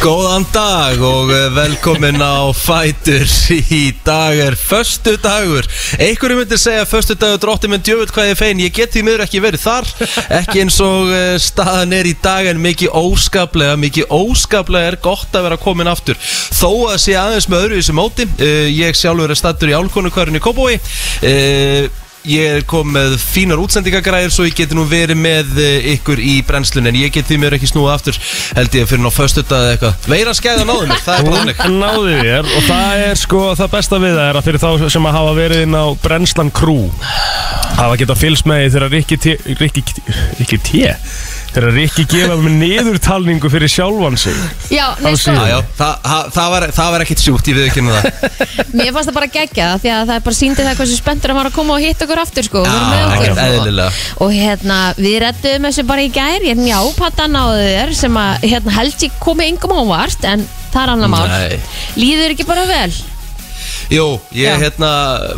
Góðan dag og eh, velkomin á Fætur Í dag er föstu dagur Einhverju myndir segja föstu dagur drótti minn djöfull hvað ég er fein Ég get því miður ekki verið þar Ekki eins og eh, staðan er í dag En mikið óskaplega, mikið óskaplega er gott að vera komin aftur Þó að sé aðeins með öðru í þessu móti Eh, Ég sjálfur er stattur í álkonukvarinu Kóbói Eh, Ég er kom með fínar útsendingagræðir svo ég geti nú verið með eh, ykkur í brennslun en ég get því mér ekki snúið aftur held ég fyrir ná föstudag eða eitthvað Veira skæða náðu mér, það er bara þannig Hún náði þér og það er sko það besta við það er að fyrir þá sem að hafa verið inn á Brennslan Crew hafa geta fylgst með því þegar Rikki T Rikki T Rikki T þegar Rikki gefa með niðurtalningu fyrir sjálfan sig Já, Á nei, sko, síðunni. Já, já, það, það, það, var, það var ekkit sjúkt, ég við ekki það mér fannst það bara geggja það því að það er bara síndi það hversu spenntur að maður að koma og hitta okkur aftur sko, og vera með Já, okkur. ekkert eðlilega. og hérna, við rettum þessu bara í gær, ég njá, patta náðu þér sem að, hérna, held ég komið yngum ávart, en það er annar mál Nei. líður ekki bara vel Jú, ég Já. hérna,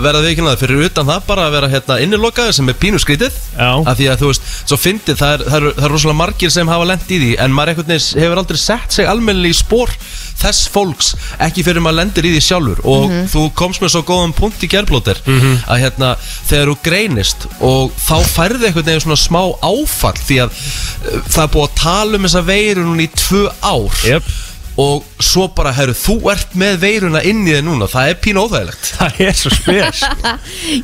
verða við ekki náðu fyrir utan það bara að vera hérna innilokaður sem er pínu skrítið Já. af því að þú veist, svo fyndið það er, það er, það er rosalega margir sem hafa lent í því en maður einhvern veginn hefur aldrei sett sig almennilega í spór þess fólks ekki fyrir maður lendir í því sjálfur og þú komst með svo góðan punkt í gerblóter að hérna, þegar þú greinist og þá færði einhvern veginn svona smá áfall því að uh, það er búið að tala um þessa veiru núna í tvö ár Jep. og svo bara, herru, þú ert með veiruna inn í þig núna, það er pínu óþægilegt það er svo spes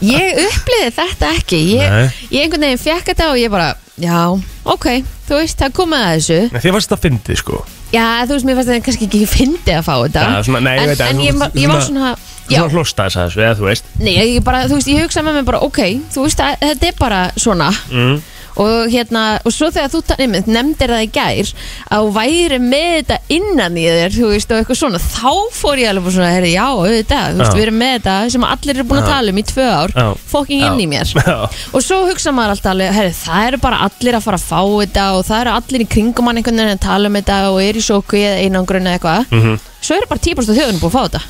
Ég uppliði þetta ekki Nei. ég, ég einhvern veginn fjekk þetta og ég bara Já, ok, þú veist, það komið að þessu Nei, þið fannst þetta fyndið sko Já, þú veist, mér fannst þetta kannski ekki fyndi að fá þetta Já, svona- nei, ég En, veit að- en ég, var- ég var svona já, svona hlosta þess að þessu eða þú veist Nei, ég bara, þú veist, ég hugsa með mér bara, ok, þú veist að þetta er bara svona Mm. og hérna, og svo þegar þú ta- nei, menn, nefndir það í gær að þú væri með þetta innan í þér, þú veist, og eitthvað svona, þá fór ég alveg bara svona, herri, já, auðvitað, þú veist, Já. við erum með þetta sem allir eru búin að tala um í tvö ár, Já. fokking inn í mér. Já. Og svo hugsa maður alltaf alveg, herri, það eru bara allir að fara að fá þetta og það eru allir í kringum hann einhvern veginn að tala um þetta og eru í sjóku eða einangrun eða eitthvað. Mhm. Svo eru bara 10% af þjóðunum búin að fá þetta.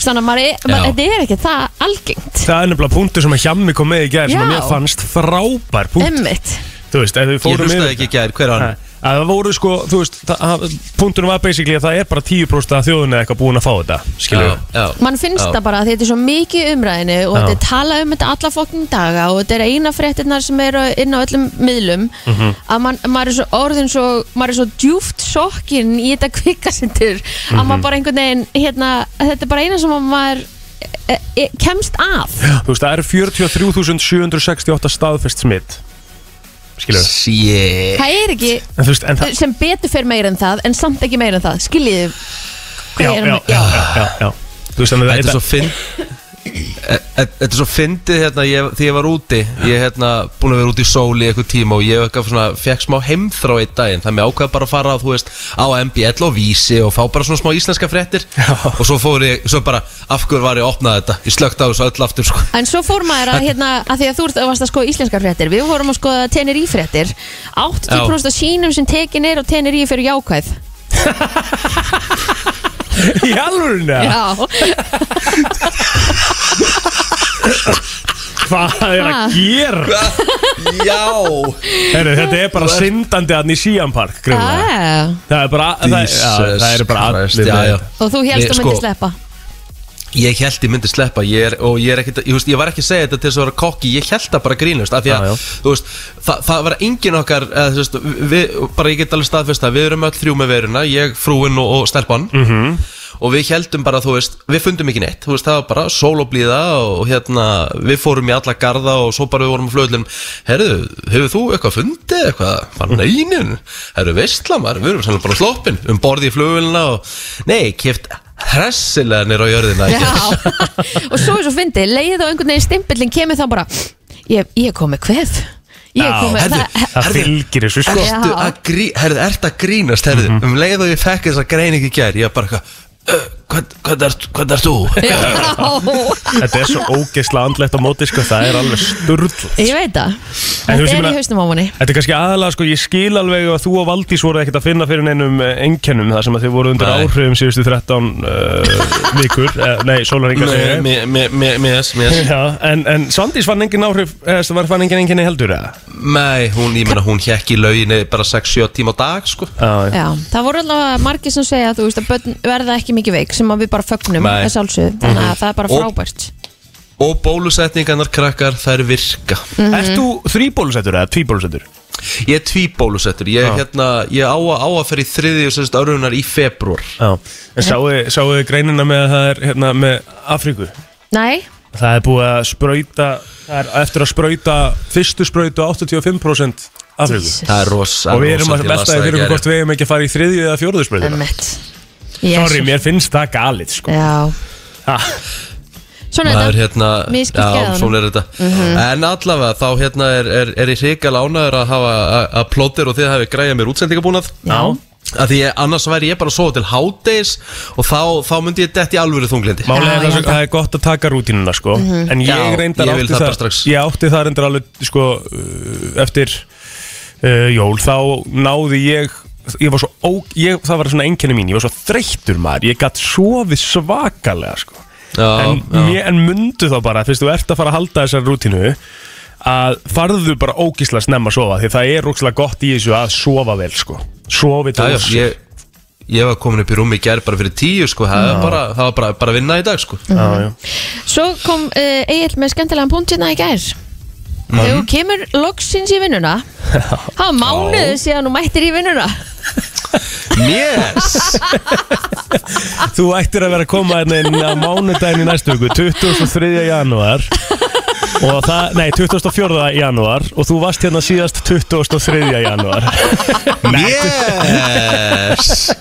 Svo Þannig að maður, er- maður, Já. þetta er ekki það algengt. það er nefnilega punktur sem að hjammi kom með í gerð sem að Já. mér fannst frábær punkt Emmitt. þú veist ef við Ég fórum hlustaði yfir ekki í gær, hver var Nei, hann? að það voru sko, þú veist það- að- punkturinn var basically að það er bara 10% af þjóðunni eða eitthvað búin að fá þetta skilur Já, við já. Man finnst Já. það bara að þetta er svo mikið í umræðinu og Já. þetta er talað um þetta alla fokkin daga og þetta er eina fréttinnar sem eru inn á öllum miðlum Mhm. að man, maður er svo orðin svo, maður er svo djúft sokkin í þetta kvikasindur Mhm. að maður bara einhvern veginn, hérna, þetta er bara eina sem að maður e, e, kemst að. Þú veist, það eru 43.768 staðfest smitt Skilur við Shit Það er ekki En þú veist, en það sem betur fer meira en það en samt ekki meira en það, skiljiðu hvað já, ég er já, að- já, já, já. Þú veist, en það Þetta er svo finn Þetta er svo fyndið hérna ég, Því ég var úti Ég er hérna búin að vera úti í sól í eitthvað tíma Og ég eitthvað svona, fekk smá heimþrá einn daginn Þannig ég ákvað bara að fara á, þú veist, á MBL og Vísi Og fá bara svona smá íslenska fréttir Og svo fór ég, svo bara Af hverju var ég að opna þetta? Ég slögt á þessu öll aftur sko. En svo fór maður að, hérna, að því að þú ert- varst að skoða íslenskar fréttir Við fórum að skoða Tenerife fréttir 80% af sínum sem tekin er og Tenerife eru jákvæð Í alvörinu eða? Já, Hvað er Ha. að gera? Já Heru, þetta er bara syndandi hann í Sian Park greinlega. Ah. Það er bara það, já, það er bara Jesus allir Christ, já, já. með. Og þú helst Ég- að sko, myndi sleppa Ég held ég myndi sleppa ég er, og ég, er ekkit, ég, veist, ég var ekki að segja þetta til þess að vera kokki ég held það bara grínust af því að Já, já. þú veist, það, það var engin okkar eða, þú veist, við, bara ég get alveg staðfest að við erum öll þrjú með veruna ég, frúin og, og stelpan Mhm. -hmm. og við heldum bara, þú veist, við fundum ekki neitt þú veist, það var bara sól og blíða og hérna, við fórum í alla garða og svo bara við vorum á flöðlum herðu, hefur þú eitthvað fundið eitthvað bara neinin, herðu veistlamar við erum sannlega bara sloppin um borði í flöðluna og nei, keft hressilega nýr á jörðina ekki?" Já, og svo er svo fyndi Leið og einhvern veginn stimpillin kemur þá bara Ég, ég kom með kveð Ég Já, kom með herðu, það Það Herðu, fylgir þessu sko Mhm. Já. Ertu að, grí, herðu, ertu að grínast herðu, um leið og ég fekk þessa greiningu í gær ég var bara eitthvað uh, hvað, hvað, ert, hvað ert þú? Já, Þetta er svo ógeðslega andlegt á móti sko, það er alveg sturl ég veit þú það veist, Þetta ég er í meina- hausnum á manni Þetta er kannski aðalega, sko, ég skil alveg að þú og Valdís voru ekkert að finna fyrir neinum enkenum þar sem að þið voru undir Nei. áhrifum síðustu 13 uh, vikur, eh, nei, sólaringar Mér, mér, mér, mér, mér Já, en, en Svandís fann engin áhrif, eða þú fann engin enginni heldur, eða? Nei, hún, ég meina, hún hekk í lauginni bara 6-7 tíma á dag, sko Ah, Já, Já, það voru allavega margir sem segja að þú veist að börn verða ekki mikið veik sem að við bara fögnum Nei. að sjálfsögðu þannig Mhm. að það er bara Og- frábært Og bólusetningarnar krakkar, þær virka Mhm. Ert þú þrýbólusettur eða tvíbólusettur? Ég er tví bólusettur, ég, Já. hérna, ég á, að- á að fyrir þriði og sérst árunar í februar Já, en sáu sáu þið greinina með að það er hérna með Afríku? Nei, Það er búið að sprauta, það er eftir að sprauta, fyrstu sprautu 85% Afríku. Jesus. Það er rosa Og við erum rosa, að ég las velta það því í fyrir gær. okkur hvort við erum ekki að fara í þriðju eða fjóruðu sprautuna. Emmett Sorry, mér finnst það galið, sko. Já, Ha, svona maður þetta hérna Misskipt já, gæðunum. Mhm. svona er þetta en allavega þá hérna er, er, er ég hrikal ánæður að hafa að- að plótir og þið hafi græjað mér útsendingabúnað Já. að því ég, annars væri ég bara að sofa til hádegis og þá, þá myndi ég detti alvöru þunglindi Málega Já, er það já. sem það er gott að taka rútínuna sko En Já, ég reyndar ég vil átti það bara það strax. Ég átti það reyndar alveg sko uh, Eftir uh, jól Þá náði ég Ég var svo ó, ég, Það var svona einkenni mín Ég var svo þreyttur maður Ég gatt sofið svakalega sko já, En, já. mér, en mundu þá bara Fyrst þú ert að fara að halda þessar rútínu Að farðu bara ógísla snemma að sofa Því það er rúkslega gott í þessu að sofa vel sko Sofi já, til já, ég, ég var komin upp í rúmi í gerð bara fyrir tíu sko, það var bara, það var bara, bara vinna í dag sko. já, já. Svo kom uh, Egil með skemmtilegan punkt hérna í gær Mhm. Þegar þú kemur loksins í vinnuna Það var mánuðu síðan þú mættir í vinnuna yes Þú ættir að vera að koma hérna inn á mánudaginn í næstu viku, 23. janúar og það, nei, 24. janúar og þú varst hérna síðast 23. janúar yes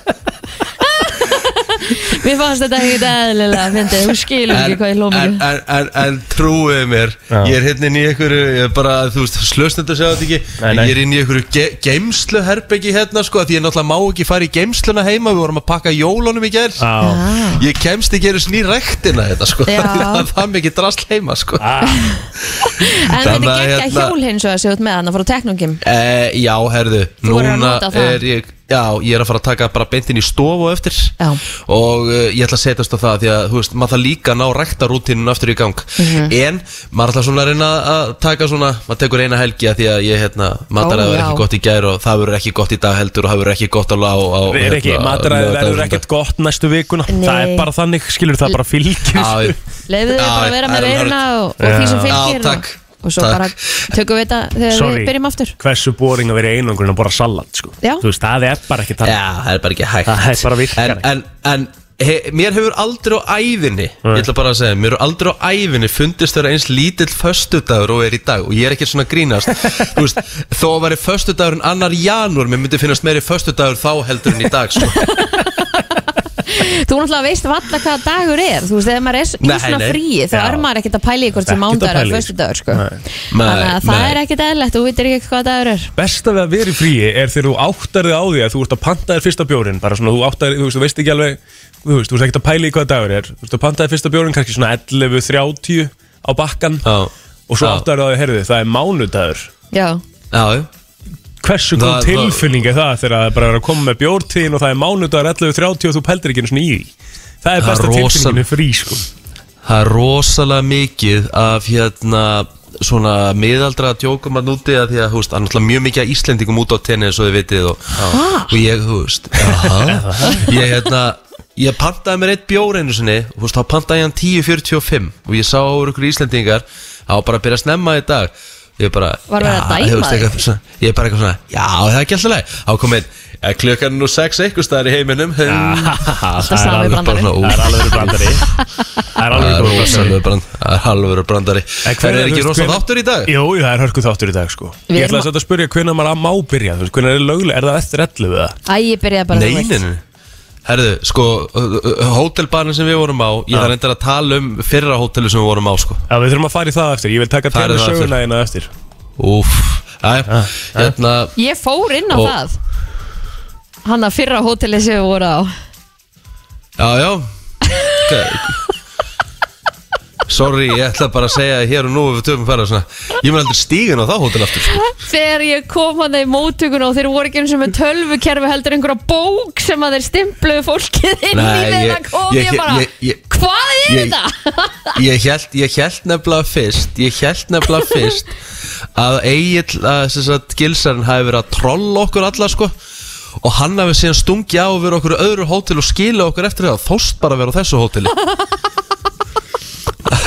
Mér fannst þetta ekkert eðlilega fyndið, Þú skilur en, ekki hvað ég hló en, mikið en, en, en trúið mér Já. ég er hérna inn í einhverju ég er bara, þú veist, slösnendur segja þetta ekki Nei, nei. ég er inn í einhverju ge geimslu herbyggi hérna sko, af því ég náttúrulega má ekki fara í geimsluna heima við vorum að pakka jólunum í gær Á, Ah. ég kemst ekki einu sný rektina þetta sko, Já. það er það mikið drast heima sko á, En Þannig þetta að gekk að hérna- hjól hins og að segja út með hann að fara á teknungim e, já, herðu, Þú verður að núna nota það. er ég já, ég er að fara að taka bara beintin í stofu á eftir Já. og uh, ég ætla að setjast á það því að, þú veist, maður það líka að ná ræktarútinu aftur í gang, Mhm. en maður ætla svona að reyna að taka svona maður tekur eina helgi að því að ég, hérna mataræði Ó, verður já. ekki gott í gær og það verður ekki gott í dag heldur og það verður ekki gott alveg á, á hérna, við erum ekki, mataræði verður ekkert gott næstu vikuna, Nei. það er bara þannig skilur það bara fylgir Já, Leifðu þið Já, bara að vera með Iron Heart. veiruna og, og því sem Já. Já, fylgir takk. og, og svo Takk. bara tökum við þetta þegar Sorry. við byrjum aftur hversu boring að vera í einangrun að borra salat sko. Já. þú veist, það er bara ekki þannig Já, það er bara ekki hægt Það er bara virkar En, en, en he, mér hefur aldrei á ævinni Ég ætla bara að segja, mér hefur aldrei á ævinni Fundist þeirra eins lítill föstudagur og er í dag Og ég er ekki svona að grínast Þú veist, Þó að væri föstudagurinn annar janúar Mér myndi finnast meiri föstudagur þá heldur en í dag sko. Þú náttúrulega veist valla hvað dagur er Þú veist, þegar maður er Nei, í svona nei. fríi þá Já. er maður ekkert að pæla í hvort sem Ekkert að mándagur pæla í eða því. föstudagur sko. Nei. Þannig að það Nei, nei. er ekkert eðlilegt Þú vitir ekki hvað dagur er besta við að vera í fríi er þegar þú áttar þig á því að þú ert að panta þér fyrsta bjórin bara svona þú áttar þig, þú veist, þú veist ekki alveg þú veist, þú veist ekki að pæla í hvað dagur er þú veist að panta þér fyrsta bjórin kannski svona 11.30 á bakkan Já. og svo Já. áttar þig á því, heyrðu, það er mánudagur Já, Já, hversu góð Það- það- tilfinning er það þegar það er bara að koma með bjórtíðin og það er mánudagur 11.30 og þú pældir ekki einu svona í því það er Það er besta rosa- tilfinningin við frí sko það er rosalega mikið Af hérna svona miðaldra djókum að núti að því að, þú veist, það er náttúrulega mjög mikið af Íslendingum út á tenni eins og þið vitið og, og ég, þú veist, aha, ég hérna, ég pantaði mér eitt bjór einu sinni, og þú veist, þá pantaði ég hann 10.45 og ég sá úr ykkur Íslendingar, þá var bara að byrja að snemma í dag, ég bara, Var verið að já, dæma þú veist, þig? eitthvað svona, ég er bara eitthvað svona, já, það er ekki alltaf leið, þá kom einn, "Ja, klukkan er nú 6 eitthvað staðar í heiminum, Mm. það er alveg bara brandarinn svona, úf, það er alveg brandari það er Það alveg er góð brandari rosalegu brand- það er alvöru brandari En Það er þú ekki veist, rosa hvenær- þáttur í dag? Jú, jú, það er hörku þáttur í dag sko Við Ég erum ætla að- að þetta að spyrja hvernig maður má byrja þú veist, Hvernig er lögulega, er það eftir 11 eða? Æ, ég byrjaði bara þú veist. Neininu Herðu, sko, hótelbarnin sem við vorum á Ég Já. þarf endur að tala um fyrra hótelu sem við vorum á, sko Já, við þurfum að fara í það eftir, ég vil taka Farið tenni það eftir. söguna eina eftir Úf, aðja, hérna Ég fór inn á Og- það Hanna fyrra hóteli sem við voru á Já, já, Sorry, ég ætla bara að segja hér og nú ef við töfum færa svona Ég mun aldrei stígin á þá hótel aftur sko. Þegar ég kom að þeir mótuguna og þeir voru ekki eins og með tölvukerfi heldur einhverja bók sem að þeir stimpluðu fólkið inn í Nei, þeirra ég- kom ég- ég bara ég- ég- Hvað er ég- þetta? Ég held, ég held nefnilega fyrst Ég held nefnilega fyrst Að Egil, að sem sagt gilsarinn hafi verið að trolla okkur alla sko Og hann hafi síðan stungið á og verið á okkur öðru hótel og skila okkur eftir það Þóst bara að vera á þessu hóteli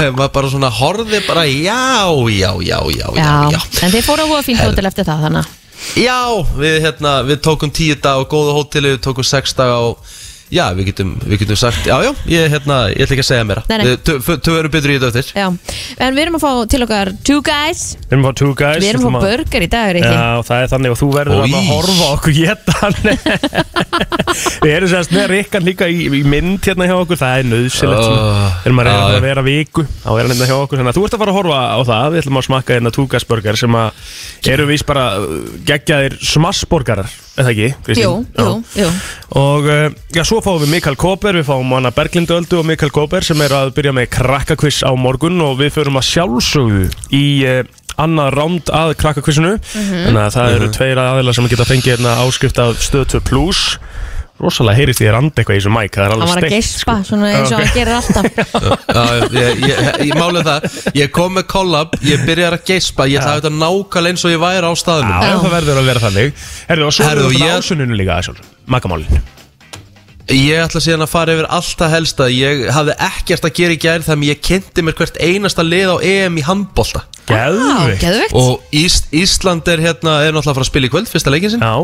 Maður bara svona horfði bara já, já, já, já, já, já. en þeir fóru að búa fínt hótel eftir það þannig að- Já, við, hérna, við tókum tíu dag á góðu hóteli, við tókum sex dag á Já, við getum, við getum sagt Já, já, ég, hérna, ég ætla ekki að segja meira Nei, nei. Við- Þau þau- þau eru betur í þetta eftir Já, en við erum að fá til okkar Two Guys, Við erum að fá two guys við erum ætlum að fá burger í dag Riki. Já, það er þannig og þú verður Oj. þarna að horfa á okkur geta Við erum sérst með Rikkan líka í, í mynd hérna hjá okkur Það er nöðsilegt Oh, Við erum að reyna já. að vera viku Þá er hann hérna hjá okkur Þannig að þú ert að fara að horfa á það Við ætlum að smakka hérna túgasburger sem að eru vís bara uh, geggjaðir smassborgarar Eða ekki, Kristín? Jú, Já. jú, jú Og uh, já, svo fáum við Mikael Kóper, við fáum hana Berglindöldu og Mikael Kóper sem er að byrja með krakkakviss á morgun og við förum að sjálfsögðu í uh, annað ránd að krakkakvissinu Mhm. þannig að það eru Mhm. tveir aðeila sem geta fengið hérna áskrift af stöð 2 plus rosalega heyrist því að randa eitthvað í þessu mæk það er alveg Hann var að steikt geispa, svona eins og hann gerir alltaf Já, ég, ég, ég, ég málið það Ég kom með kollab, ég byrjar að geispa Ég ætla þetta nákvæmlega eins og ég væri á staðnum Já, Já. það verður að vera þannig Herðu, og svo Herðu, erum við ég- ég... ásuninu líka sjálf, makamálin Ég ætla síðan að fara yfir alltaf helsta Ég hafði ekkert að gera í gær Þannig ég kynnti mér hvert einasta lið á EM í handbolta Ah, Á, Gæðvikt geðvegt Og Ís, Ísland er hérna Er náttúrulega að fara að spila í kvöld, fyrsta leikin sin Já,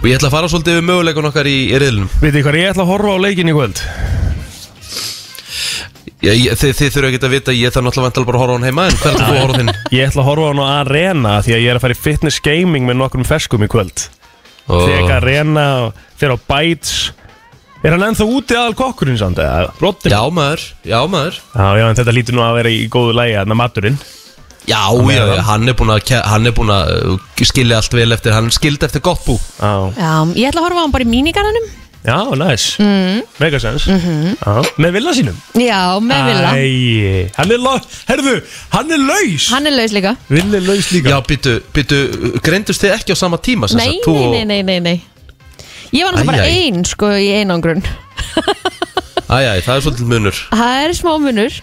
Og ég ætla að fara svolítið yfir möguleikun okkar í, í riðlunum veitir hvað, ég ætla að horfa á leikin í kvöld Já, ég, þið, þið þurfa ekki að vita, ég þarf náttúrulega vantilega bara að horfa á hann heima en hvernig þú að horfa á þinn? Ég ætla að horfa á hann á Arena því að ég er að fara í fitness gaming með nokkrum ferskum í kvöld Oh. Þegar Arena og fyrir á Bites Er hann ennþá úti aðal kokkurinn samt eða? Rottin? Já maður, já maður Já, já, en þetta lítur nú að vera í góðu lægi að maturinn Já, já, já, hann er búin að, ke- hann er búin að uh, skilja allt vel eftir, hann skildi eftir gott bú Já, Já, ég ætla að horfa á hann bara í mínigarðanum já, næs mm. Megasens mm -hmm. Með villa sínum Já, Mm-hmm. með Villa Æi, hann er, lo- herðu, hann er laus Hann er laus líka Villa er laus líka Já, býtu, býtu, uh, greindust þið ekki á sama tíma sem Nei, sagt, þú og- nei, nei, nei, nei Ég var Æ, náttúrulega bara æ. ein sko í einangrun Æ, æ, það er svolítið munur Það er smá munur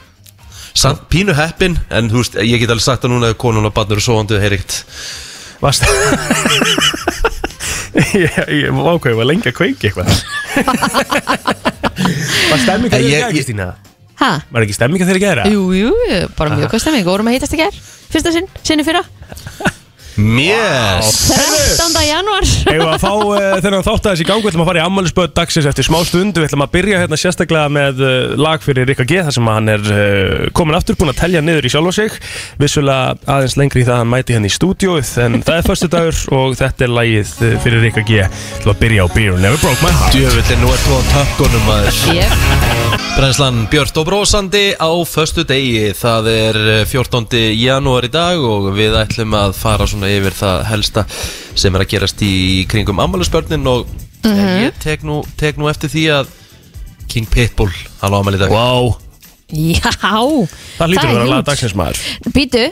Samt pínu heppin, en þú veist, ég get alveg sagt að núna ef konun og barnur og svoandi, heyr ekkert Vast Ég, ég ákveði var lengi að kveiki eitthvað Var stemming að Ég- þeirra gæra, ég- Kristína? Ha? Var ekki stemming að þeirra gæra? Jú, jú, bara mjög kostum við Górum að heitast ekki er Fyrsta sinn, sinni fyrra Mjess 13. januar Eða að fá uh, þennan þátt aðeins í gangu Við ætlum að fara í ammælisböð dagsins eftir smá stund Við ætlum að byrja hérna sérstaklega með uh, lag fyrir Rikka G Þar sem hann er uh, komin aftur búinn að telja niður í sjálfa sig Vissulega aðeins lengri í það að hann mæti henni í stúdíóið En það er förstu dagur og þetta er lagið uh, fyrir Rikka G Við ætlum að byrja á Beer Never Broke My Heart Djöfullin, nú ert þú á tökkunum maður Ég Brænslan Björn og brósandi á föstu degi, það er eh, 14. janúar í dag og við ætlum að fara svona yfir það helsta sem er að gerast í kringum ammælisbörnin og Mhm. ég tek nú, tek nú eftir því að King Pitbull, hann á ammæli í dag Wow, Já það lítur er að vera lag huge. dagsins maður Bítu,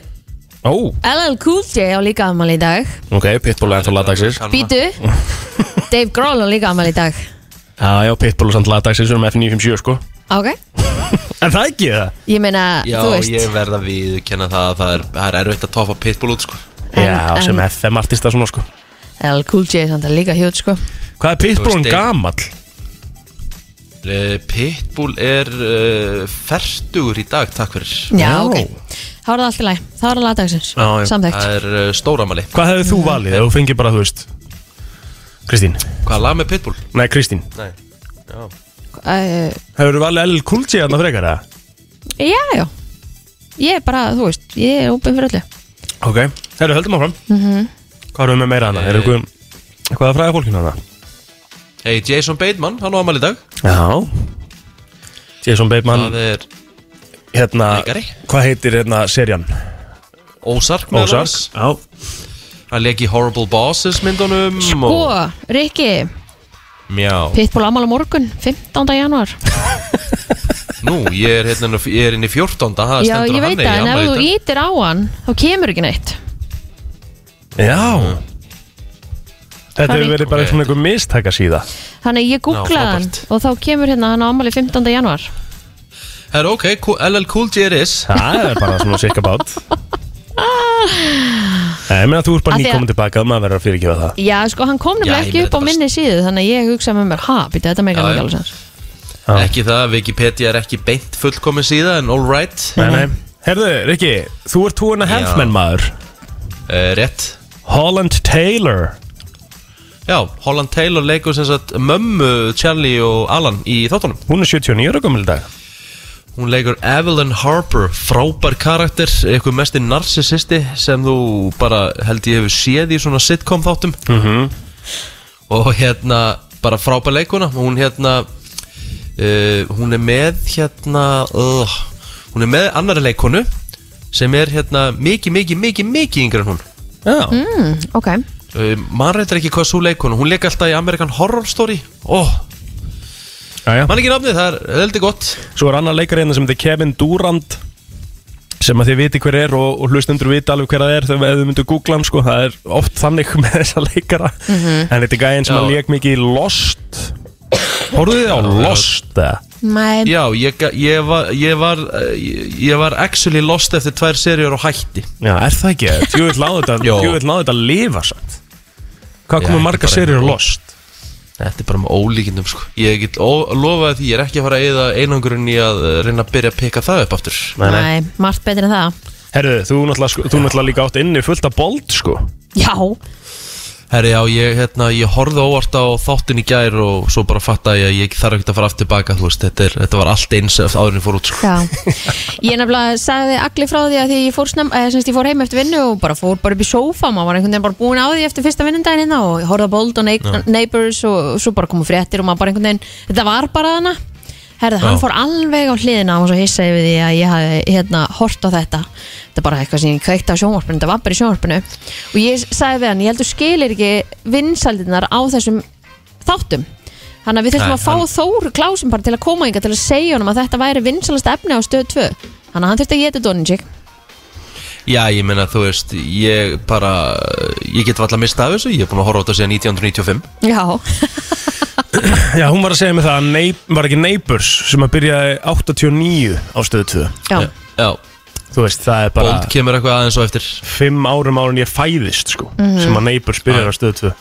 Ó, LL Cool J á líka afmæli í dag ok, Pitbull er ennþá lagdagsins Kanna. Bítu, Dave Grohl á líka afmæli í dag Já, já, Pitbull er samt lagdagsins um F957 sko Ok, En það ekki það? ég meina, Já, þú veist ég verð að viðkenna það að það er, það er erfitt að tofa Pitbull út sko En- já, en- sem FM artista svona sko LL Cool J er samt að líka hjút sko Hvað er Pitbullin Þú veist, ég- gamall? Eh, Pitbull er uh, ferstugur í dag, takk fyrir Já, Já. ok Þá er það allt í læg, þá er það lagdagsins Já, já. Samþægt Það er uh, stóramæli Hvað hefur þú valið ef þú fengir bara, þú veist Kristín Hvað lag með Pitbull? Nei, Kristín Nei, já uh, Hefur þú valið LL Cool J hann að frekar það? Já, já Ég er bara, þú veist, ég er ópinn fyrir öllu Ok Herru, höldum áfram mm Mhm. -hmm. Hvað erum við með meira hana? Er eitthvað Hvað er fræða fólkinu hana? Hey, Jason Bateman, hann á amal í dag Já Jason Bateman Það er Hérna Leikari. Hvað heitir hérna serían? Ozark meðal Ozark annars. Já Hann leki Horrible Bosses myndunum Sko, Rikki, Mjá Pitbull ámál á morgun 15. januar Nú, ég er, hérna, ég er inn í 14. Það Já, stendur á ég veit hann eigi það, en ef afmæli þú í dag. ítir á hann þá kemur ekki neitt Já Þetta Það er hefur verið bara Ok. svona einhver mistaka síða Þannig að ég googlaði hann frábært. og þá kemur hérna hann á ámali 15. januar Herra, ok, cool- LL Cool J er is Það er bara svona sikka bát Nei, ég meina þú ert bara Af því að- nýkomin tilbaka og maður verður að fyrirgefa það Já, sko, hann kom Já, nefnilega ég ekki meina upp á þetta minni síðu þannig að ég hugsaði með mér, ha, býta, þetta meikar Já, já. ekki alveg sens Já. Ekki það, Wikipedia er ekki beint fullkomin síða En all right Nei, nei Herðu, Rikki, þú ert túin að Já. hefðmenn maður uh, Rétt Holland Taylor Já, Holland Taylor leikur sem sagt mömmu Charlie og Alan í þáttunum Hún er 79 ára gömul í dag Hún leikur Evelyn Harper, frábær karakter, eitthvað mesti narcissisti sem þú bara held ég hefur séð í svona sitcom þáttum Mhm. og hérna bara frábær leikuna, hún hérna uh, hún er með hérna, uh, hún er með annari leikonu sem er hérna mikið, mikið, mikið, mikið yngri en hún Já mm, Ok, uh, mann reyndar ekki hvað svo leikonu, hún leik alltaf í American Horror Story, óh, Jæja. mann ekki nafnið, það er heldur gott Svo er annar leikar hérna sem þetta er Kevin Durant sem að þið viti hver er og, og hlustendur vita alveg hver það er þegar ef þið myndu googla hann sko, það er oft þannig með þessa leikara en þetta er gæðin sem Mhm. Já. að leik mikið í Lost Hóruðu þið á Lost eða? mæ, Já, ég, ga- ég, var, ég, var, eh, ég, ég var actually lost eftir tvær serjur og hætti Já, er það ekki? Ég vil náðu þetta, Jó. ég vil náðu þetta að lifa samt Hvað Já, komur ekki marga bara serið á einu. Lost? Þetta er bara með ólíkindum sko Ég get ó- lofaði því, ég er ekki að fara að eða einangurinn í að eh, reyna að byrja að peka það upp aftur Nei, nei. mæ, margt betur en það Herru, þú náttúrulega, sko, þú náttúrulega líka átt inni fullt af bold sko Já, Herri, já, ég, hérna, ég horfði óvart á þáttin í gær og svo bara fatta ég að ég þarf ekki að fara aftur baka Þú veist, þetta, er, þetta var allt eins áðurinn fór út sko já Ég nefnilega sagði allir frá því að því ég fór, snem, eh, semst, ég fór heim eftir vinnu og bara fór bara upp í sófa maður var einhvern veginn bara búin á því eftir fyrsta vinnundaginn hérna og ég horfði á Bold og Neig- Neighbours og, og svo bara komu fréttir og maður bara einhvern veginn Þetta var bara hana Herði, hann Já. fór alveg á hliðina og svo hissaði við því að ég hafi hérna hort á þetta þetta er bara eitthvað sem ég kveikti á sjónvarpinu þetta var bara í sjónvarpinu og ég sagði við hann, ég heldur skilir ekki vinsaldinnar á þessum þáttum þannig að við Nei, þurftum að fá hann- Þóru Klásum bara til að koma yngar til að segja honum að þetta væri vinsalast efni á stöð 2 þannig að hann þurfti að geta Doninjik Já, ég meina, þú veist, ég bara, ég get valla mista af þessu Ég er búin að horfa á þetta síðan 1995 Já, Já, hún var að segja mig það að neip, var ekki Neighbors sem að byrjaði 89 á stöðu 2 já, Já, Þú veist, það er bara Bond kemur eitthvað aðeins og eftir fimm árum árum ég fæðist sko, Mhm. sem að Neighbors byrjar á stöðu 2 Það er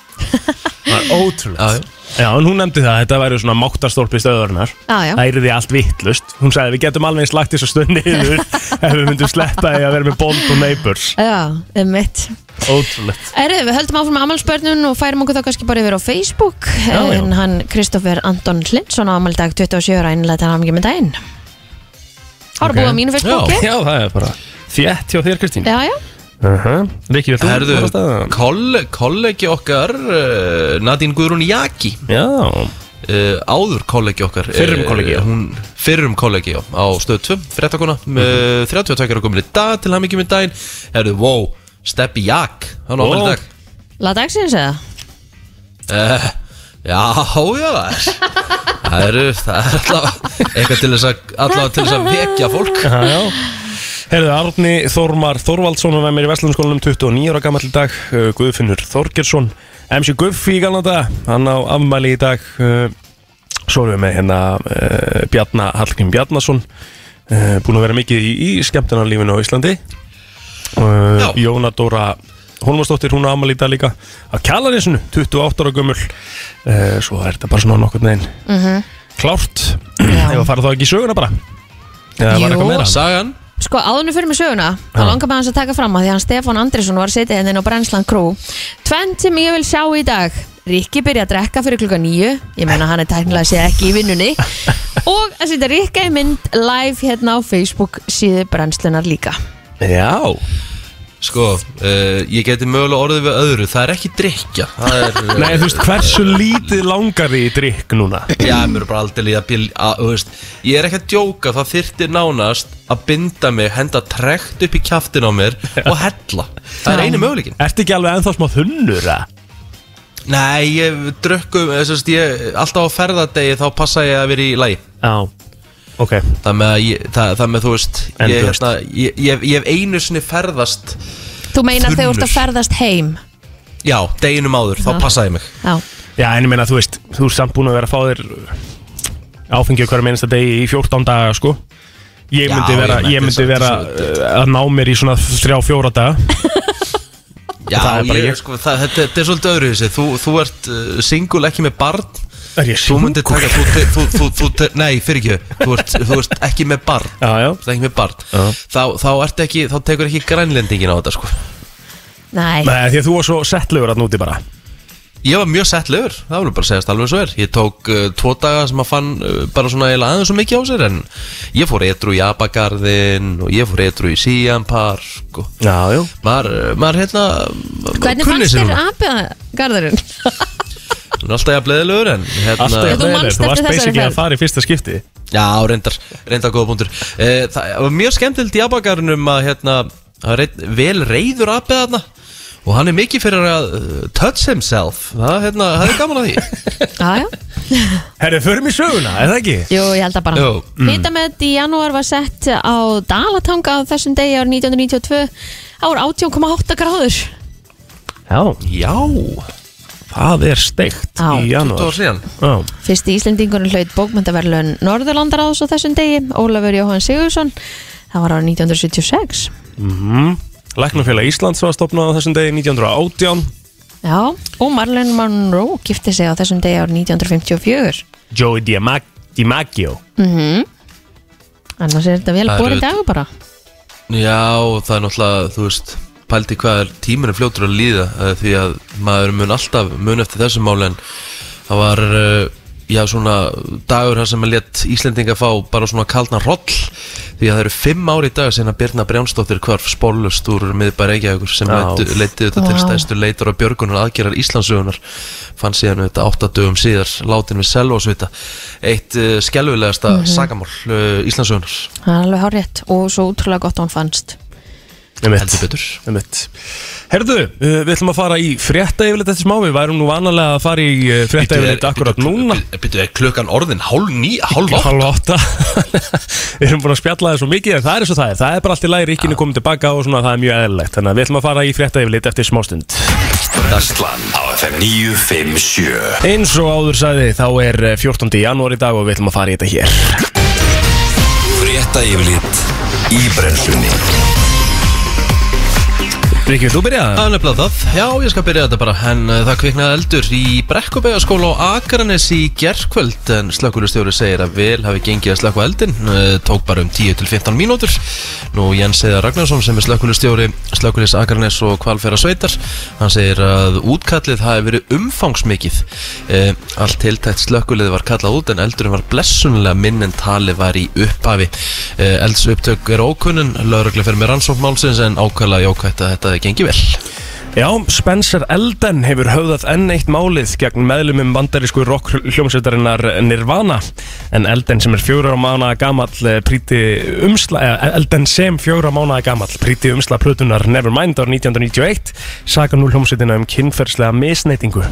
Já, já. ótrúlegt Já, en hún nefndi það, þetta væri svona máttastólpi stöðurinnar já, já. Það er því allt vittlust Hún sagði, við getum alveg slagt þessu stöð niður ef við myndum sleppa því að vera með Bond og Neighbors já um mitt Ótrúlegt Erðu, við höldum áfram með amalspörnun og færum okkur þá kannski bara yfir á Facebook Já, já. en hann Kristoffer Anton Lindsson á amaldag 27 ára innlega til hann ekki með daginn Ok. Hára okay. búið á mínu Facebooki Já, það er bara þétt hjá þér Kristín Já, já, uh -huh. Riki, vil þú Herðu, fara af stað? koll- kollegi okkar uh, Nadine Guðrún Jaki Já, uh, áður kollegi okkar eh, Fyrrum kollegi, já. hún, Fyrrum kollegi, já, á stöð 2 fréttakona, Mhm. mm. 32 og komin í dag til hann ekki með daginn Herðu, wow, Steppi Jak hann á Wow. ámæli í dag laða dagsins eða? uh, Já, já, það er Það eru, það er alltaf eitthvað til þess að, alltaf til þess að vekja fólk Já, já. Herðu, Arni Þormar Þorvaldsson var með mér í Vestlunarskólanum 29 ára gammal í dag, uh, Guðfinnur Þorgjersson MC Guffi í galna dag, hann á afmæli í dag uh, Svo erum við með hérna uh, Bjarna Hallgrim Bjarnason uh, Búin að vera mikið í, í skemmtunarlífinu á Íslandi uh, Já. Jóna Dóra Hólmarsdóttir, hún á afmæli í dag líka Á Kjalarinsinu, 28 ára gömul uh, Svo er þetta bara svona nokkurn veginn mm Klárt, Já. ef að fara þá ekki í söguna bara Eða var Jú. eitthvað meira Sagan, Sko, áðunni fyrir mig söguna þá Já. langar maður hans að taka fram að því að hann Stefán Andrisson var setið hennin á Brennsland Crew Tvent sem ég vil sjá í dag Rikki byrja að drekka fyrir klukka nýju Ég meina hann er tæknilega séð ekki í vinnunni Og að setja Rikka í mynd live hérna á Facebook síðu Brennslunar líka Já sko, uh, ég geti mögulega orðið við öðru Það er ekki drikja Það er, eh, Nei, þú veist, hversu lítið langar þið í drikk núna? Já, mér er bara aldrei líða bíl að, þú veist, Ég er ekki að djóka, það þyrfti nánast að binda mig, henda trekt upp í kjaftin á mér og hella Það er Já. einu möguleikin Ertu ekki alveg ennþá smá þunnur, að? Nei, eh, ég drökkum, þess að ég alltaf á ferðardegi þá passa ég að vera í lagi Já ok Það með, að ég, það, það með þú veist ég, En þú veist. hérna, ég, ég, hef- ég hef einu sinni ferðast Þú meinar þegar þú ert að Þunnur. ferðast heim Já, deginum áður, þá Já. passaði ég mig Já, Já, en ég meina, þú veist, þú ert samt búin að vera að fá þér áfengi á hverjum einasta degi í 14 daga, sko Ég Já, myndi ég vera, meina, ég myndi þetta er vera samt- uh, að ná mér í svona 3-4 daga Já, Það er ég, bara ég. Sko, það, þetta, þetta er svolítið öðru þessi Þú, þú ert uh, single, ekki með barn Er ég Þú myndir sjúkur? taka, þú, þú, þú, þú, þú te- Nei, fyrir ekki, þú ert, þú ert ekki með barn Já, já Þú ert ekki með barn Já. Þá, þá, ert ekki, þá tekur ekki grænlendingin á þetta sko nei, Nei, því að þú var svo settlegur að núti bara Ég var mjög settlegur, það voru bara að segjast alveg svo er Ég tók uh, tvo daga sem að fann uh, bara svona eiginlega aðeins svo mikið á sér En ég fór eitru í Abagarðin og ég fór eitru í Sian Park og Já, já maður, uh, maður hérna hvernig fannst þér abigarðurinn? Hún er alltaf jafnleðilegur en hérna Alltaf Þú Þú manst eftir varst þessari basically ferð. að fara í fyrsta skipti Já, reyndar, reyndar góða punktur uh, Það var mjög skemmtilegt í Abagarðinum að hérna að reynd, Vel reyður apið þarna Og hann er mikið fyrir að uh, touch himself Það, hérna, það er gaman að því Já, já, Herri, förum í söguna, er það ekki? jú, ég held að bara Jú. mm. Hitamet í janúar var sett á Dalatanga á þessum degi árið 1992 ár 18,8 gráður Já Já, Það er steikt Já. 20 í janúar ár síðan Já, Fyrsti íslendingurinn hlaut bókmyndaverlun Norðurlandaráðs á þessum degi, Ólafur Jóhann Sigurðsson það var árið 1976 mhm Læknafélag Íslands var stopnað á þessum degi 1918 Já, og Marlon Monroe gifti sig á þessum degi árið 1954 Joey Diamag- DiMaggio annars er þetta Það vel eru borin dagur bara Já, og það er náttúrulega, þú veist, pældi hvað er tíminu fljótur að líða eh, því að maður mun alltaf mun eftir þessum mál en það var, eh, já, svona dagur þar sem að let Íslendinga fá bara svona kaldna roll því að það eru fimm ári í dag sinna Birna Brjánsdóttir hvarf spólust úr miðbæri Reykjavíkur sem Já. leitið þetta til Vá. stæðstu leitar og björgunar aðgerar Íslandsugunar fann síðan þetta áttadögum síðar látin við selvásvita eitt uh, skelvilegasta sagamál uh, Íslandsugunar Það er alveg hárétt og svo útrúlega gott að hún fannst heldur betur Einmitt. Herðu, uh, við ætlum að fara í frétta yfirleitt eftir smá, við værum nú vanalega að fara í uh, frétta yfirleitt akkurat núna Býtu, er klukkan orðin hálf ný, hálf átt? Hálfa átta Við erum búin að spjalla það svo mikið en það er svo það er Það er bara allt í læri, ríkinu komið tilbaka og svona það er mjög eðlilegt Þannig að við ætlum að fara í frétta yfirleitt eftir smástund Brenslan á FM 957 Eins og áður sagði þá er eh, 14. janúar í dag og við ætlum að fara í þetta hér Frétta yfirlit í brennslunni Ríkju, þú byrja það? Það er nefnilega það, já ég skal byrja þetta bara en uh, það kviknaði eldur í Brekkubægaskóla á Akranes í gerkvöld en slökkulustjóri segir að vel hafi gengið að slökku eldin, uh, tók bara um 10-15 mínútur. Nú Jens Eðar Ragnarsson sem er slökkulustjóri slökkulis Akranes og kvalfæra sveitar hann segir að útkallið hafi verið umfangsmikið uh, allt tiltækt slökkulið var kallað út en eldurinn var blessunlega minn en tali var í upphafi. Uh, elds upptök er ókunnun, lögreglega fer með rannsóknmálsins en ákvæðlega jákvætt að þetta gengi vel. Já, Spencer Elden hefur höfðað enn eitt málið gegn meðlumum bandarísku rockljómsveitarinnar Nirvana en Elden sem er fjóra mánaða gamall eh, príti umsla, eh, Elden sem fjóra mánaða gamall príti umsla plötunar Nevermind árið 1991 saka nú hljómsveitina um kynferðslega misneitingu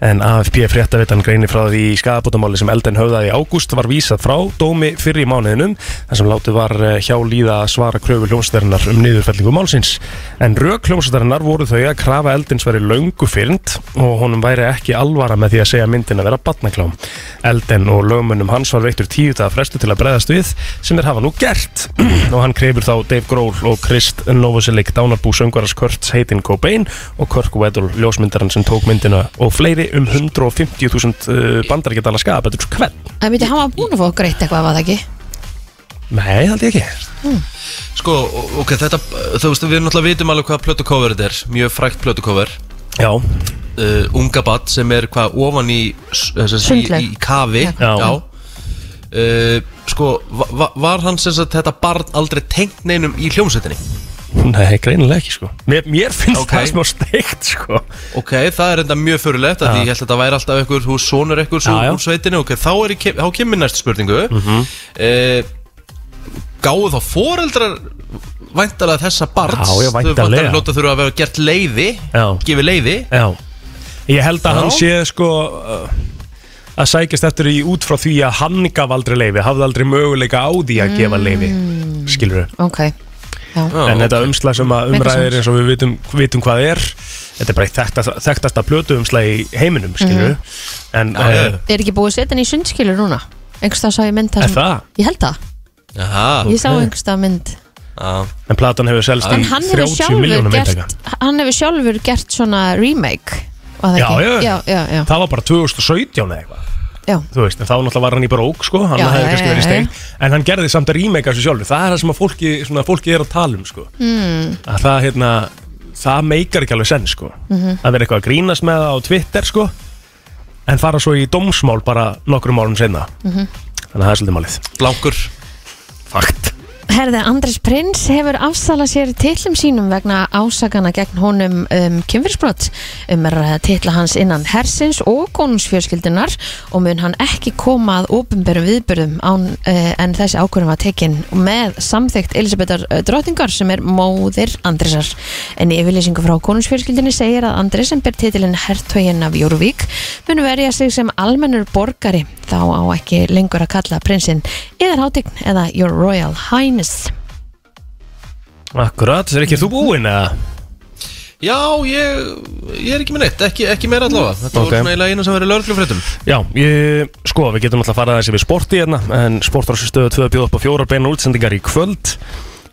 en AFP fréttavitan greinir frá því í skadabótamáli sem Elden höfðaði í ágúst var vísað frá dómi fyrir í mánuðinum þar sem látið var eh, hjá líða að svara kröfu hljómsveitarinnar um niðurfellingu málsins en rök hljómsveitarinnar voru þau að krafa Eldins veri löngu fyrnd og honum væri ekki alvara með því að segja myndin að vera batnaklám Elden og lögmunum hans var veittur tíu dagar frestu til að bregðast við sem þeir hafa nú gert og hann krefur þá Dave Grohl og Krist Novoselic dánarbú söngvarars Kurt Hayden Cobain og Kirk Weddle ljósmyndaran sem tók myndina og fleiri um 150.000 uh, bandar ekki tala skap, þetta er svo hvern Það myndi, hann var búin að fá greitt eitthvað, var það ekki? Nei, held ég ekki Sko, ok, þetta, þú veist, við náttúrulega vitum alveg hvað plötukóver þetta er, mjög frækt plötukóver Já, uh, Unga bat sem er hvað ofan í, s- eh, sem sagt, Sundlaug. í, í kafi Já. Uh, Sko, va va var hann sem sagt þetta barn aldrei tengt neinum í hljómsveitinni? nei, greinilega ekki sko Mér, mér finnst Ok. það smá steikt sko Ok, það er enda mjög förulegt að Já. því ég held að þetta væri alltaf einhver, þú sonur einhvers Já, Mhm. já. úr úr sveitinni Ok, þá, er, ég kem, þá kemur næstu spurningu mm Gáðu þá foreldrar væntalega þessa barns Já, já, Þau væntanlega. væntanlega hljóta þurfa að vera gert leiði Já. Gefið leiði Já Ég held að Já. hann sé sko uh, að sækjast eftir því út frá því að hann gaf aldrei leifi, hafði aldrei möguleika á því að gefa leifi, skilur ok Mm. Já. en þetta umslag sem að Make umræðir sense. eins og við vitum, vitum hvað er þetta er bara eitt þekktasta, þekktasta plötu umslag í heiminum skilur Mm. en Já, já, eh, já. Er ekki búið að setja hann í sundskilur núna? Einhvers það sá ég mynd þar er sem- það Ég held það, Jaha, ég sá einhvers það mynd já. en platan hefur selst í En hann hefur 30 sjálfur miljónum eintaka gert Hann hefur sjálfur gert svona remake var það Já, já, ekki? já. já, já, já. það var bara 2017 eða eitthvað Já. þú veist, en þá náttúrulega var hann í brók sko, hann Já, hefði já, kannski já, verið já. stein en hann gerði samt að rímeika þessu sjálfur það er það sem að fólki, svona, fólki er að tala um sko. Hmm. mm. að það, hérna það meikar ekki alveg senn sko. Mhm. að vera eitthvað að grínast með það á Twitter sko, en fara svo í dómsmál bara nokkrum árum senna Mhm. þannig að það er svolítið málið blankur Fakt. Herði, Andris Prins hefur afsalað sér titlum sínum vegna ásakana gegn honum um kynfyrsbrot um er að titla hans innan hersins og konungsfjörskildunar og mun hann ekki koma að ópenbærum viðbyrðum án, uh, en þessi ákvörðum var tekin með samþygt Elisabethar eh, Drottningar sem er móðir Andrisar. En í yfirlýsingu frá konungsfjörskildinni segir að Andris sem ber titilinn hertögin af Jórvík mun verja sig sem almennur borgari þá á ekki lengur að kalla prinsinn yðar hátign eða Your Royal Highness Akkurat, er ekki þú búinn eða? Já, ég, ég er ekki með neitt, ekki, ekki meira allavega Þetta Ok. voru svona eiginlega eina sem verið lörglufréttum Já, ég, sko, við getum alltaf að fara þessi við sporti hérna, en sportrásustöðu 2 bjóð upp á fjórar beina útsendingar í kvöld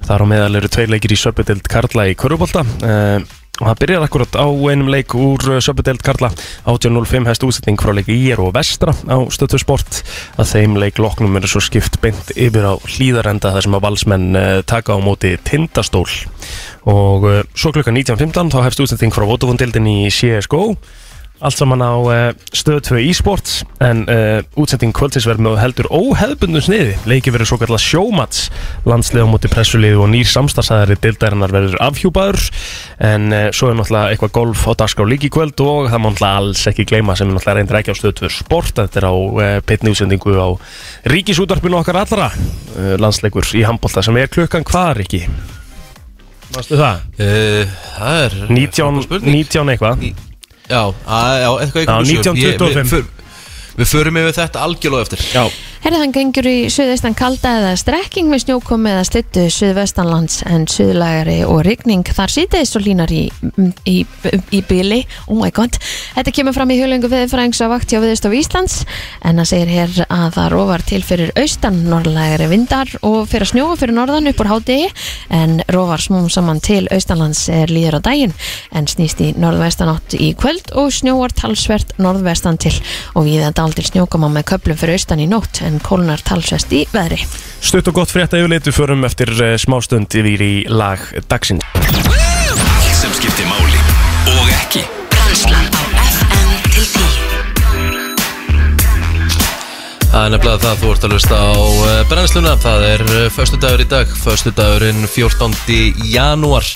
þar á meðal eru tveir leikir í Söpudeld Karla í Körubólta uh, og það byrjar akkurat á einum leik úr Söpudeld Karla 18.05 hest útsetning frá leik Ír og Vestra á stöðu sport að þeim leik loknum eru svo skipt beint yfir á hlýðarenda þar sem að valsmenn uh, taka á móti tindastól og uh, svo klukkan 19.15 þá hefst útsending frá Votofondildin í CSGO allt saman á uh, stöð 2 e-sports en uh, útsending kvöldsins verður með heldur óheðbundum sniði leikið verður svo kallar sjómats landslið á móti pressulið og nýr samstagsæðari dildarinnar verður afhjúpaður en uh, svo er náttúrulega eitthvað golf á dagskrá líki kvöld og það má náttúrulega alls ekki gleyma sem er náttúrulega reyndir ekki á stöð 2 sport þetta er á uh, pitni útsendingu á ríkisútarpinu okkar allra uh, landsleikur í handbólta sem er klukkan hvað ekki Mástu það? uh, Það er 19, spurning. 19 eitthvað Já, að, já, eitthvað Já, ykkur 1925. Við förum yfir þetta algjörlega eftir Já Herði hann gengur í suðaustan kalda eða strekking með snjókomi eða slittu suðvestanlands en suðlægari og rigning þar sýtaðist og línar í, í, í bíli. Oh my god. Þetta kemur fram í huglengu viðfræðings á vakt hjá viðstof Íslands en það segir hér að það rofar til fyrir austan norðlægari vindar og fyrir að snjóa fyrir norðan upp úr hádegi en rofar smúm saman til austanlands er líður á daginn en snýst í norðvestanátt í kvöld og snjóar talsvert norðvestan til og við að dál til snjókama með köplum fyrir austan í nótt en kólnar talsvert í veðri. Stutt og gott frétta yfirleitu förum eftir uh, smástund yfir í lag dagsins. Allt sem skiptir máli og ekki Brænslan á FM til 10 Það er nefnilega það þú ert að lusta á eh, brennsluna Það er förstu dagur í dag Förstu dagurinn 14. janúar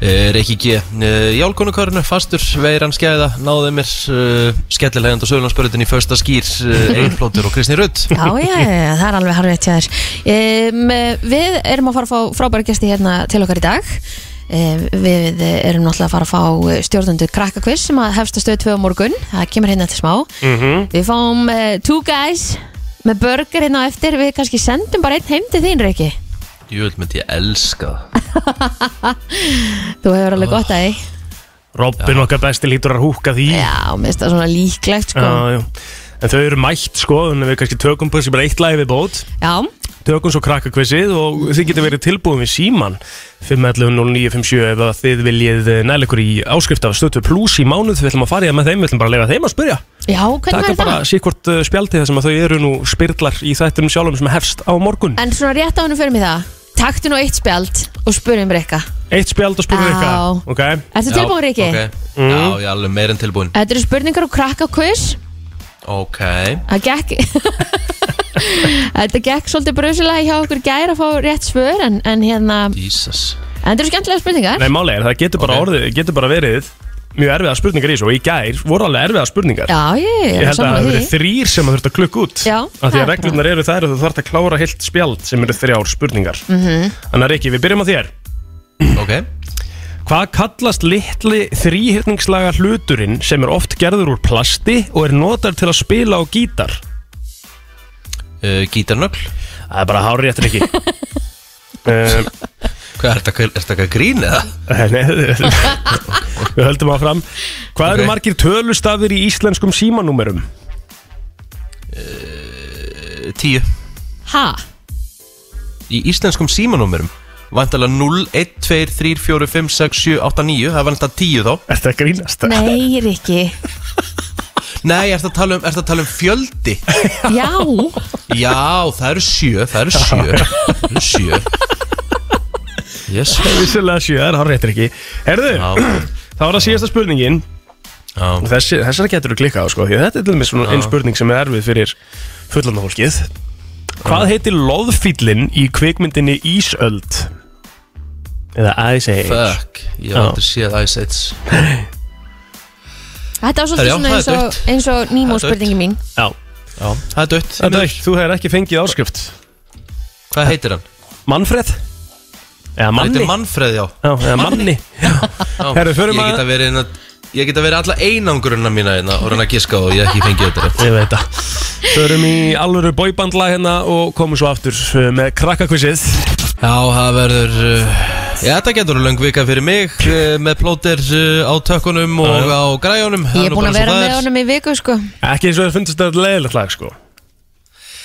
Reykji G eh, í álkonukörnu, fastur, veiran skæða Náði mér eh, skellilegand og sögulansbörutin í första skýr Eilflótur og Kristni Rutt Já, já, já, já, það er alveg harfið hjá þér. Um, við erum að fara að fá frábæra gesti hérna til okkar í dag. Um, við erum náttúrulega að fara að fá stjórnundu krakkakviss sem að hefst að stöðu tvö á morgun. Það kemur hérna til smá. Við fáum uh, Two Guys með burger hérna á eftir. Við kannski sendum bara einn heim til þín, Riki. Júl, myndi ég elska það Þú hefur alveg gott að því. Robin okkar besti lítur að húka því. Já, mér finnst það svona líklegt, sko. Já, já. En þau eru mætt sko, þannig að við kannski tökum þessi bara eitt lagi við bót, Já, tökum svo krakkakvissið og þið getur verið tilbúin við síman 511-0957 ef að þið viljið eh, næla ykkur í áskrift af stötu plus í mánuð, við ætlum að fara í það með þeim, við ætlum bara að leifa þeim að spyrja. já, hvernig Taka verður bara það? síkvort uh, spjaldi þar sem að þau eru nú spyrlar í þættunum sjálfum sem hefst á morgun. En svona rétt á hennu fyrir mig það. Taktu nú eitt spjald og spurðum Rikka. Eitt spjald og spurðu Já. ykkar, ok? Ertu tilbúin, Riki? okay. Já, ég er alveg meirinn tilbúin Þetta eru spurningar og krakkakviss Ok, Það gekk Þetta gekk svolítið brusilega hjá okkur gæri að fá rétt svör en, en hérna, Jesus en þetta eru skemmtilega spurningar Nei, málega er, það getur bara, Ok. orðið, getur bara verið mjög erfiða spurningar í þessu og í gær voru alveg erfiða spurningar Já, ég, ég Ég er held að það sammála hefur því verið þrýr sem að þurft að klukka út Já, Af það því er að bara- reglurnar eru þær að þú þarft að klára heilt Mhm. spjald sem eru þrjár spurningar mm -hmm. Þannig að Riki, við byrjum á þér Ok, Hvað kallast litli þrýhyrningslaga hluturinn sem er oft gerður úr plasti og er notar til að spila á gítar? uh, Gítarnögl Það er bara hárið eftir ekki um, Hvað er þetta, er þetta eitthvað grín eða? Nei, við höldum áfram Hvað Ok. eru margir tölustafir í íslenskum símanúmerum? Eh, Tíu Ha? Í íslenskum símanúmerum Vantalega 0, 1, 2, 3, 4, 5, 6, 7, 8, 9 Það var alltaf 10 þá Er þetta grínast? Nei, Rikki Nei, ertu að tala um, ertu að tala um fjöldi? Já Já, það eru sjö, það eru sjö Það eru sjö Yes Vissulega sjö, það er hárið eftir ekki Herðu, Já, þá var það síðasta spurningin já Og þessi, þessar getur þú klikkað á sko því að þetta er til dæmis svona einn spurning sem er erfið fyrir fullandar fólkið Hvað heitir loðfýllin í kvikmyndinni Ísöld? Eða E Ice Age Fuck, ég hef aldrei séð Ice Age Þetta var Herra, svolítið já, svona það er eins og, dautt. eins og Nemo Það er dautt. spurningi mín Já, Já, það er dött þetta er þú hefur ekki fengið áskrift Hvað heitir hann? Manfred? Eða Hann Manni? heitir Manfred, já, Já, eða Manni Já, já. Herru, förum Ég að- geta verið hérna Ég geta verið alla einangrunna mína hérna og reyna að giska og ég hef ekki fengið þetta rétt. ég veit það Förum í alvöru bóibandla hérna og komum svo aftur uh, með krakkakvissið Já, það verður uh, Já, þetta getur löng vika fyrir mig uh, með plóter uh, á tökkunum og á græjunum Ég er búin að vera með honum í viku sko Ekki eins og það fundist þetta leiðilegt lag sko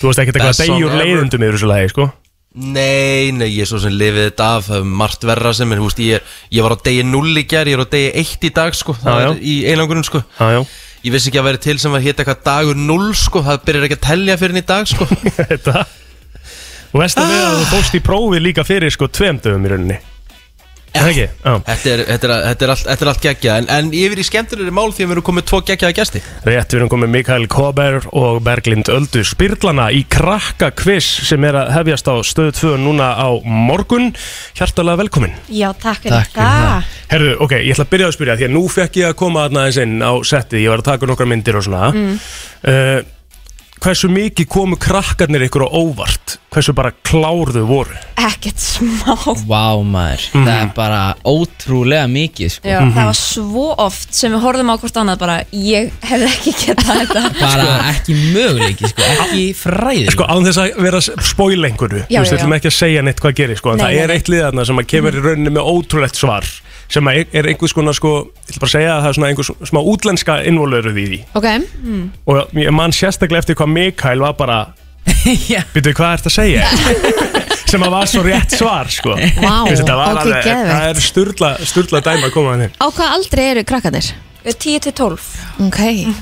Þú veist ekki Best eitthvað song degjur ever. leiðundum yfir þessu lagi sko Nei, nei, ég er svo sem lifið þetta af það er margt verra sem er, húst, ég, er, ég var á degi 0 í gær, ég er á degi 1 í dag sko, það Já, já. er í einangrun sko Já, já Ég vissi ekki að vera til sem var hétt eitthvað dagur 0 sko, það byrjar ekki að telja fyrir henni í dag sko Þetta Og veist að við að Ah. þú fóst í prófi líka fyrir sko tveim dögum í rauninni Er það ekki? Já, Þetta er, þetta er, þetta er, allt, þetta er allt geggja en, en yfir í skemmtilegri mál því að við erum komið tvo geggjaða gesti rétt við erum komið Mikael Kober og Berglind Öldu Spyrlana í krakka kviss sem er að hefjast á stöðu 2 núna á morgun Hjartalega velkomin Já, takk fyrir það. Herðu, ok, ég ætla að byrja að spyrja því að nú fekk ég að koma aðna aðeins inn á settið, ég var að taka nokkra myndir og svona mm. Hversu mikið komu krakkarnir ykkur á óvart? Hversu bara klárðu voru? Ekkert smá. Vá maður, Mhm. það er bara ótrúlega mikið sko. Já, það var svo oft sem við horfðum á hvort annað bara, ég hefði ekki getað þetta. Bara Sko. ekki möguleiki, sko. ekki fræðið Sko án þess að vera að spóila einhverju Þú Já, veist, já, við ætlum já. ekki að segja neitt hvað gerir sko, En Nei, það nei, Mm. er nei. eitt liðarna sem að kemur í rauninni með ótrúlegt svar Sem að er einhvers konar sko Ég ætla bara að segja að það er svona einhvers smá útlenska involveruð í því Ok, Og ég man sérstaklega eftir hvað Mikael var bara Já. Býtu hvað ertu að segja Sem að var svo rétt svar sko Vá, Þú veist, þetta var ok, alveg- geðveikt. Það er sturla, sturla dæma að koma hann inn á hvað aldrei eru krakkanir? 10 til 12. Ok,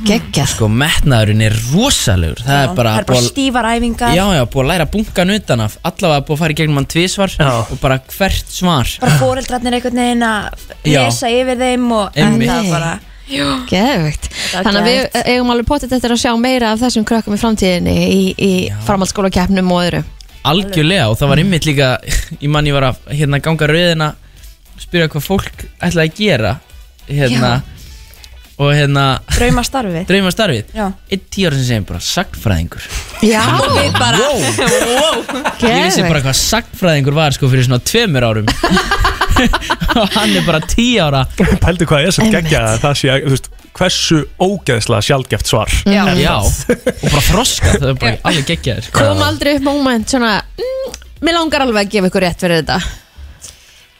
geggjað Sko metnaðurinn er rosalegur Það er bara, það er bara búið stífar æfingar, að- Já, já, búið að læra bunkan utan af Allavega búið að fara í gegnum hann tvísvar Já. Og bara hvert svar bara foreldrarnir einhvern veginn að Já. lesa yfir þeim og en Einmitt. það bara, Geðvögt var Þannig að við geðveikt. eigum alveg potið eftir að sjá meira af þessum krökkum í framtíðinni í, í framhaldsskóla og öðru Algjörlega og það var ymmit líka Ég mann ég var að hérna, ganga rauðina Spyrja hvað fólk ætlaði að gera Hérna Og hérna drauma starfi. drauma starfið Já. Einn tíu ára sem segir bara sagfræðingur Já, Við bara, Ég vissi bara geðvögt hvað sagfræðingur var sko fyrir svona tveimur árum Og hann er bara tíu ára Pældu hvað er sem Einmitt. geggja það sé að, þú veist, Hversu ógeðslega sjálfgeft svar já, Já, og bara froska Það er bara alveg geggjaður Kom aldrei upp moment svona mm, Mér langar alveg að gefa ykkur rétt fyrir þetta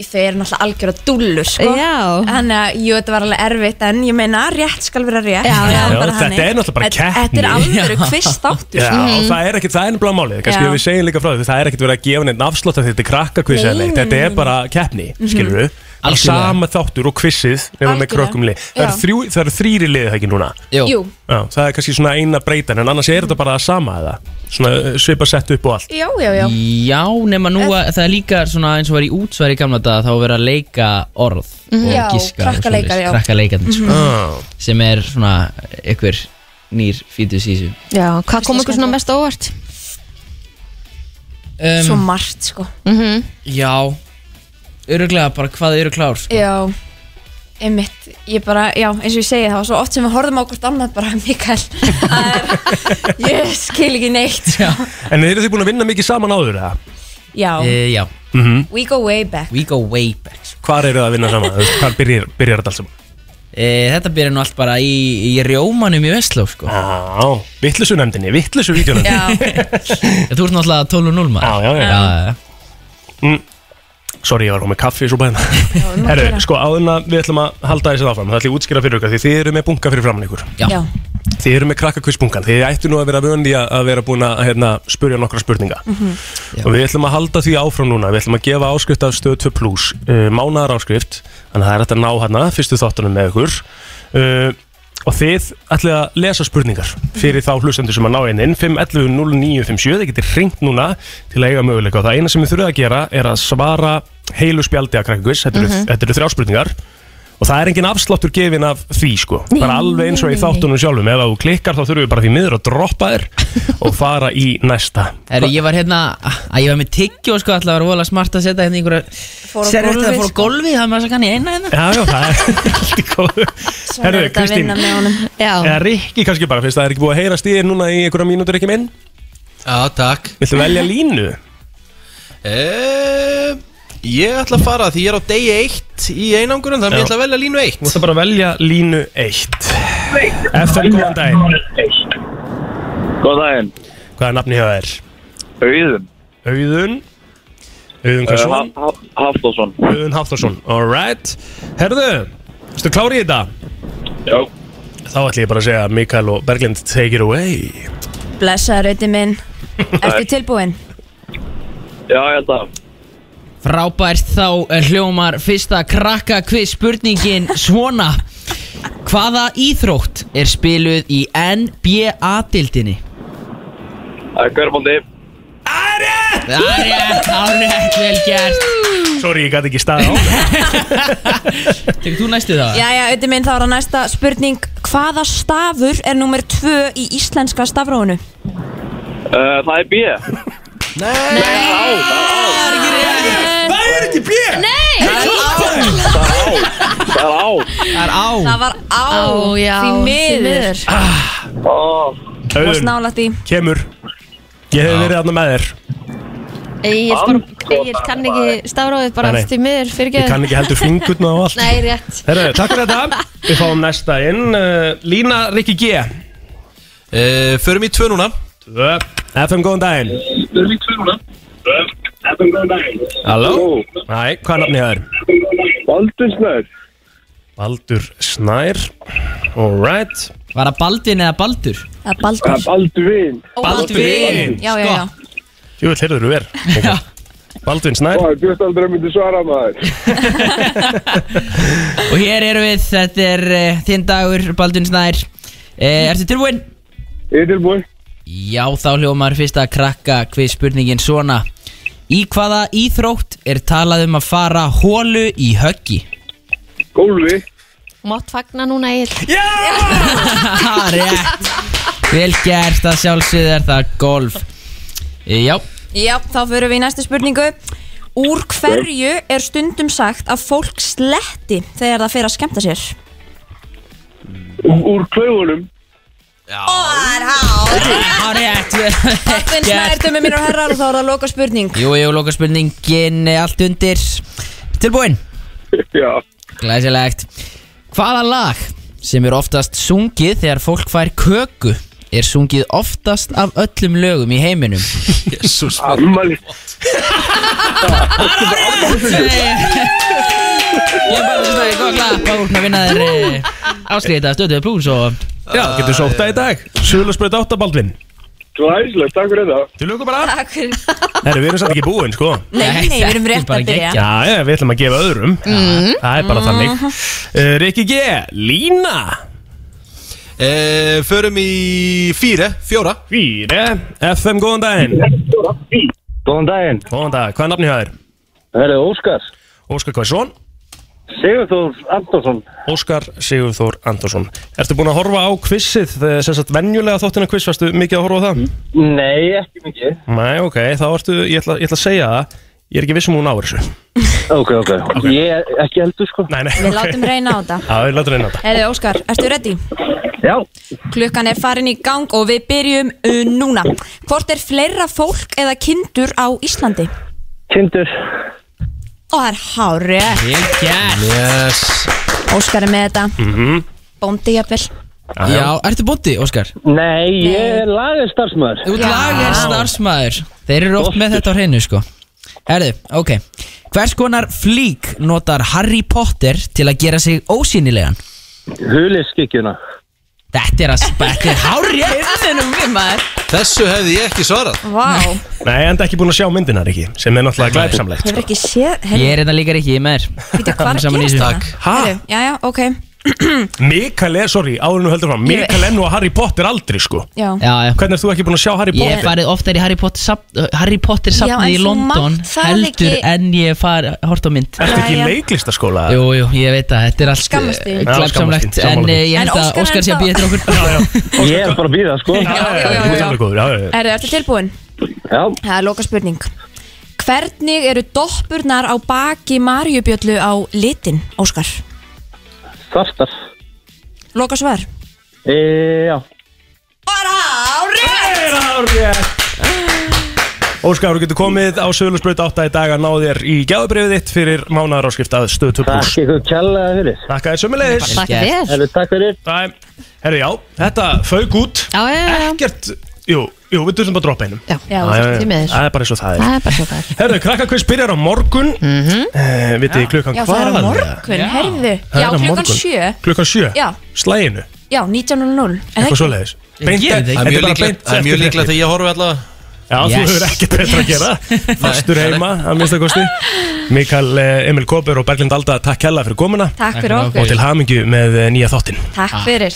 þau eru náttúrulega algjör að dúllur, sko. Já. Þannig að, jú, þetta var alveg erfitt, en ég meina, rétt skal vera rétt. Já, já. Það Já, bara þetta þannig. er náttúrulega bara Þetta- Þetta er keppni. alveg kvist Já, áttur. og það er ekkert, það er nefnilega málið kannski Já. við segjum líka frá því, það er ekkert verið að gefa neitt afslótt af því þetta er krakkakviss Nei, eða neitt, nei, þetta er nei, bara keppni, skilur við bara Algjörlega. sama þáttur og kvissið nefnum með Algjörlega. krökkum lið, það eru Já. þrjú- það eru þrýri lið það ekki núna, Jú, Já, það er kannski svona eina breytan en annars er þetta bara það sama eða svona uh, svipa sett upp og allt já, já, já. Já, nema nú að það er líka svona eins og var í útsvar í gamla daga þá að vera að leika orð og Mhm. Já, giska og krakkaleikar, svoleiðis. já. Mhm. krakkaleikar sko, ah. sem er svona einhver nýr fítus í þessu Já, hvað kom Veistu ykkur það svona mest á óvart? Svo um, margt, sko. Mhm. Já öruglega bara hvað eru klár sko. Já, einmitt Ég bara, já, eins og ég segi það var svo oft sem við horfðum á hvort annað bara Mikael, það er ég skil ekki neitt sko. en eru þið búin að vinna mikið saman áður eða? Já, Eh, Já, we go way back we go way back sko. Hvar eru það að vinna saman? Þú veist, Hvar byrjar, byrjar þetta allt saman? Eh, Þetta byrja nú allt bara í, í rjómanum í Vestló sko. Á, vittlusu nefndinni, vittlusu vídjónum Já, Þú ert náttúrulega 12.0 maður Já, já, já. Mm. já. Sorry, ég var komið kaffi svo bæðina um að Herru, gera. sko áðurinn að við ætlum að halda þessi áfram Það ætlum ég að útskýra fyrir ykkur Því þið eru með bunga fyrir framann ykkur já. já, Þið eru með krakkakvistbungan Þið ættu nú að vera vöndi að vera búin að hérna, spurja nokkra spurninga Mhm. Og við ætlum að halda því áfram núna Við ætlum að gefa áskrift af stöð 2 plus uh, Mánaðar áskrift Þannig að það er hægt að ná hana Fyrstu þáttunum með ykkur uh, Og þið ætlum að lesa spurningar Fyrir þá hlustendur sem að ná einn inn 511 0957 Þið getur hringt núna til að eiga möguleika Og það eina sem við þurfum að gera er að svara heilu spjaldi að krakkakvist Þetta eru, þetta eru þrjá spurningar Og það er engin afsláttur gefin af því sko Bara alveg eins og í þáttunum sjálfum Ef þú klikkar þá þurfum við bara því miður að droppa þér Og fara í næsta Heru, ég var hérna, að ég var með tyggjó sko, alltaf var vola smart að setja hérna í einhverja Fór á Sér þetta gólfið, fór á sko. gólfi, það með þess að kann ég eina hérna Já, já, það er allt í góðu svo er Herru, þetta að Kristín vinna með honum Já, Eða Rikki kannski bara, finnst það er ekki búið að heyrast í þér núna í einhverja mínútur ekki minn Já, takk Viltu velja línu? e Ég ætla að fara því ég er á degi eitt í einangurum Þannig Já. ég ætla að velja línu Þú eitt ætti bara að velja línu 1 FN, góðan daginn Góð daginn, Hvað er nafni hjá þér? Auðun Auðun Auðun Hversson Hafþórsson Auðun Hafþórsson Alright Herðu, stu klári í þetta? Já Þá ætlum ég bara að segja að Mikael og Berglind take it away Blessaður auðvitað minn Ertu tilbúin? Já, ég held að Frábært þá eh, hljómar fyrsta krakka quiz spurningin svona Hvaða íþrótt er spiluð í NBA-dildinni? Það er hverfandi Það er rétt, ánægt, vel gert Sorry, ég gæti ekki staðið á Tekur þú næstu það? Jæja, auðvitað minn, þá er að næsta spurning Hvaða stafur er nummer 2 í íslenska stafrónu? uh, Það er B Það er ekki bjö Það er á Það er á Það var á, á, já því miður Ó, Og Auðun, snála því kemur Ég hef verið aðna með þér Ég bara, ég kann ekki stafróðið bara Nei, nei. því miður fyrir Ég kann geður ekki heldur fingurna og allt Nei, rétt Herru, takk fyrir þetta Við fáum næsta inn uh, Lína Rikki G e Förum í tvö núna Tvö. FM, góðan daginn Halló Hæ, hvað er nafnið hjá þér? Valdur Snær Baldur Snær Alright Var það Baldvin eða Baldur? Það er Baldur Baldvin Baldvin sko. Já, já, já Jú, heyrður þú verð Baldvin Snær Það er bjöst aldrei að myndi svara maður Og hér eru við, þetta er uh, þinn dagur, Baldvin Snær uh, Ertu tilbúinn? Ég er tilbúin Já, þá hljómar fyrsta krakka hver spurningin svona Í hvaða íþrótt er talað um að fara hólu í höggi? Gólfi Mátt fagna núna Egill. Ha, rétt Vel gert að sjálfsögðu er það golf Eh, Já, Já, þá fyrir við í næstu spurningu Úr hverju er stundum sagt að fólk sletti þegar það fyrir að skemmta sér? Úr, úr klaugunum ha, rétt vel Baldvin Snær, gert. dömi mínir og herrar og þá er það loka spurning Jú, jú, loka spurningin allt undir Tilbúinn? Já Glæsilegt Hvaða lag sem er oftast sungið þegar fólk fær köku er sungið oftast af öllum lögum í heiminum? Jesus Ammali Ég er bara svona í góða klapp og hún að vinna þér eh, áskriðið að stöðuðu plús og Já, getur sótt það í dag Sjölu spurt átta Baldvin Glæsilegt, takk fyrir það Til lukku bara Takk fyrir Herru, við erum satt ekki búin, sko Nei, nei, við erum þetta er rétt að bara byrja geggjað. Já, já, við ætlum að gefa öðrum Mhm. Það er bara þannig uh, Rikki G, Lína e Förum í fýri, fjóra Fýri, FM, góðan daginn Góðan daginn Góðan dag, hvað er nafni hjá þér? Það er Óskar Óskar Kvæsson Sigurþór Antonsson Óskar Sigurþór Andersson Ertu búin að horfa á quizið, eh, sem sagt venjulega þóttina quiz, varstu mikið að horfa á það? Nei, ekki mikið Nei, ok, þá ertu, ég ætla, ég ætla að segja það Ég er ekki viss um hún á þessu Ok, ok, Ég ekki heldur sko Nei, nei, Við ok látum reyna á þetta Já, við látum reyna þetta Heiði Óskar, ertu ready? Já Klukkan er farin í gang og við byrjum uh, núna Hvort er fleira fólk eða kindur á Íslandi? Kindur. Og það er hárið Vel gert Yes Óskar er með þetta Mhm. Bóndi jafnvel Já, ertu bóndi, Óskar? Nei, ég er lagið starfsmöður. Þú lagar starfsmæður Þeir eru oft með þetta á hreinu sko Herðu, ok Hvers konar flík notar Harry Potter til að gera sig ósýnilegan? Huliskygguna. Þetta er að spekka hári Hörðunum við maður Þessu hefði ég ekki svarað Vá, Nei, enda ekki búin að sjá myndina, Riki Sem er náttúrulega glæpsamlegt hefur ekki séð Ég Herri, er þetta líka ekki, ég er með þér býta hvað Komum er að saman í gerast þessu. þarna? Ha? Herri, Já, já, ok Mikael er, sorry, áður nú heldur fram Ég- Mikael er nú að Harry Potter aldrei, sko Já, Já, já Hvernig er þú ekki búin að sjá Harry Ég hef Potter? farið oftar í Harry Potter, sap, Harry Potter en safnið í þú London mátt það heldur ekki- en ég hef farið hort á mynd Ertu ekki í Jæja. leiklistaskóla? Jú, jú, ég veit að þetta er allt Skammast þín. eh, Já, glæpsamlegt skammast þín, En sammála. eh, ég En held að Óskar Óskar sé að ennþá. býða til okkur Já, já, Ég er bara að býða, sko. já, já, já, já, þú ert já. alveg góður, já, já, já. er þetta tilbúin? Já. Það er loka spurning Hvernig eru doppurnar á baki Marjubjöllu á litin, Óskar? Svartar. Loka svar E, já. Óskar, þú getur komið á Sölusbraut 8 í dag að ná þér í gjáðubrifið þitt fyrir mánaðaráskipt að stöð 2 pluss. Takk ykkur kjallaði fyrir. Takk að þér sömulegis. Takk fyrir Herru, takk fyrir. Herri, já, þetta fauk út. Já, já, já, Ekkert, jú, jú, við þurfum bara að droppa einum. já, Já, Já, já, já. því miður. Það er bara eins og það er. Það er bara svo hvað Herru, krakkakvist byrjar á morgun. Mm -hmm. Vitið, klukkan Mhm. Já, hvað? það er á morgun, herðu Já, klukkan sjö Klukkan sjö? Já. Slæginu, Já, 19.00 En eitthvað ekki- svoleiðis. Beint- geri það ekki. Það Þetta er mjög bara líklegt beint Það er eftir mjög líklegt fréttir. þegar ég horfi allavega Já, Yes. þú hefur ekkert betra að gera Fastur heima, að minnsta kosti Mikael, eh, Emil Kóper og Berglind Alda Takk hella fyrir komuna Takk fyrir fyrir og okkur Ah. til hamingju með eh, nýja þáttinn Takk fyrir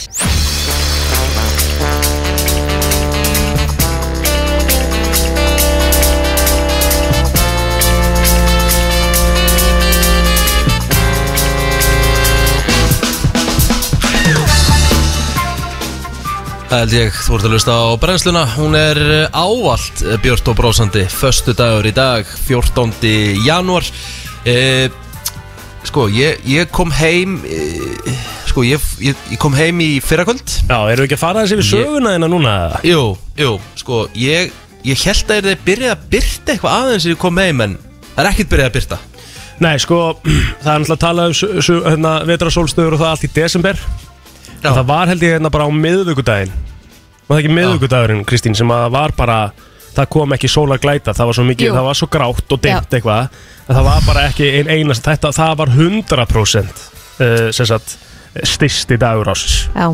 Það held ég, þú ert að lusta á brennsluna Hún er eh, ávallt eh, björt og brósandi Föstu dagur í dag, 14. janúar e, Sko, ég, ég kom heim e, Sko, ég, ég, ég kom heim í fyrrakvöld Já, erum við ekki að fara þessi við söguna þina núna? Jú, jú, sko, ég Ég held að þeir byrjaði að byrta eitthvað aðeins þegar ég kom heim, en það er ekkert byrjaði að byrta Nei, sko, það er náttúrulega að tala um sö- sö- hérna, vetrasólstöður og það allt í desember Já. En það var held ég hérna bara á miðvikudaginn Var það ekki miðvikudagurinn, Kristín, sem að var bara Það kom ekki sól að glæta, það var svo mikið, Jú. það var svo grátt og dimmt eitthvað að Það var bara ekki ein einast, þetta, það var 100% uh, sem sagt styrsti dagur ásins Já,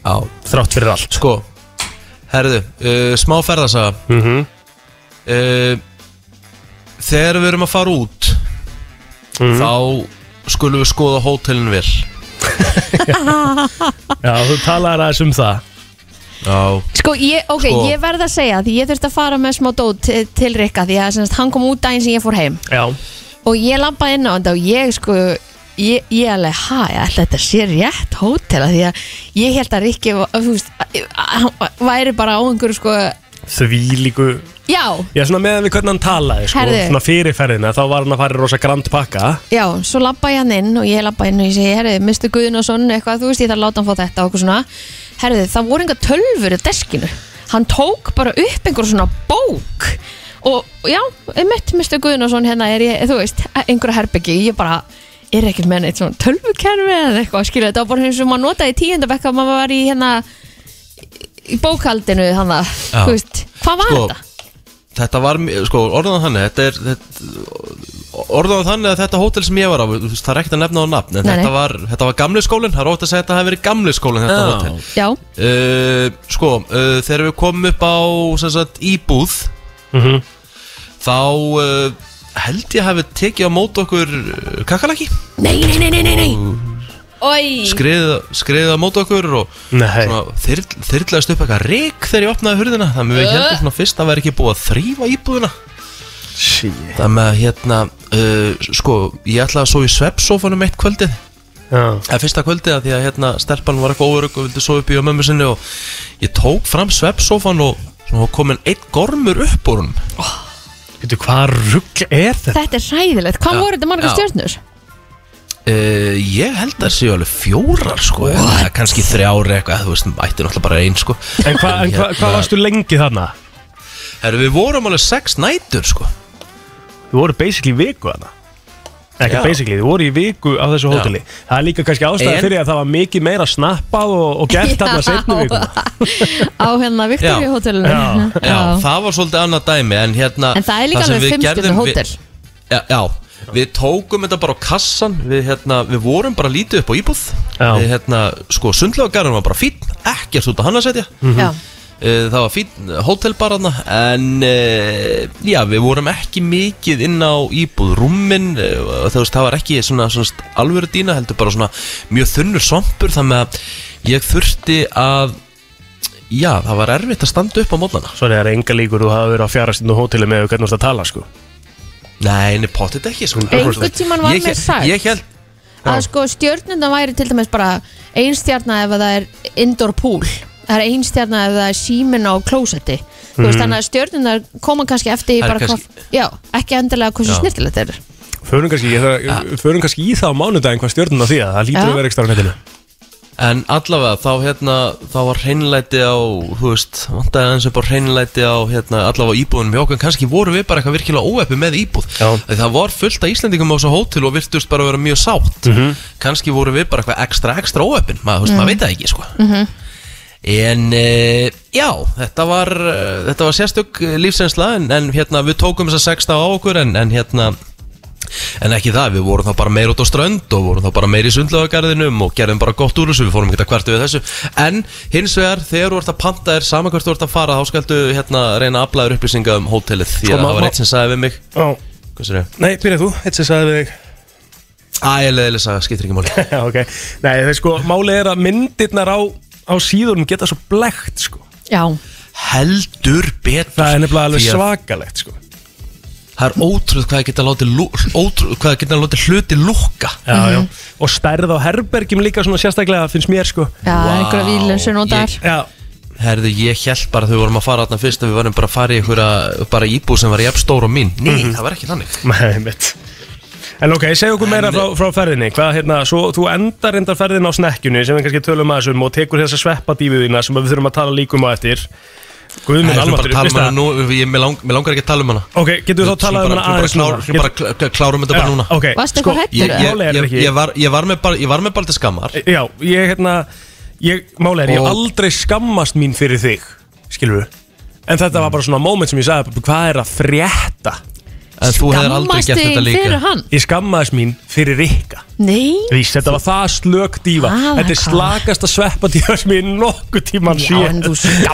Já, Þrátt fyrir allt Sko, herðu, uh, smá ferðasaga Mhm. uh, Þegar við erum að fara út Þá skulum við skoða hótelin vel Já, þú talaðir aðeins um það Já Sko, ég, ok, Sko. ég verð að segja því ég þurfti að fara með smá dót til, til Rikka því að semst, hann kom út daginn sem ég fór heim Já, og ég labbaði inn á þetta og ég sko ég, ég alveg, hæ, ætla þetta sé rétt hótel að því að ég held að Rikki var- þú veist, að- að hann væri bara á einhverju sko því líku já, Já, svona meðan við hvernig hann talaði, sko, Herðu. svona fyrirferðina Þá var hann að fara í rosa grand pakka já, svo labbaði hann inn og ég labbaði inn og ég segi, herðu, Mr. Guðnason eitthvað, þú veist, ég þarf að láta hann fá þetta og eitthvað svona herðu, það voru enga tölfur á deskinu hann tók bara upp einhverju svona bók og já, mitt Mr. Guðnason hérna er ég, þú veist, einhverju herbyggi ég bara, er ekkert með neitt svona tölvukerfi eða eitthvað, skilja, þetta var bara eins og maður notaði í tíundabekk að maður var í hérna í bókaldinu hann að, Já. þú veist, hvað var Sko, þetta? Þetta var, mj- sko, orðan þannig Þetta er, þetta, orðan þannig að þetta hótel sem ég var á þú veist, Það er ekkert að nefna á nafn En Nei, nei. þetta var, þetta var gamli skólinn Það er ótt að segja að þetta hafi verið gamli skólinn Þetta Já. hótel Já, uh, Sko, uh, þegar við komum upp á sem sagt, íbúð Mhm. Þá uh, held ég hafi tekið á mót okkur uh, kakalaki nei, nei, nei, nei, nei, nei. Oi, skriðið skriðið á mót okkur og Nei. svona þyrl- þyrlaðist upp eitthvað rík þegar ég opnaði hurðina þannig að við heldum svona fyrst að það væri ekki búið að þrýfa íbúðina Sí þannig að hérna uh, sko, ég ætlaði að svo í svepsofanum eitt kvöldið Já Það fyrsta kvöldið að því að hérna stelpan var eitthvað óörug og vildi sofa upp í á mömmu sinni og ég tók fram sveppsófan og svona var komin einn gormur upp úr hún Veitu, hvað rugg er þetta? þetta er ræðilegt, hvað Já. voru þetta margar Já. stjörnur? uh, Ég held að það séu alveg fjórar sko What? Kannski þrjár eitthvað, þú veist, ætti náttúrulega bara einn sko En hvað hérna, hva, hva varstu lengi þarna? Herru, við vorum alveg sex nætur sko þið voru basically í viku þarna ekki Já. basically, þið voru í viku á þessu hóteli það er líka kannski ástæði En- fyrir að það var mikið meira snappað og, og gert þarna setni viku á hérna Já. Victoria hótelinu Já. Já, það var svolítið annað dæmi En, hérna, En það er líka sem alveg við fimm gerðum- stjörnu við- hótel. já, já, við tókum þetta bara á kassan Við, hérna, við vorum bara lítið upp á íbúð Já. Við, hérna, sko, sundlaugargarinn var bara fínn Ekkert út á hann að setja Já. Eh, Það var fínn hótel bara hana En, eh, já, við vorum ekki mikið inn á íbúð Rúmmin, eh, þú veist, það var ekki svona, svona st- alvöru dýna Heldur bara svona mjög þunnur svampur Þannig að ég þurfti að Já, það var erfitt að standa upp á mótnana Svo er það enga líkur þú hafa verið á fjarastindu hóteli með hvernig þú ert að tala sko Nei, nei, pottit ekki sko. einhvern tíman var Ég- mér sagt Ég held, að sko stjörnundan væri til dæmis bara einstjarna ef að það er indoor pool það er einstjarna ef það er símin á klósetti þú veist þannig að stjörnundar koma kannski eftir í Mhm. Það er bara kannski- hvað, já, ekki endilega hversu Já. snirtilegt þeir eru Förum kannski, ég, það, förum kannski í það á mánudaginn hvað stjórnum á því að það lítur Já. að vera ekki starf netinu en allavega þá hérna, þá var hreinlæti á, þú veist, vantaði aðeins upp á hreinlæti á, hérna, allavega á íbúðunum hjá okkur, kannski voru við bara eitthvað virkilega óeppi með íbúð. Já. Því Það var fullt af Íslendingum á þessu hótel og virtust bara vera mjög sátt. Kannski voru við bara eitthvað ekstra, ekstra óeppin, maður, þú veist, maður veit það ekki, sko. En e, já, þetta var, eh, þetta var sérstök eh, lífsreynsla en, en hérna við tókum þess að sexta á okkur en, en hérna En ekki það, við vorum þá bara meir út á strönd og vorum þá bara meir í sundlöfagarðinum og gerðum bara gott úr þessu, við fórum ekki að kvartu við þessu En hins vegar, þegar þú ert að panta þér, sama hvert þú ert að fara, þá skaldu hérna reyna að afla þér upplýsinga um hótelið Því Sko, að ma- það ma- var eitt sem sagði við mig, oh. hvað sér ég? Nei, byrja þú, eitt sem sagði við þig Ægilega saga, skiptir ekki máli Já, ok Nei, það er sko, málið er að myndirnar á, á síðunum geta svo blekt sko já, Heldur betur Það er nefnilega alveg Því að svakalegt sko Það er ótrúð hvað geta látið, lú, ótrúð, hvað geta látið hluti lúkka Já, já Og stærð á herbergjum líka svona sérstaklega finnst mér sko já, wow. einhverja vílensur notar Ég- Já, Herðu, ég held bara þegar við vorum að fara þarna fyrst að við varum bara að fara í einhverja bara íbúð sem var jafn stór og mín Nei, Mhm. það var ekki þannig Nei, mitt En ok, segja okkur meira frá, frá ferðinni Hvað, hérna, svo, þú endar endar ferðin á snekkjunni sem við kannski tölum aðeins um og tekur þessa sveppadífið þína sem við þurfum að tala líkum á eftir Nei, Guðmund við bara Almatur, að tala um hana nú, ég, mér, lang, mér langar ekki að tala um hana Ok, getur við þá talað um hana aðeins núna? Við bara klár- klár- klárum þetta bara núna Ok, Sko, Varstu eitthvað hrædd? Ég, ég, Málið er ég, ekki- ég, var, ég, var með, bara- ég var með bara til skammar Já, ég, hérna, ég, máli er, ég hef Og- aldrei skammast mín fyrir þig Skilur við En þetta var bara svona moment sem ég sagði "Bubbi, Hvað er að frétta? En þú hefur aldrei gert þetta þín fyrir líka hann Ég skammaðist mín fyrir Rikka nei, Vís, þetta var það slök dífa Ah, Þetta er hvað? slakasta sveppadífa sem ég nokkuð tíman já, sé en þú En málið er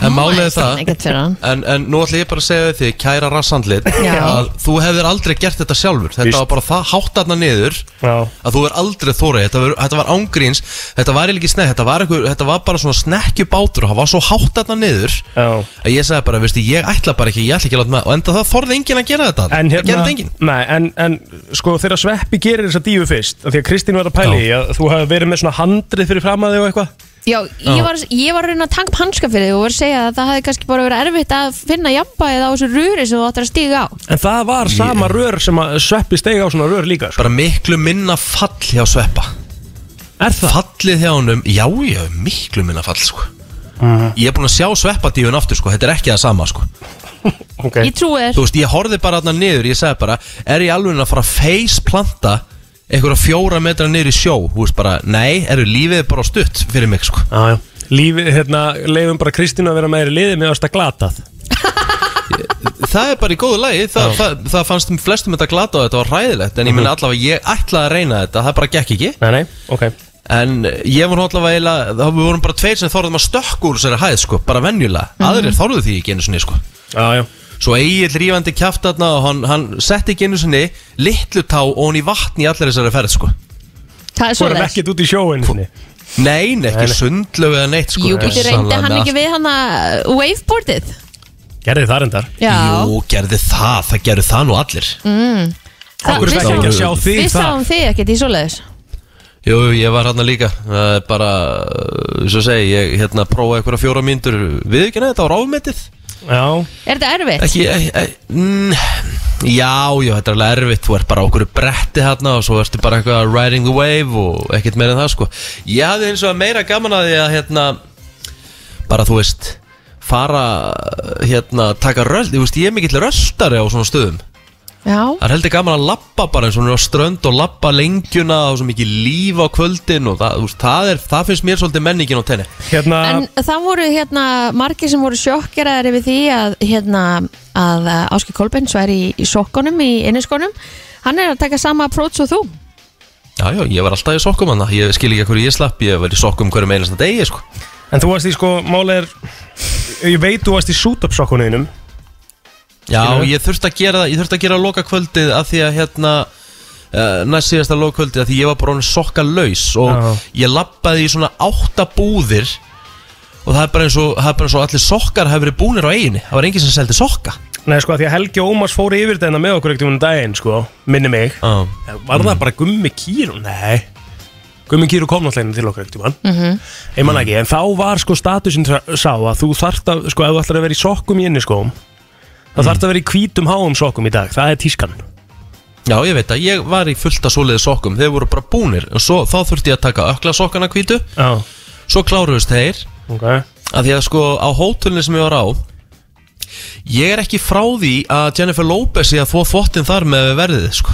skammaðist það- hann ekkert fyrir hann En, en nú ætla ég bara að segja við þig, kæra rassandlit Já. að þú hefur aldrei gert þetta sjálfur Þetta Víst. var bara það hátt aðna niður Já. að þú er aldrei þórið þetta, var- þetta var ángríns, þetta var eiginlega ekki snekk þetta var, einhver, þetta var bara svona snekkjubátur og það var svo hátt aðna niður Já. að ég sagði bara, veistu, ég ætla bara ekki, ég ætla ekki að láta með og enda það þorði enginn að gera þetta En það gerði hérna, þetta enginn nei, en, en sko þegar Sveppi gerir þessa dífu fyrst af Því að Kristín var að pæli í að þú hefði verið með svona handrið fyrir fram að þig og eitthvað Já, ég var, ég var að reyna að taka upp hanska fyrir þig og var að segja að það hefði kannski bara verið erfitt að finna jafnbæðið á þessu rúri sem þú ættir að stíga á. En það var sama rör sem að Sveppi steig á svona rör líka sko. bara miklu minna fall hjá Sveppa Er það? fallið hjá honum, já já, miklu minna fall sko. ég er búin að sjá Sveppa dífun aftur, sko. þetta er ekki það sama sko. Ok, Ég trúi þér. þú veist, ég horfði bara þarna niður, ég sagði bara er ég alveg að fara að faceplanta einhverja fjóra metra niður í sjó þú veist bara, nei, eru lífið er bara á stutt fyrir mig, sko já, já Lífið, hérna, leifum bara Kristín að vera með þér í liði með ást að glatað það er bara í góðu lagi, Þa, það, það fannst flestum þetta glata og þetta var ræðilegt en ég minna allavega, ég ætlaði að reyna þetta, það bara gekk ekki Nei, nei, ok En ég var allavega eiginlega, þá við vorum bara tveir sem þorðum að stökka úr þessari hæð sko, bara venjulega, aðrir þorðu því ekki einu sinni sko. Já, já Svo Egil rífandi kjaft þarna og hann, hann setti ekki einu sinni litlu tá og hann í vatn í allir þessari ferð sko. Það er Þú sko. erum svoleiðis. ekkert út í sjóinu sinni Nei, nei, ekki sundlög eða neitt sko. Jú, býtti reyndi Sannlega hann með ekki við hann að waveboardið? Gerði það endar Já. Mm. allt. Jú, gerði það, það gerði það nú allir Það- Okkur er við það ekki að sáum- sjá þig Við þar. sáum þig ekkert í svoleiðis. Jú, jú, ég var hann líka Það er bara, uh, svo segi ég hérna prófaði einhverja fjóra mínútur við ekki neða þetta á ráfmetið Já, Er þetta erfitt? ekki, ekki, ekki mm, Já, já, þetta er alveg erfitt Þú ert bara okkur bretti hérna og svo ertu bara eitthvað riding the wave og ekkert meira en það sko Ég hafði eins og meira gaman að því að hérna bara þú veist fara hérna, taka röld, þú veist, ég er mikill röldari á svona stöðum Já, Það er heldur gaman að lappa bara eins og hún er á strönd og lappa lengjuna og svo mikið líf á kvöldin og það, þú veist, það, er, það finnst mér svolítið menningin á tenni Hérna, en það voru hérna margir sem voru sjokkeraðir yfir því að hérna að Áski Kolbens væri í, í sokkunum, í inniskunum hann er að taka sama approach og þú Já, já, ég var alltaf í sokkum hann Ég skil ekki að hverju ég slapp, ég var í sokkum hverju meina svona degi, sko en þú varst í sko, máli er Ég veit þú varst í shoot-up sokkuninum Já, Skilurðu? ég þurfti að gera það, ég þurfti að gera loka kvöldið að því að hérna Uh, næst síðasta lokvöldið að því ég var bara sokka laus og Já. ég lappaði í svona átta búðir og það er bara eins og, það er bara eins og allir sokkar hafi verið búnir á eiginni, það var enginn sem seldi sokka Nei, sko, af því að Helgi og Ómars fóru yfir þetta með okkur ekkert um daginn, sko Minni mig uh. Eh, Var það bara Gummi Kýru? Nei Gummi Kýru kom náttúrulega inn til okkur ekkert mm -hmm. Ég man ekki, en þá var sko statusin tra- sá að þú þarft að, sko, ef þú ætlar að vera í sokkum í inni skóm þá þarft að vera í hvítum háum sokkum í dag, það er tískan Já, ég veit að ég var í fullta svoleiði sokkum Þeir voru bara búnir Og svo, þá þurfti ég að taka ökla sokkana hvítu Já, Svo kláruðust þeir ok Af því að sko á hótelni sem ég var á Ég er ekki frá því að Jennifer Lopez sé að þvó þvottin þar með verðið sko.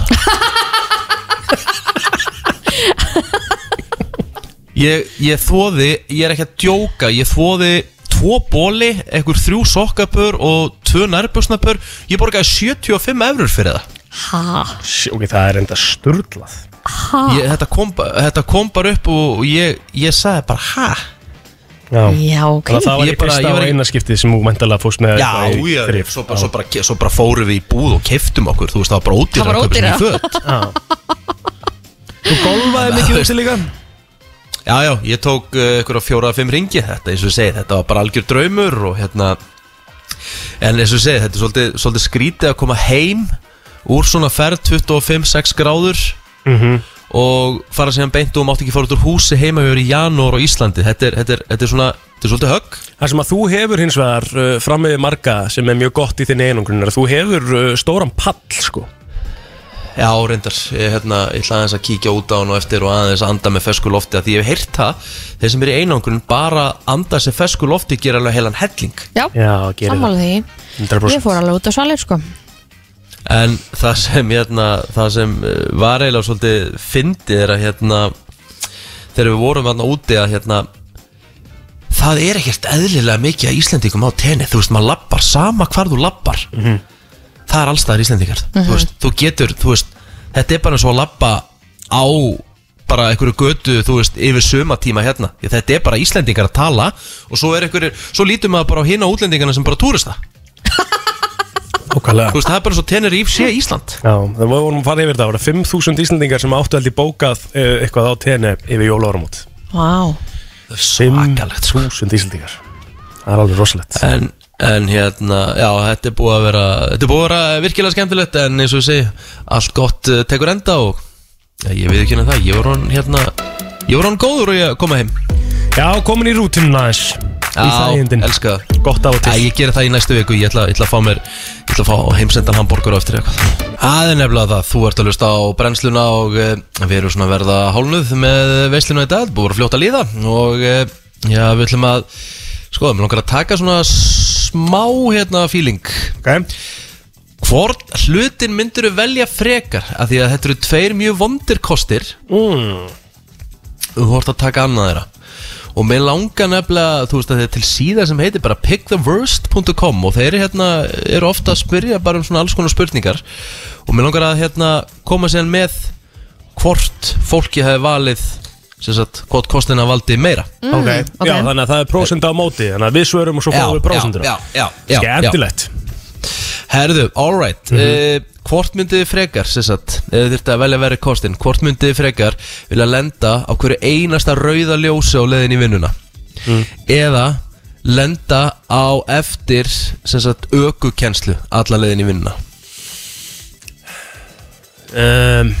ég, ég þvóði Ég er ekki að djóka Ég þvóði tvo bóli Ekkur þrjú sokkapur og tvö nærbjöksnapur Ég borgaði 75 eurur fyrir það Sj, Ok, það er enda sturglað ég, þetta, kom, ba- þetta kom bara upp og ég, ég sagði bara hæ Já, Já, ok Þannig að það var Ég ég bara- fyrsta ég var og ekki- eina skiptið sem þú mæntalega fórst með eitthvað í þrif. svo, bara, svo, bara, ge- svo bara fórum við í búð og keftum okkur þú veist það var bara ódýra Það var ódýrara. Þú golfaði mikið þessi líka já já ég tók uh, ykkur á fjóra að fimm ringi þetta eins og ég segi þetta var bara algjör draumur og hérna en eins og ég segi þetta er svolítið, svolítið skrítið að koma heim úr svona ferð 25-6 gráður Mhm. og fara síðan beint og mátt ekki fara út úr húsi heima við erum í janúar á Íslandi þetta er, þetta er, þetta er svona þetta er svolítið högg Það sem að þú hefur hins vegar uh, frammiði marga sem er mjög gott í þinn einungrun er að þú hefur uh, stóran pall sko Já, reyndar, ég, hérna, ég ætla aðeins að kíkja út á hann og eftir og aðeins að anda með fesku lofti að því ég hef heyrt það, þeir sem er í einangrun bara anda sér fesku lofti gera alveg heilan helling Já, Já, gerir sammála því það Mm, Ég 100% fór alveg út á svalir sko en það sem, hérna, það sem eh, var eiginlega svolítið fyndið er að hérna, þegar við vorum hérna úti að hérna, það er ekkert eðlilega mikið að Íslendingum á tenni, þú veist, maður lappar sama hvar þú lappar það er allstaðar Íslendingar þú, veist, þú getur, þú veist þetta er bara eins og að lappa á bara einhverju götu, þú veist, yfir sömatíma hérna, Ég, þetta er bara Íslendingar að tala og svo er einhverju, svo lítum maður bara á hina útlendingarna sem bara túrista Ókvæðlega þú veist, það er bara svo tenur í sé Ísland Já, það vorum að fara yfir það, það voru 5.000 Íslandingar sem áttu held í bókað uh, eitthvað á tenni yfir jólaormút Vá, það er svakalegt sko. 5.000 Íslandingar Það er alveg rosalegt en, en hérna, já, þetta er búið að vera þetta er búið að vera virkilega skemmtilegt en eins og ég segi, allt gott eh, tekur enda og ja, ég veit ekki henni það ég voru hann hérna, ég voru hann góður og ég að koma heim Já, komin í rútinuna aðeins Í þægindin elska það Gott á og Æ, til ég gera það í næstu viku, ég ætla, ég ætla að fá mér Ég ætla að fá heimsendan hambúrgur á eftir eitthvað Það er nefnilega það, þú ert að lusta á brennsluna og e, við erum svona að verða hálnuð með veisluna í dag, búið að fljóta að líða og e, já, við ætlum að sko, við langar að taka svona smá hérna feeling okay. Hvort hlutin myndur þú velja frekar af því að þetta eru tveir mjög vondir kostir mm. þú hort að taka annað þeirra og mér langar nefnilega, þú veist að þetta er til síða sem heitir bara picktheworst.com og þeir eru hérna, eru ofta að spyrja bara um svona alls konar spurningar og mér langar að hérna koma sér með hvort fólki hefði valið sem sagt, hvort kostina valdi meira okay. ok. Já, þannig að það er prósenda á móti Þannig að við svörum og svo fáum við prósendur já, já, já, já. Skemmtilegt Herðu, alright mm Hvort myndið þið frekar, sem sagt eða þurfti að velja verið kostin, hvort myndið þið frekar vilja lenda á hverju einasta rauða ljósi á leiðin í vinnuna eða lenda á eftir sem sagt ökukenslu alla leiðin í vinnuna um,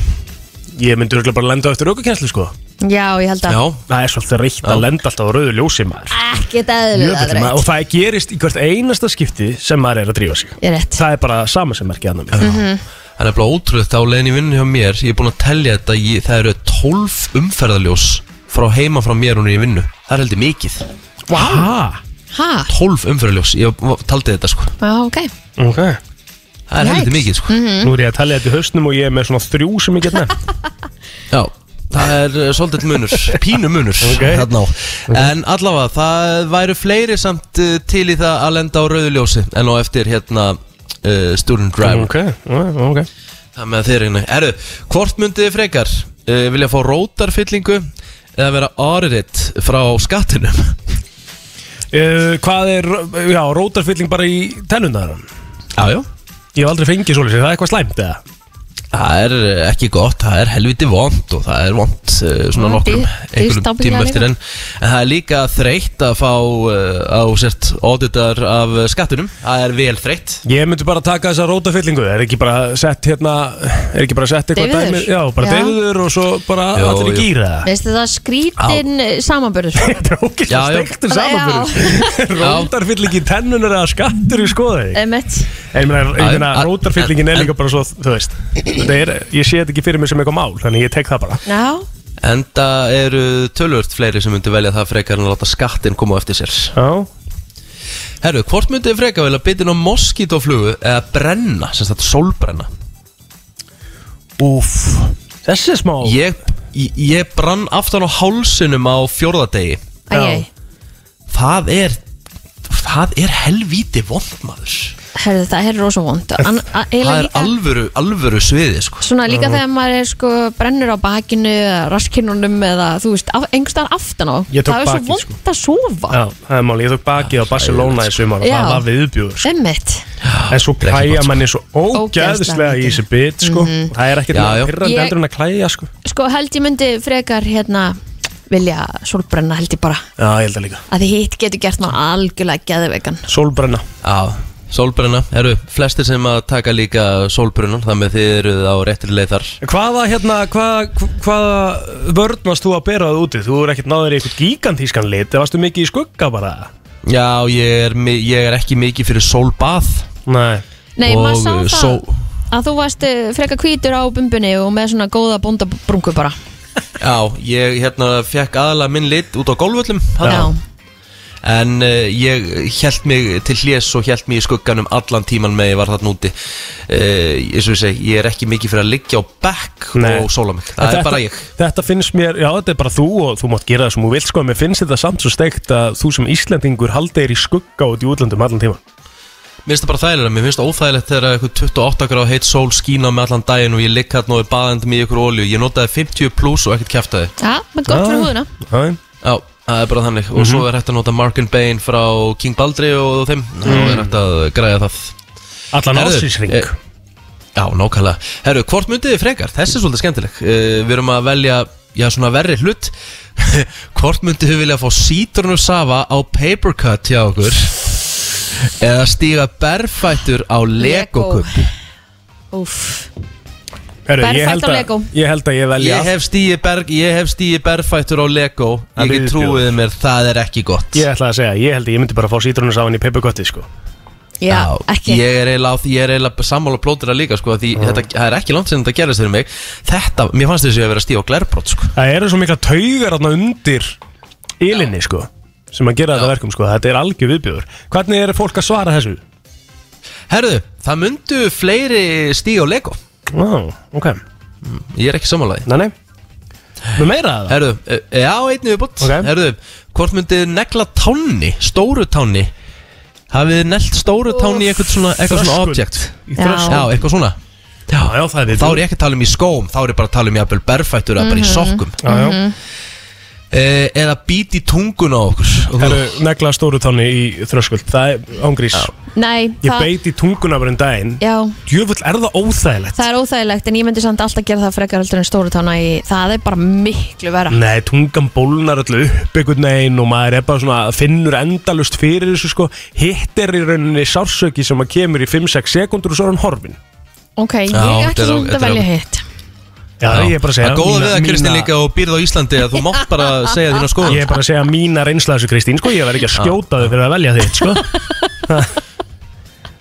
Ég myndi örugglega bara lenda á eftir aukakenslu sko Já, ég held að Já, Það er svolítið reitt að lenda alltaf á rauðu ljósi maður Ekkert eðlið Jöfull, maður- Og það gerist í hvert einasta skipti sem maður er að drífa sig Ég er rétt Það er bara sama sem merkið annar mér það er bara ótrúð þá leiðin í vinnuna hjá mér, ég er búin að tellja þetta ég, það eru 12 umferðarljós frá heima frá mér hún er í vinnu það er heldur mikið, Vá 12 umferðarljós ég taldi þetta sko Já, ok Ok Það Það er heldur Yikes. mikið sko Nú er ég að tala þetta í hausnum og ég er með svona þrjú sem ég get nefnt Já Það er uh, svolítið munur, pínu munur Ok. þarna á. En allavega, það væru fleiri samt uh, til í það að lenda á rauðu ljósi En á eftir hérna uh, Student Driver Ok, já, ok Það með þeir hérna Erðu, hvort myndið þið frekar? Uh, vilja fá rótarfyllingu eða vera audited frá skattinum? Uh, hvað er, já, rótarfylling bara í tennundar Jájó Ég hef aldrei fengið svolítið, það er eitthvað slæmt eða? Það er eh, ekki gott, það er helviti vond og það er vond svona Já, nokkrum dyr- einhverjum dýrt tíma ábyggilega eftir en, en það er líka þreytt að fá eh, á sért auditar af eh, skattunum það er vel þreytt Ég myndi bara taka þessa rótarfyllingu Er ekki bara sett hérna Er ekki bara sett eitthvað Deyfður? Já, bara Já. deyfiður og svo bara Jó, allir í jú. gýra Veistu það skrítin já. samanbörður Þetta er ógæst Já, já. steiktur Já. samanbyrjus Rótarfylling í tennunar eða skattur í skoði Emmett Ég meina, Já, ég meina já. rótarfyllingin En- er líka bara svo Þú veist, þetta er, ég sé þetta ekki fyrir mig sem eitthvað mál Þannig ég tek það bara Já, enda eru tölvört fleiri sem myndi velja það frekar en að láta skattin koma á eftir sér Já, Herru, hvort myndi þið frekar velja bitin á moskítoflugu eða brenna, sem sagt sólbrenna úf Þessi er smá ég, ég, ég brann aftan á hálsinum á fjórðadegi æg það er það er helviti vond maður Herðu það er rosa vond Það er alvöru, alvöru sviði sko. Svona líka þegar maður er sko brennur á bakinu eða raskinnunum eða þú veist, af, einhverstaðar aftan á Ég tók Það er svo bakið, vond sko. að sofa Já, það er máli, ég tók bakið á Barcelona í sumar og Já. það var viðbjóður Emmett En er svo ekki klæja gott, sko. manni svo ógæðslega Ógeðslega í þessi bit sko. Það er ekkert Já, já. með pyrrandi Mhm. Ég- eldur en að klæja sko. Sko held ég myndi frekar hérna vilja sólbrenna held ég bara Já, ég held að líka að því hitt getur gert maður algjörlega geðveikan Sólbrenna Já, sólbrenna eru flestir sem að taka líka sólbrennan þannig að þið eruð á réttri leið þar Hvaða, hérna, hvaða, hvaða vörn varst þú að bera það úti? Þú er ekkert náður í eitthvað gigantískan lit eða varstu mikið í skugga bara? Já, ég er, mi- ég er ekki mikið fyrir sólbað Nei Nei, Og, maður sá uh, það só- að þú varst eh, frekar hvítur á bumbunni og með svona góða bóndabrungu bara Já, ég hérna fekk aðalega minn lit út á gólvöllum Já, En uh, ég held mig til hlés og held mig í skugganum allan tíman með ég var þarna úti uh, eins og ég segi, ég er ekki mikið fyrir að liggja á bekk Nei. og sóla mig, En það þetta- er bara ég Þetta finnst mér, já þetta er bara þú og þú mátt gera það sem þú vilt sko en mér finnst þetta samt svo steikt að þú sem Íslendingur haldið er í skugga út í útlöndum allan tíma Mér finnst það bara þægilega, mér finnst það óþægilegt þegar eitthvað 28 gráð heit sól skína með allan daginn og ég ligg hérna og er baðendum í ykkur olju Ég notaði 50 pluss og ekkert kæftaði ja, með gott fyrir húðuna Já, Já, það er bara þannig Og svo er hægt að nota Mark and Bane frá King Baldri og þeim mm. Og er hægt að græja það Allan Herðu, ásinsring eh, Já, nákvæmlega Herru, hvort myndið þið frekar? Þessi er svolítið skemmtileg uh, Við erum að velja, já, svona verri hlut Hvort myndið þið vilja fá sítrunu safa á paper cut hjá okkur Eða stíga berfættur á Lego. legokupp Úf, Herru, ég Berfætt held á að- Lego. Ég held að ég velja Ég hef stíi, berg, ég hef stíi berfættur á Lego Það Ég er get trúið mér, það er ekki gott Ég ætlaði að segja, ég held að ég myndi bara að fá sítrunusáin í pepperkotti sko. já, ekki Ég er eiginlega, á því- ég er eiginlega sammála plótira líka sko, Því þetta, það er ekki langt sem þetta gerist fyrir mig Þetta, mér fannst þessi að vera stíi á glerbrot sko. Það eru svo mikla taugar þarna undir ylinni sko, sem að gera þetta verkum sko. þetta er algjör viðbjöður Hvernig er fólk að svara þessu? Herðu, það myndu fleiri stíi á Lego Ó, ok, Ég er ekki sammála því nei nei Með meira að það? Herðu, e- já, einnig við bútt Ok. Herðu, hvort myndið þið negla tánni, stóru tánni Hafið þið neglt stóru tánni í eitthvað svona, eitthvað svona Þröskuld. object Í Já. þröskuld. Já, eitthvað svona Já, já, það er Þá er viðbjöður ég ekki að tala um í skóm, þá er ég bara að tala um jafnvel berfættur eða bara í sokkum Já, já, e, Eða bít í tungun á okkur Og það þú- eru negla stóru tónni í þröskuld Það er ángrís Nei, Ég það, beit í tunguna bara en daginn já, Djöfull er það óþægilegt það er óþægilegt en ég myndi samt alltaf gera það frekar heldur en stóru tána í, það er bara miklu vera Nei, tungan bólnar öllu upp einhvern veginn og maður er bara svona finnur endalust fyrir þessu sko hitt er í rauninni sársöki sem að kemur í 5-6 sekundur og svo er hann horfin Ok, ég Já, er ekki þetta er- svona þetta að er- velja hitt Já, ég er bara að segja Það góða mína- við það Kristín mína- líka og býrð á Íslandi að þú mátt bara segja þína skoðun Ég er bara að segja mína reynsla þessu Kristín sko, ég verð ekki að skjóta þau fyrir að velja þitt sko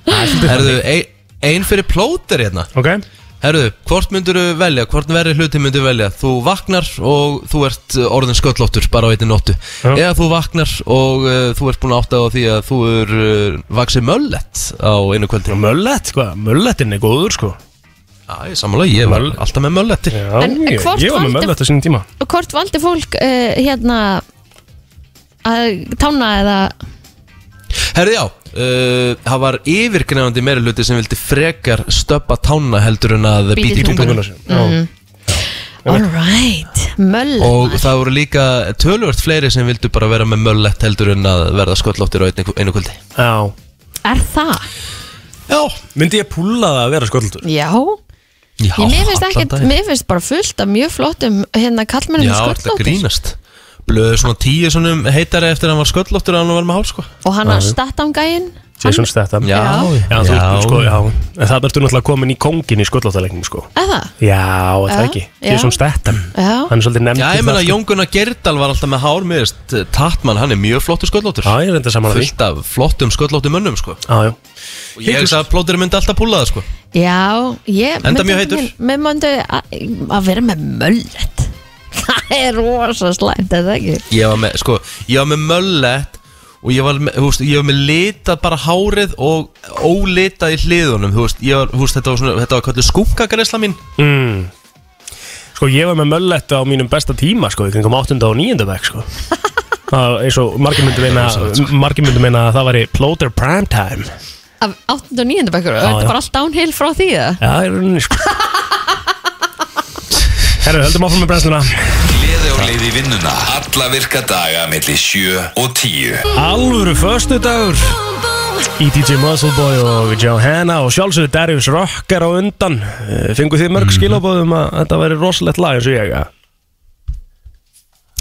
Erðu, ein, ein fyrir plóter hérna Ok, Herru, hvort myndur velja, hvort verri hluti myndur velja Þú vaknar og þú ert uh, orðin sköllóttur bara á einni nóttu Já. Eða þú vaknar og uh, þú ert búin að átta á því að þú er uh, vaksið möllett á einu kvöldi Möllett, hvað? Möllettinn er góður sko Já, ég sammála, ég var Möll- alltaf með möllettir Já, En ég, hvort ég var með valdi- möllett á sinni tíma Og hvort valdi fólk uh, hérna að tána eða Herru, já, uh, það var yfirgnefandi meiri hluti sem vildi frekar stöppa tána heldur en að Bíta í bíti tunguna. tungun Tunguna sinni Já, Alright, möllet Og það voru líka tölvört fleiri sem vildu bara vera með möllett heldur en að verða sköllóttur á einni, einu kvöldi já Er það? Já, Myndi ég púla það að vera sköldur? Já, já ég, mér, finnst allan ekkert, daginn. mér finnst bara fullt af mjög flottum hérna kallmennum Já, þetta sköldlóttir grínast Blöðu svona tíu svona heitari eftir að hann var sköllóttur að hann var með hár sko og hann að um statangæin Jason Statham Já, Já, þú, sko, já, en það ertu náttúrulega komin í kongin í sköllóttalegnum, sko. eða, Já, er það Já, ekki. já. Jason Statham. já Hann er svolítið nefnd Já, ég fyrir meina það, sko. Jón Gunnar Gerdal var alltaf með hár meðist Tattmann, hann er mjög flottur sköllóttur Já, ég er enda saman að því. Fullt af flottum sköllóttum mönnum sko Já, já. Og ég hef það að plótur myndi alltaf púla það sko Já, ég Enda mjög heitur. Mér möndu að vera með möllet Það er rosa slæmt, er það ekki? Ég var með, sko, ég var með möllett Og ég var með, þú veist, ég var með litað bara hárið Og ólitað í hliðunum Þú veist, ég var, þú veist, þetta var svona, þetta var kallið skúkakaresla mín Mm. Sko, ég var með mölletta á mínum besta tíma, sko, í kringum 8. og 9. bekk, sko. Það, eins og margir myndu meina, margir myndu meina að það væri plóter primetime. Af 8. og 9. bekkur, Já, þetta já. bara allt downhill frá því það Já, ég er rauninni, sko. Herru, höldum áfram með brennsluna. Gleði og leiði vinnuna Alla virka daga melli 7 og 10 Alvöru förstu dagur í DJ Muscleboy og Johanna og sjálfsögur Darius Rockar á undan Eh, Fenguð þið mörg skilabóðum að þetta væri rosalegt lag eins og ég að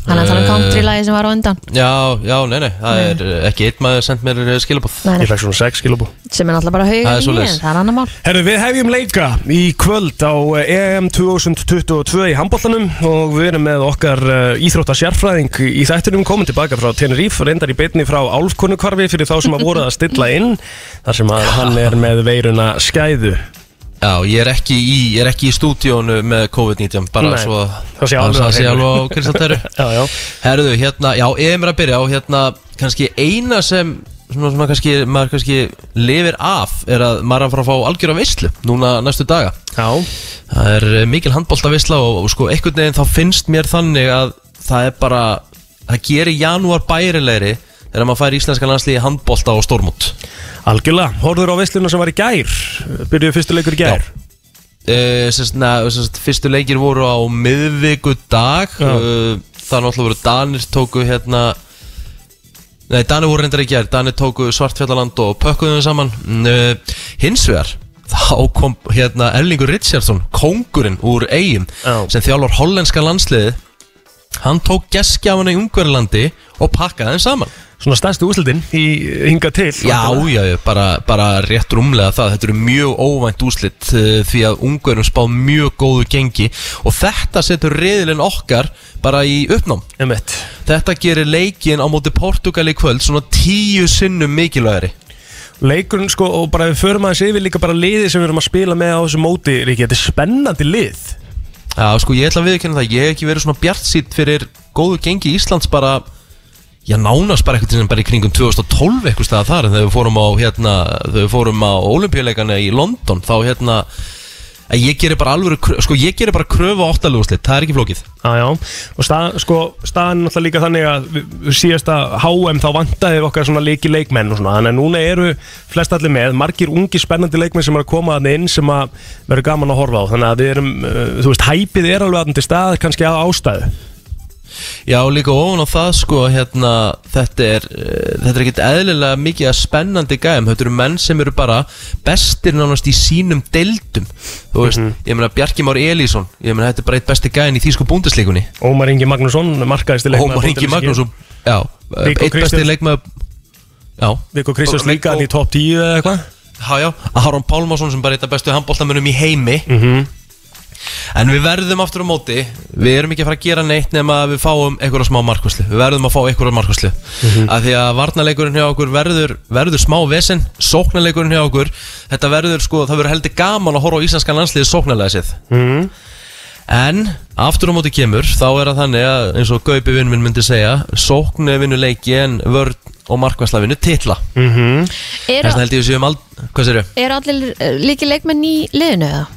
Hann er að Eh, tala um country-lagi sem var á undan Já, já, nei, nei, það er eh, ekki einn maður sendt mér eh, skilaboð Nei, nei, Ég fekk svona sex skilabóð Sem er náttúrulega bara Það er haugur svoleiðis. það er annar mál Herru, við hefjum leika í kvöld á eh, EM 2022 í handbóltanum og við erum með okkar eh, íþrótta sérfræðing í þættunum komin tilbaka frá Teneríf, reyndar í beinni frá Álfkonukvarfi fyrir þá sem að voru að stilla inn þar sem að hann er með veiruna skæðu Já, ég er ekki í, ég er ekki í stúdíónu með COVID-19 bara Nei, svo það sé bara alveg svo á að sé hreinu. alveg á Kristjantæru Já, já. Herðu, hérna, já, EM er að byrja á hérna kannski eina sem svona, svona kannski, maður kannski lifir af er að maður er að fara að fá algjör af veislu núna næstu daga Já, Það er eh, mikil handbóltavisla og, og sko einhvern veginn þá finnst mér þannig að það er bara, það gerir janúar bærilegri þegar maður fær íslenska landslíði handbólta og stórmót Algjörlega, horfður á veisluna sem var í gær Byrjuðu fyrstu leikur í gær Uh, sérst, na, sérst, fyrstu leikir voru á miðviku dag Já. uh, það er náttúrulega voru Danir tóku hérna nei Danir voru reyndar í gær Danir tóku Svartfjallaland og pökkuðu þeim saman uh, hins vegar þá kom hérna Erlingur Richardson kóngurinn úr eigin Já. sem þjálfur hollenska landsliði hann tók geskjafana í Ungverlandi og pakkaði þeim saman Svona stærstu úslitin í hinga til Já, já, já, bara, bara rétt rúmlega það Þetta eru mjög óvænt úslit eh, því að ungurum spá mjög góðu gengi og þetta setur reyðilinn okkar bara í uppnám Emmett Þetta gerir leikin á móti Portugal í kvöld svona tíu sinnum mikilvægari Leikurinn sko og bara við förum aðeins yfir líka bara liði sem við erum að spila með á þessu móti Ríkja, þetta er spennandi lið Já, sko, ég ætla að viðkynna það Ég hef ekki verið svona bjart sýtt fyrir góðu gengi Íslands bara Já, nánast bara eitthvað sem bara í kringum 2012 eitthvað staða þar en þegar við fórum á hérna, þegar við fórum á olimpíuleikana í London þá hérna að ég gerir bara alvöru, krö- sko ég gerir bara kröfu áttaluguslit, það er ekki flókið Já, já, og stað, sko, staðan er náttúrulega líka þannig að við- við síðasta HM þá vantaði okkar svona leiki leikmenn og svona, þannig að núna eru flest allir með, margir ungi spennandi leikmenn sem eru að koma þannig inn sem að verður gaman að horfa á, þannig að við erum, uh, þú veist, hæpið er alveg aðeins til stað, kannski að ástæðu Já, og líka ofan á það sko hérna, þetta er, eh, þetta er ekkit eðlilega mikið að spennandi gæm þetta eru menn sem eru bara bestir nánast í sínum deildum þú veist, ég meina Bjarki Már Elísson ég meina þetta er bara eitt besti gæm í þýsku búndasleikunni Ómar Ingi Magnússon, markaðist í Ómar Ingi Magnússon Já, Viggó eitt besti Kristjáns. leikmaður Já, Viggo Kristjáns Og- líka hann í top 10 eða eitthvað já, já Aron Pálmarsson sem bara eitt af bestu handbóltamönnum í heimi mm -hmm. En við verðum aftur á móti Við erum ekki að fara að gera neitt nema að við fáum einhverja smá markvæslu Við verðum að fá einhverja markvæslu Af því að varnaleikurinn hjá okkur verður, verður smá vesen Sóknaleikurinn hjá okkur Þetta verður sko, það verður heldur gaman að horfa á íslenskan landsliði sóknalega séð En aftur á móti kemur Þá er það þannig að eins og Gaupi vinn minn myndi segja Sóknu vinnu leiki en vörn og markvæsla vinnu titla Er, Þess vegna held ég að við séum aldrei Hvað sér er allir eh, líki leikmenn í liðinu eða?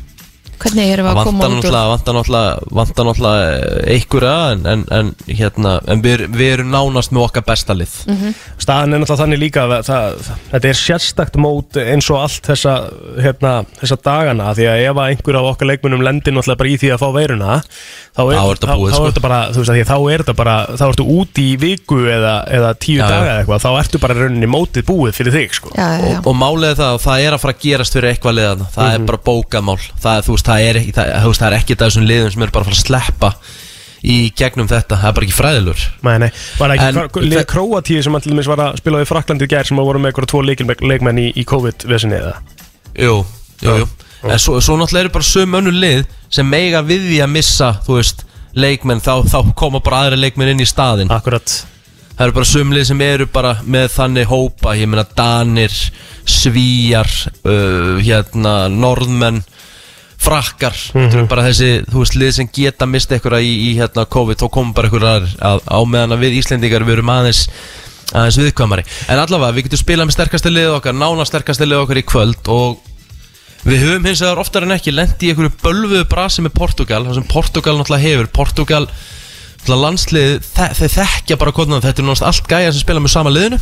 Hvernig erum við að koma vantar út úr? náttúrulega, vantar náttúrulega, vantar náttúrulega einhverja en, en, en, hérna, en við, er- við erum nánast með okkar besta lið Mm. staðan er náttúrulega þannig líka að það, það, þetta er sérstakt mót eins og allt þessa, hérna, þessa dagana því að ef að einhver af okkar leikmunum lendir náttúrulega bara í því að fá veiruna þá er, Þá er þetta búið, þá, sko. er þetta bara, þú veist að því að þá er þetta bara þá ertu út í viku eða, eða tíu Já, já. daga eða eitthvað, þá ertu bara í rauninni mótið búið fyrir þig sko Já, já, Mhm. já. og, og málið er það að það er að fara að gerast fyrir eitthvað liðan það er bara bókamál það er, þú veist, það er ekki, það, þú veist, það er ekki þessum liðum sem eru bara að fara að sleppa í gegnum þetta, það er bara ekki fræðilur Nei, nei, var það En- ekki hvar- lið Króatíu sem allir mis var að spila í Fraklandi í gær sem voru með eitthvað tvo leikil- leikmenn í, í COVID-vesinni eða Jú, jú, jú En svo, svo náttúrulega eru bara söm önnu lið sem meiga við því að missa, þú veist leikmenn, þá, þá koma bara aðra leikmenn inn í staðin Akkurat Það eru bara sumlið sem eru bara með þannig hópa, ég meina Danir, Svíjar, uh, hérna, Norðmenn, Frakkar, þetta eru bara þessi, þú veist, lið sem geta mista einhverja í, í hérna COVID, þá komum bara einhverjar aðrir að, á meðan að við Íslendingar við erum aðeins, aðeins viðkvæmari. En allavega, við getum spilað með sterkastu liðið okkar, nána sterkastu liðið okkar í kvöld og Við höfum hins vegar oftar en ekki lendi í einhverju bölvuðu brasi með Portugal þar sem Portugal náttúrulega hefur Portugal, náttúrulega landslið þe þeir þekkja bara konan þetta er náttúrulega allt gæja sem spila með sama liðinu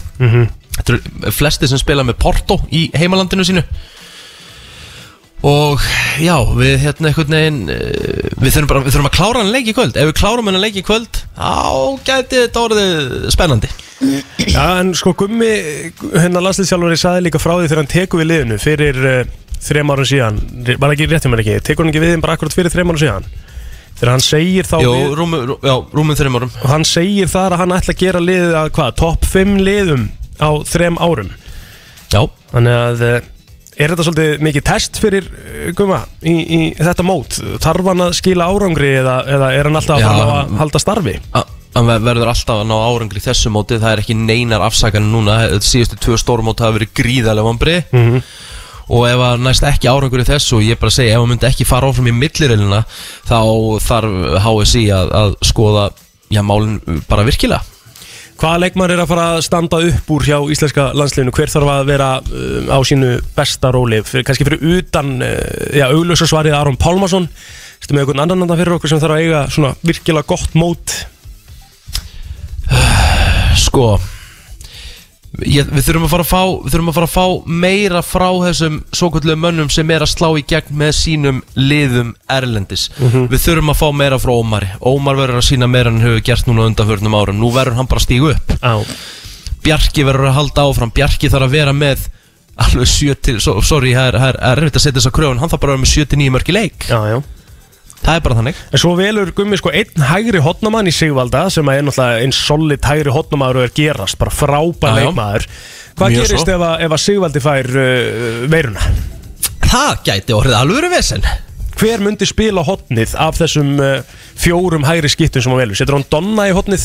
Þetta eru flesti sem spila með Porto í heimalandinu sínu Og já, við hérna einhvern veginn eh, Við þurfum bara, við þurfum að klára hann leik í kvöld Ef við klárum hann leik í kvöld Þá gæti þetta orðið spennandi Já, en sko Gummi, hérna landsliðsjálfari saði líka frá því þegar hann tekur við liðinu fyrir uh, þrem árum síðan, var það ekki rétt um hann ekki, tekur hann ekki við þeim bara akkurat fyrir þrem árum síðan þegar hann segir þá Jó, við, rúmu, rú, já, rúmum þreim árum og hann segir þar að hann ætla að gera liðið að hvað, topp 5 liðum á þrem árum, Já, þannig að uh, er þetta svolítið mikið test fyrir uh, Gumma í, í þetta mót þarf hann að skila árangri eða, eða er hann alltaf að, Já, fara að, hann- að halda starfi? A- hann ver- verður alltaf að ná árangri í þessu móti það er ekki neinar afsakan núna þetta síðustu tvö stórmóti hafa verið gríðarlega vambri og ef að næst ekki árangur í þessu og ég bara segi ef hann myndi ekki fara áfram í millirilina þá þarf HSI að, að skoða já málin bara virkilega Hvaða leikmann er að fara að standa upp úr hjá íslenska landsliðinu? Hver þarf að vera um, á sínu besta róli? Fyrir, kannski fyrir utan, uh, já, auglösa svarið Aron Pálmarsson. Þetta með einhvern annan andan fyrir okkur sem þarf að eiga svona virkilega gott mót. sko ég, við þurfum að fara að fá við þurfum að fara að fá meira frá þessum svokvöldlega mönnum sem er að slá í gegn með sínum liðum erlendis við þurfum að fá meira frá Ómari Ómar verður að sína meira en hann hefur gert núna á undanförnum árum, nú verður hann bara að stígu upp Á. Bjarki verður að halda áfram Bjarki þarf að vera með alveg 7 til, so, sorry, það er- það er það er erfitt að setja þess að kröfun hann þarf bara að vera með 7 til 9 mörg í leik Já, já. það er bara þannig En svo velur Gummi sko einn hægri hotnamann í Sigvalda sem er náttúrulega einn solid hægri hotnamaður og er gerast, bara frábær Já, já. leikmaður. Hvað Mjög gerist svo. ef að, ef að Sigvaldi fær uh, veiruna? það gæti orðið alvöru vesen hver myndi spila hotnið af þessum uh, fjórum hægri skittum sem hann velur setur hann Donna í hotnið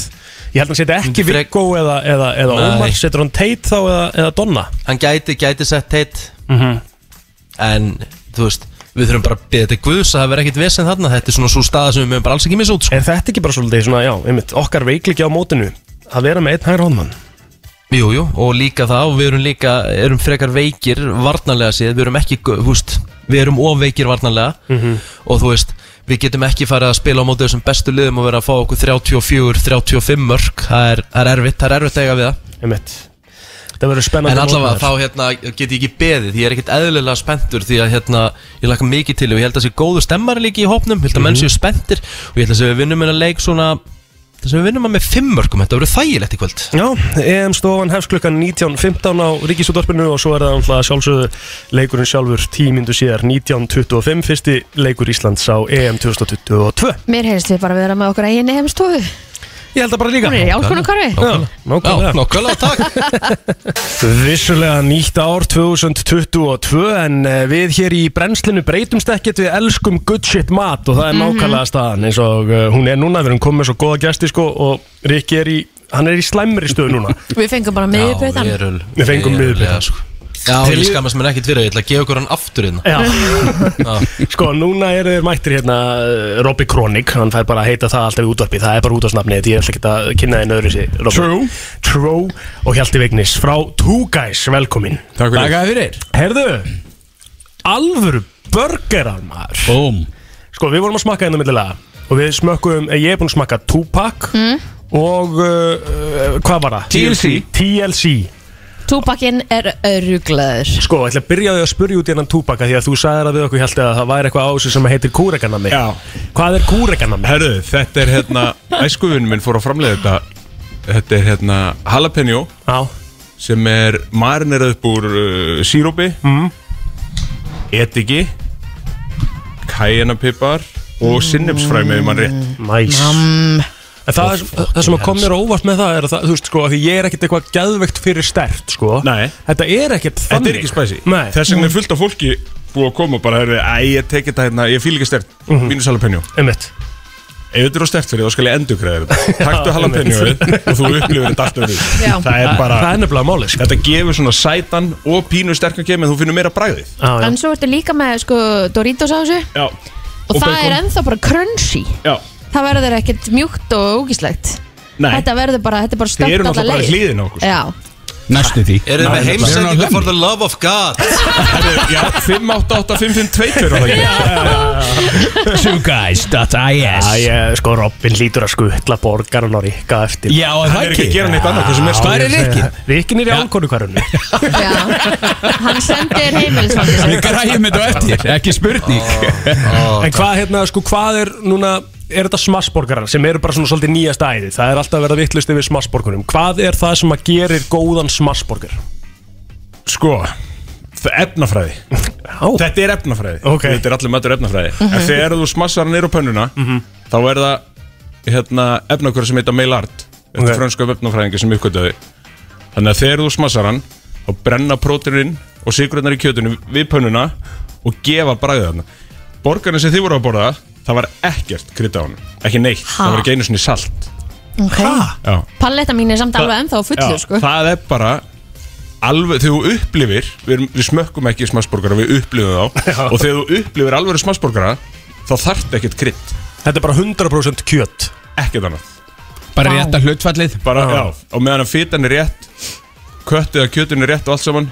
ég held að hann seti ekki Fre- Viggo eða, eða, eða Nei. Ómar setur hann Tate þá eða, eða Donna hann gæti, gæti sett heitt en þú veist við þurfum bara að beða þetta guðs að það verður ekkit vesen þarna þetta er svona svo staða sem við mögum bara alls ekki missa út sko. er þetta ekki bara svolítið svona, já, einmitt, okkar veikliki á mótinu að vera með einn hægri hotnmann jú, jú, og líka það og við erum líka erum frekar veikir varnarlega séð við erum ekki, gu- þú veist við erum ofveikir varnarlega og þú veist við getum ekki farið að spila á móti þessum bestu liðum og vera að fá okkur 34-35 mörg það er, það er erfitt, það er erfitt að eiga við það einmitt. það verður spennandi En allavega mót þá maður. hérna get ég ekki beðið Ég er ekkert eðlilega spenntur Því að hérna ég laka mikið til Og ég held að það sé góðu stemmari líki í hópnum Ég held að menn séu spenntir Og ég held að sem við vinnum hennar leik svona Það sem við vinnum að með fimm mörgum Þetta verður þægilegt í kvöld Já, EM stofan hefst klukkan 19.15 á Ríkisútvarpinu og svo er það náttúrulega sjálfsögðu leikurinn sjálfur tímindu síðar 19.25, fyrsti leikur Íslands á EM 2022 Mér heyrst við bara að vera með okkur eigin heimstofu Ég held það bara líka Hún er í alls konar karfi Já, Já, nákvæmlega nokkala, takk Vissulega nýtt ár 2022 en eh, við hér í brennslinu breytumst ekkert við elskum good shit mat og það er nákvæmlega staðan eins og eh, hún er núna, við erum komið svo góða gæsti sko og Rikki er í, hann er í slæmri stöðu núna Við fengum bara miðbjöðan Við fengum miðbita. miðbyrðan Já, sko. ég skammast mér ekkert fyrir það, ég ætla að gefa okkur hann aftur hérna Já, sko núna eru þeir mættir hérna eh, Robby Kronik, hann fær bara að heita það alltaf í útvarpi, það er bara útvarsnafni þetta ég ætla ekki að kynna þeim öðru sér True True og Hjalti Vignis frá Two Guys, velkomin Takk fyrir Takk fyrir Herðu, alvöru burgerar maður Búm Sko, við vorum að smakka hérna millilega og við smökkum, eh, ég er búinn að smakka Tupac og uh, uh, hvað var það? TLC. TLC Túbakinn er öruglaður Sko, ég ætla að byrja á því að spurja út í hennan Tupac af því að þú sagðir að við okkur held að það væri eitthvað á þessu sem heitir kúrekanami Já. Hvað er kúrekanami? Herru, þetta er hérna Æskuvinn minn fór að framlega þetta Þetta er hérna jalapeno Já, sem er marinirað upp úr uh, sírópi mm. etiki kæjanapipar og sinnepsfræ með mann rétt næs En það, er, það sem að kom mér á óvart með það er að það, þú veist sko, að því ég er ekkert eitthvað geðvegt fyrir stert, sko Nei. Þetta er ekkert þannig Þetta er ekki spæsi Nei, Þess vegna er fullt af fólki búið að koma og bara herri, Æ, ég teki þetta hérna, ég fíl ekki stert mm -hmm. Mínu salapenjó einmitt Ef þetta er á stert fyrir þá skal ég endurgræða þetta Taktu halapenjóið og þú upplifir þetta allt öðru Já. Það er bara Það er nefnilega málið, sko Þetta gefur svona sætan og pínu sterkan kem en þú finnur meira bræðið Já, já. En svo ertu líka með sko Doritos á þessu Já Og, það er ennþá bara crunchy Já Það verður ekkert mjúkt og ógíslegt Nei Þetta verður bara, þetta er bara Þið eru stönd alla náttúrulega bara leið hliðin á okkur sko. Já, Næstu því Eru þið með heimsendingu for the love of God? Já, 5885522 er það ekki Æ, ég, sko, Robin hlýtur að skutla borgaran og rikka eftir Já, Hann er það er ekki ekki að gera neitt annað hvað sem er Hvað stóð er Rikkin? Rikkin er í álkonu hverjunni já Hann sendir heimilisvandi Við græjum þetta á eftir, ekki spurning En hvað, hérna, sko, hvað er núna Er þetta smassborgaran sem eru bara svona svolítið nýja stæði Það er alltaf að vera vittlust yfir smassborgunum Hvað er það sem að gerir góðan smassborgar? Sko, það er efnafræði Já, Þetta er efnafræði Ok. Mhm. Þetta er allir matur efnafræði En þegar þú smassar hann niður á pönnuna Þá er það hérna, efnakvöra sem heita Maillard Þetta Ok. er frönsku efnafræðingi sem uppgötaði Þannig að þegar þú smassar hann Þá brenna próteinin og sigrunar í kjötunum við pönnuna Og gefa bræðið hann Borgarna sem þið voru að borða Það var ekkert krydda á hann Ekki neitt, það var ekki einu sinni salt Já. okay. Palletta mín er samt alveg ennþá fullur sko Það er bara alveg, þegar þú upplifir við, erum, við smökkum ekki smassborgara, við upplifum þá og þegar þú upplifir alveg smassborgara þá þarft ekkert krydd, þetta er bara 100% kjöt ekkert annað Bara rétta hlutfallið bara, já, og meðan að fitan er rétt köttið að kjötun er rétt og allt saman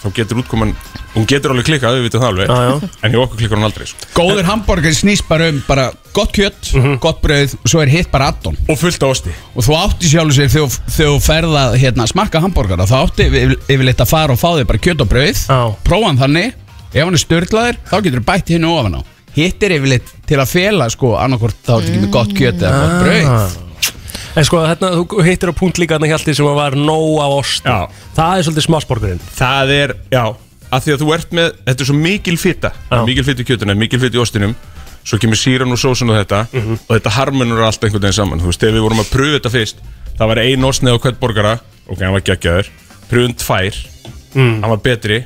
þá getur útkoman, hún getur alveg klikkað við vitum það alveg, Já, já. en hjá okkur klikkar hún aldrei sko. Góður hambúrgar snýst bara um bara gott kjött, gott brauð og svo er hitt bara addon og fullt á osti og þú átti sjálfur sér þegar þú- þegar þú ferða hérna, smakka hambúrgar þá átti yfir- yfirleitt að fara og fá þig bara kjött og brauð Já. prófa hann þannig, ef hann er störtlaður þá getur þú bætt hinn ofan á hitt er yfirleitt til að fela sko annarkvort þá ertu ekki með gott kjött eða gott Ah. brauð En sko, hérna, þú hittir á punkt líka hérna hjalti sem að var nóg af ost Já. Það er svolítið smassborgarinn það er, já, að því að þú ert með þetta er svo mikil fita, Já. mikil fita í kjötuna mikil fita í ostinum, svo kemur síran og sósun og þetta, og þetta harmonur allt einhvern veginn saman, þú veist, þegar við vorum að pröfu þetta fyrst það var ein ostnið á hvert borgara ok, hann var geggjaður, pröfum tvær hann var betri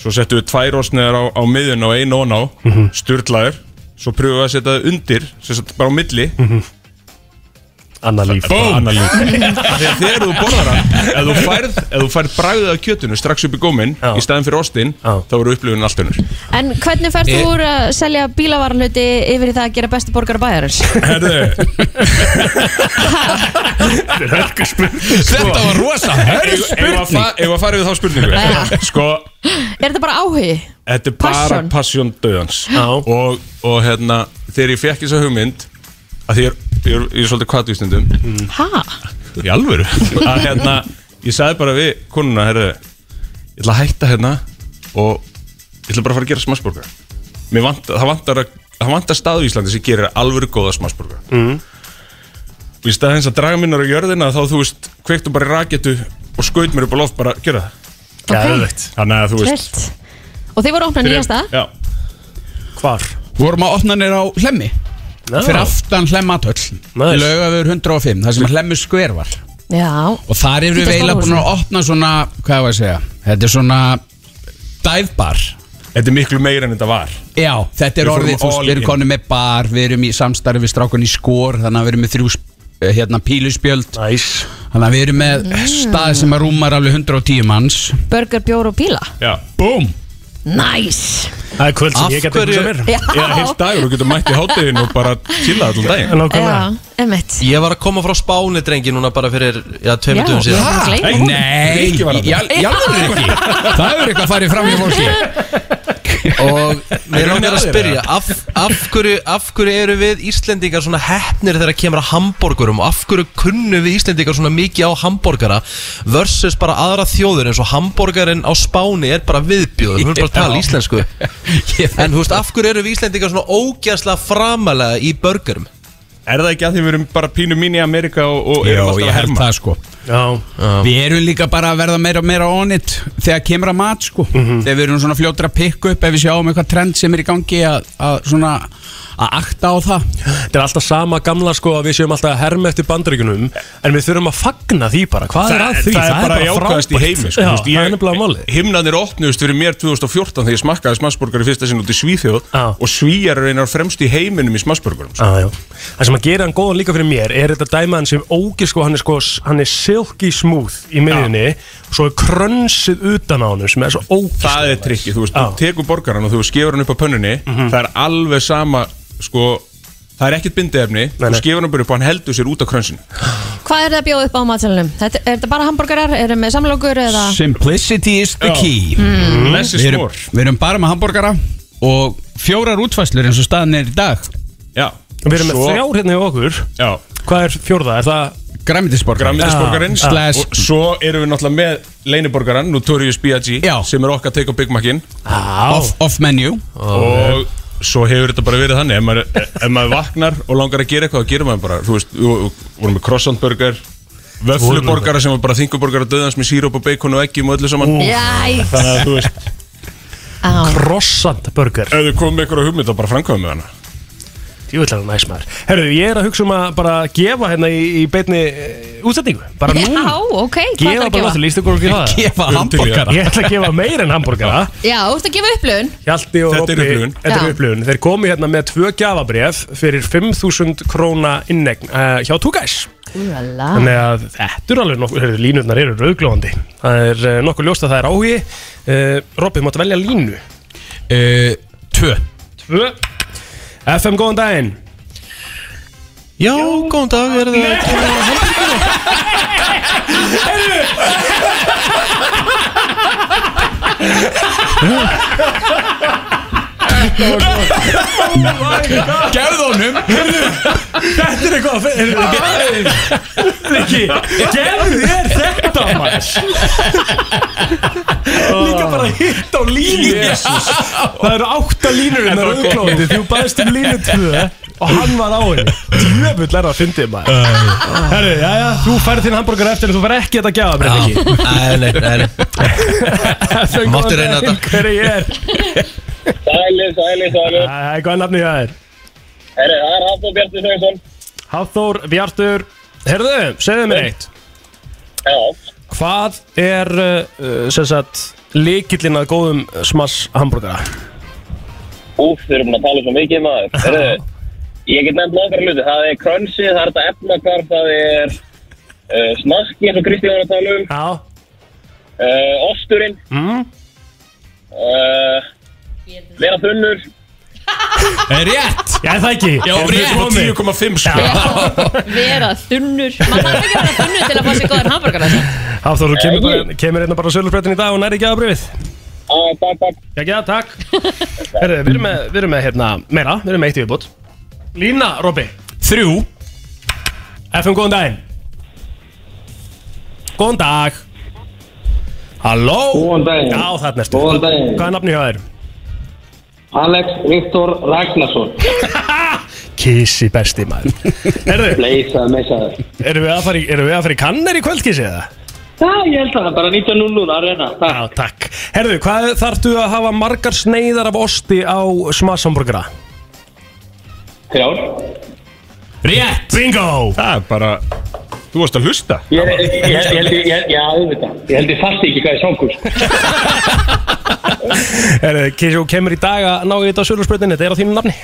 svo settum við tvær ostniðar á, á miðun og ein ón á, mm sturlaður svo pröfum við að setja það undir sem sagt bara á milli, Anna líf Bóm Þegar þegar þú borðar hann Ef þú færð, ef þú færð bragðið af kjötinu strax upp í góminn Já. Í staðin fyrir ostin Já. Þá eru upplifun allt önnur En hvernig færst þú úr að selja bílavarluti yfir í það að gera bestu borgar bæjarins? Herðu, Þetta var rosa eigum að fa- eigum að fara við þá spurningu Sko, Er þetta bara áhugi? þetta er bara Passion. passion döðans Já. og, og hérna, þegar ég fekk þessa hugmynd Að því ég er, ég er, ég er svolítið kvatt í stundum Ha? Í alvöru Að hérna, ég sagði bara við konuna Herðu, ég ætla að hætta hérna Og ég ætla bara að fara að gera smassborgara Mér vant, það vantar að Það vantar stað í Íslandi sem gerir alvöru góða smassborgara mm. Og í stað þess að draga minnar á jörðina Þá þú veist, kveiktum bara í raketu Og skaut mér upp á loft bara að gera það Geðveikt. Þannig að þú veist Vilt. Og þið voru að opna nýjasta? Já, Hvar? Vorum að opna nýra á hlemmi Ah. no. fyrir aftan hlemmatöll nice. lögafur 105, það sem hlemmu skver var Já og þar eru Hvíta við eiginlega búin að Smáhúsið. opna svona hvað var að segja, þetta er svona dive bar Þetta er miklu meira en þetta var Já, þetta er Við fórum orðið, þú veist, all við erum in. konum með bar við erum í samstarfi við strákun í skor þannig að við erum með þrjú sp- hérna, píluspjöld nice. þannig að við erum með stað sem að rúmar alveg 110 manns Burger, bjór og bíla Já, búm Næs Það er kvöld Af sem ég get ekki hverju- sem er Já. Já, heilt dagur, þú getur mætt í hátíðin og bara chilla allan daginn Já, emitt Ég var að koma frá Spáni, drengi, núna bara fyrir, já, tveimur Já, um dögum ég síðan var að gleyma honum. Nei, Rikki var þarna. í alveg ekki Það hefur eitthvað farið fram í fólki Og mér hvernig langar að að þér, spyrja af, af, hverju, af hverju eru við Íslendingar svona hefnir þegar kemur að hamborgurum og af hverju kunnum við Íslendingar svona mikið á hamborgara versus bara aðra þjóður eins og hamborgarinn á Spáni er bara viðbjóður, hún er bara að tala Já. íslensku En þú veist, af hverju eru við Íslendingar svona ógæslega framalega í börgurum? Er það ekki að því við erum bara pínu mín í Amerika og, og Jó, erum alltaf ég að held herma það sko Já, Við erum líka bara að verða meira og meira on it Þegar kemur að mat sko Mhm. Þegar við erum svona fljótur að pikka upp Ef við sjáum eitthvað trend sem er í gangi Að að svona að akta á það þetta er alltaf sama gamla sko að við séum alltaf að herma eftir bandaríkunum en við þurfum að fagna því bara, hvað er að því? það er bara jákvæðast í heimi sko, þú Já, veist, það er nefnilega máli Himnarnir opnuðust fyrir mér 2014 þegar ég smakkaði smassborgar í fyrsta sinn út í Svíþjóð Já. og svíjar er einar fremst í heiminum í smassborgarum sko. Ah, Já, já. Það sem að gera hann góðan líka fyrir mér er þetta dæma hann sem ógir sko, hann er sko, hann er silky smooth í miðjunni og svo er krönsið utan á hann sem er svo ógir Það er trikki, þú veist, Já. þú tekur borgaran og þú skefur hann upp á pönnunni Mhm. það er alveg sama, sko það er ekkert bindiðefni, Nei, þú nei. skefur hann bara upp og hann heldur sér út á krönsinu Hvað er það að bjóða upp á matsalunum? Þetta, er þetta bara hambúrgarar? Er það með samlokur eða? Simplicity is the Já. Mm. key Less is við, erum, more við erum bara með hambúrgara Og fjórar útfæslur eins og staðan er í dag Já, Við erum með Svo- þrjár hérna í okkur já Hvað er fjórða? Er það Græmitisborgar Grammiðisborgarinn Já. Ah. Slash- og svo erum við náttúrulega með leiniborgaran, Notorious B.I.G. Já. sem er okkar take á Big Mac-in off, off menu og svo hefur þetta bara verið þannig ef maður, ef maður vaknar og langar að gera eitthvað þá gerir maður bara, þú veist, við vorum með croissant burger, vöfluborgara sem var bara þinguborgara döðans með síróp og bacon og eggjum og öllu saman Jæks þannig að þú veist, Á. krossant burger ef þau komið með einhverja hugmynd þá bara framkvæmum með hana Júvilega næs maður Herru, ég er að hugsa um að bara gefa hérna í, í beinni eh, útsendingu Bara Já, núna ok, hvað er Gefa það að bara gefa? lóttu, líst ykkur okkur í það Gefa hambúrgara Ég ætla að gefa meir en hambúrgara Já, þú ert að gefa upplöun Hjalti og Þetta er Robbi- upplifun. Þetta er Já. upplifun Þeir komu hérna með tvö gjafabref fyrir 5.000 króna innegn uh, hjá Tugæs Úrala Þannig að þetta er alveg nokkuð, heyrðu, línurnar eru rauglóðandi Það er uh, nokkuð ljóst að það er áhugi uh, Robbi, þú mátt velja línu uh, Tvö Tvö FM, góðan daginn Já, góðan dag, er það Gerðu honum Þetta er eitthvað að fyrir Rikki, gerðu þér þetta maður Líka bara hitt á línu Það eru átta línur en það eru auðglóðandi Þú baðist um línu tvö og hann var á henni Djöfull er það að fyndið maður Herru, jæja, þú færð þinn hambúrgar eftir en þú færð ekki þetta að gefa mér ekki Nei, nei, nei, nei. Þau Máttu góðan reyna daginn, þetta. Hver er ég er Sæli, sæli, sæli Það er góðan nafni það er Herri, það er Hafþór Bjartur Sveinsson Hafþór, Bjartur Herðu, segðu mér eitt Já Hvað er uh, sem sagt líkillin að góðum smass hambúrgara? Úf, þið erum búin að tala svo mikið maður Herri, ég get nefnt nokkar hluti Það er krönsi, það er þetta efnakar Það er uh, smaski eins og Kristi var að tala um Já uh, Osturinn mm. uh, Vera þunnur Er Eh, rétt Ég er það ekki Já, Við erum komið á 10,5 sko Vera þunnur Maður þarf ekki að vera þunnur til að fá sér góðan sko. hambúrgar Hafþór, þú kemur, bara, kemur einna bara sölurbrötin í dag og næri ekki að bröfið ah, Takk, takk Já, já, takk Herru, við erum með, við erum með hérna, meira, við erum með eitt í viðbútt Lína, Robby Þrjú FM, góðan daginn Góðan dag Halló Góðan daginn. Já, þarna ertu Góðan daginn. Hvað er nafni hjá þér? Alex Viktor Ragnarsson Kissi besti maður Herru, Leysaði með sæður erum við að fara í, erum við að fara í kannar í kvöldkissi eða? Já, ég held að það er bara 19.00 að reyna Já, takk. Herðu, hvað þarftu að hafa margar sneiðar af osti á smasshamburgera? Þrjár Rétt Bingo Það er bara Þú varst að hlusta Ég ég- ég- ég- ég held ég, ég- já, auðvitað Ég held ég fasti ekki hvað ég sangur Herðu, Kissi, þú kemur í dag að ná í þetta á sölurspröðinu, þetta er á þínu nafni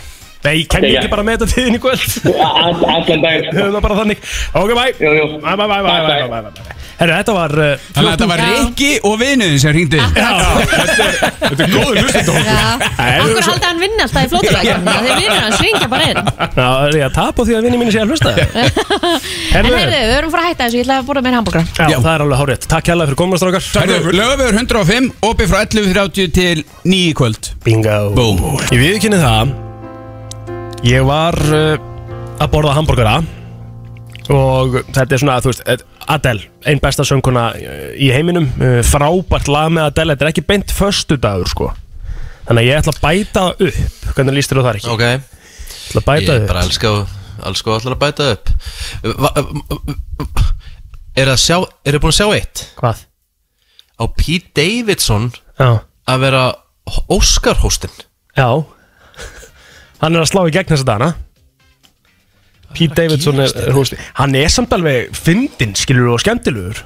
Nei, kem ég Já. ekki bara með þetta tíðin í kvöld Allan daginn Höfum það bara þannig Ok, bæ Jú, jú Bæ, bæ, bæ, bæ, bæ, bæ, bæ, bæ Herru, þetta var uh, Þannig að þetta var Rikki og vinuðin sem hringdi Þetta er góður hlustendur Akkur haldi hann vinna alltaf í flótulækjum Þeir vinur hans ringja bara inn Já, er ég að tapa á því að vinni mínu sé að hlusta En Herðu. heyrðu, við erum frá að hætta þessu Ég ætla að borða mér hambúrgra Já, það er alveg hárið Takk hérlega fyrir komast okkar Lögafjör 105, opið frá 11.30 til 9 í kvöld Bingo Oh, Búm Ég viðkynni það Ég var uh, að borða hambúrgara Og þetta er svona, þú veist, eh, Adele, ein besta sönguna eh, í heiminum eh, Frábært lag með Adele, þetta er ekki beint föstudagur, sko Þannig að ég ætla að bæta það upp Hvernig líst þér á það ekki? Ok Ég ætla að bæta Ég það upp bara elska og elska og allar að bæta upp Va- Er það sjá Er það búin að sjá eitt? Hvað? Á Pete Davidson Já, að vera Óskarhóstin já Hann er að slá í gegn þessa dana Pete Davidson er, er hústi Hann er samt alveg fyndinn, skilur og skemmtilegur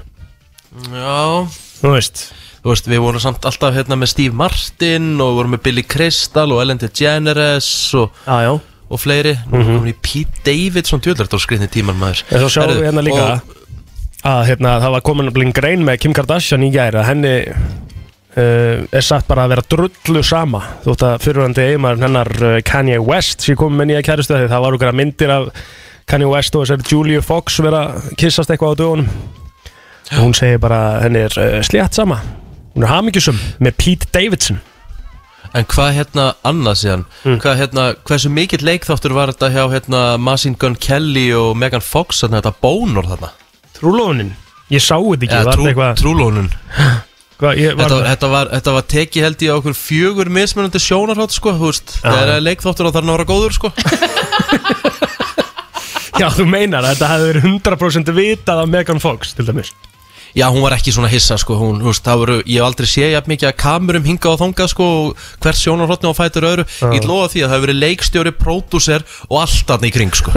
Já Þú veist Þú veist, við vorum samt alltaf hérna með Steve Martin og við vorum með Billy Crystal og Ellen DeGeneres og, Já, já og fleiri Nú erum við í Pete Davidson djöldrætt á skriðni tíman maður Mhm. En svo sjáum Herðu, við hérna líka og, að hérna, það var komin að blinn grein með Kim Kardashian í gæri að henni uh, er sagt bara að vera drullu sama þótt að fyrirhandi eiginmaður hennar uh, Kanye West sé komin með nýja kæristu því það var okkar myndir af Kanye West og þessari Julia Fox vera að kyssast eitthvað á dögunum og hún segir bara að henni er uh, slétt sama hún er hamingjusum með Pete Davidson En hvað hérna annað síðan Mm. hvað, hérna, Hversu mikill leikþáttur var þetta hjá hérna, Machine Gun Kelly og Megan Fox þarna, þetta bónor þarna trúlónin, ég sá þetta ekki Eða var þetta eitthvað trúlónun hvað, ég, var, þetta, þetta, var, þetta var tekið held ég á okkur fjögur mismunandi sjónarhátt sko, þú veist, þegar er leikþáttur á þarna að vera góður sko. já þú meinar að þetta hefði verið 100% vitað af Megan Fox til dæmis Já, hún var ekki svona hissa sko, hún, þú veist, það voru, ég hef aldrei séð jafn mikið að kamerum hinga og þonga sko, og hvert sjónarhóttni á fætur öðru, ég lofa því að það hefur verið leikstjóri, pródúser og allt þarna í kring sko.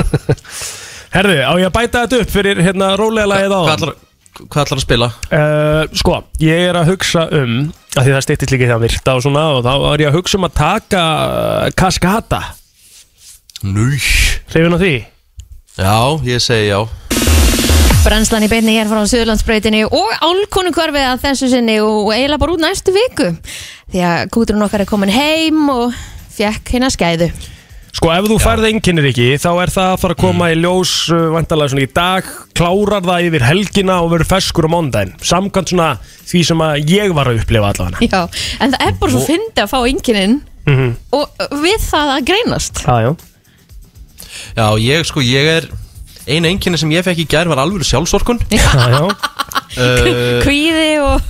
Herði, á ég að bæta þetta upp fyrir hérna rólega lagið á Hvað ætlar, hvað ætlar að spila? uh, Sko, ég er að hugsa um að Því það styttist líka í það virta og svona Og þá er ég að hugsa um að taka uh, Kaskata, Nú, hrifin á því já, ég segi já. Brennslan í beinni hér frá Suðurlandsbreytinni og álkonungvarfið að þessu sinni og eiginlega bara út næstu viku því að kúturinn okkar er komin heim og fekk hérna skæðu Sko, ef þú færð enginnir ekki, þá er það að fara að koma í ljós uh, Vantarlega svona í dag Klárar það yfir helgina og verður feskur á mándaginn Samkvæmt svona því sem að ég var að upplifa allavega Já, en það er bara svo fyndi að fá ynginin Mhm. og við það að greinast Já, Ah, já Já, ég sko, ég er, eina enginni sem ég fekk í gær var alvöru sjálfsorkun. Já, Ah, já, Uh, Kvíði og,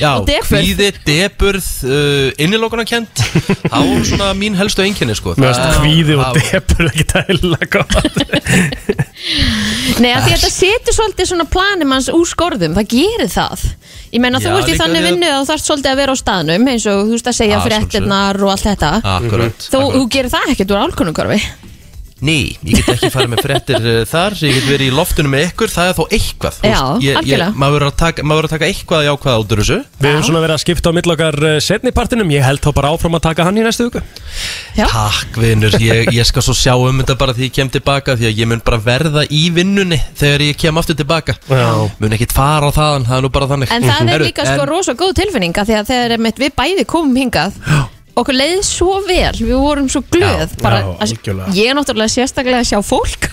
já, og defur kvíði, deburð, uh, innilokunarkend, það voru svona mín helstu enginni sko. mér finnst Það- kvíði og það- depur ekki dæla gott Nei, að því að þetta setur svolítið svona planum hans úr skorðum, það gerir það Ég meina, þú Já, ert í líka þannig því að- vinnu að þú þarft svolítið að vera á staðnum eins og þú veist að segja Ah, fréttinnar og allt þetta Akkurat. Þú, þú gerir það ekkert úr álkonungvarfi Ný, ég get ekki farið með frettir þar Ég get verið í loftinu með ykkur, það er þó eitthvað þú Já, veist. ég, ég, algjörlega. Maður verður að taka- maður verður að taka eitthvað jákvæða út úr þessu Við höfum svona verið að skipta á millokkar setni partinum Ég held þá bara áfram að taka hann í næstu viku Já. Takk vinnur, ég, ég skal svo sjá um þetta bara því ég kem tilbaka Því að ég mun bara verða í vinnunni þegar ég kem aftur tilbaka Já. Mun ekkit fara á þaðan, það er nú bara þannig En það er Herru, líka sko en- rosa góð tilfinninga því að þegar einmitt við bæði komum hingað okkur leið svo vel, við vorum svo glöð bara, já, að- algjörlega. ég er náttúrulega sérstaklega að sjá fólk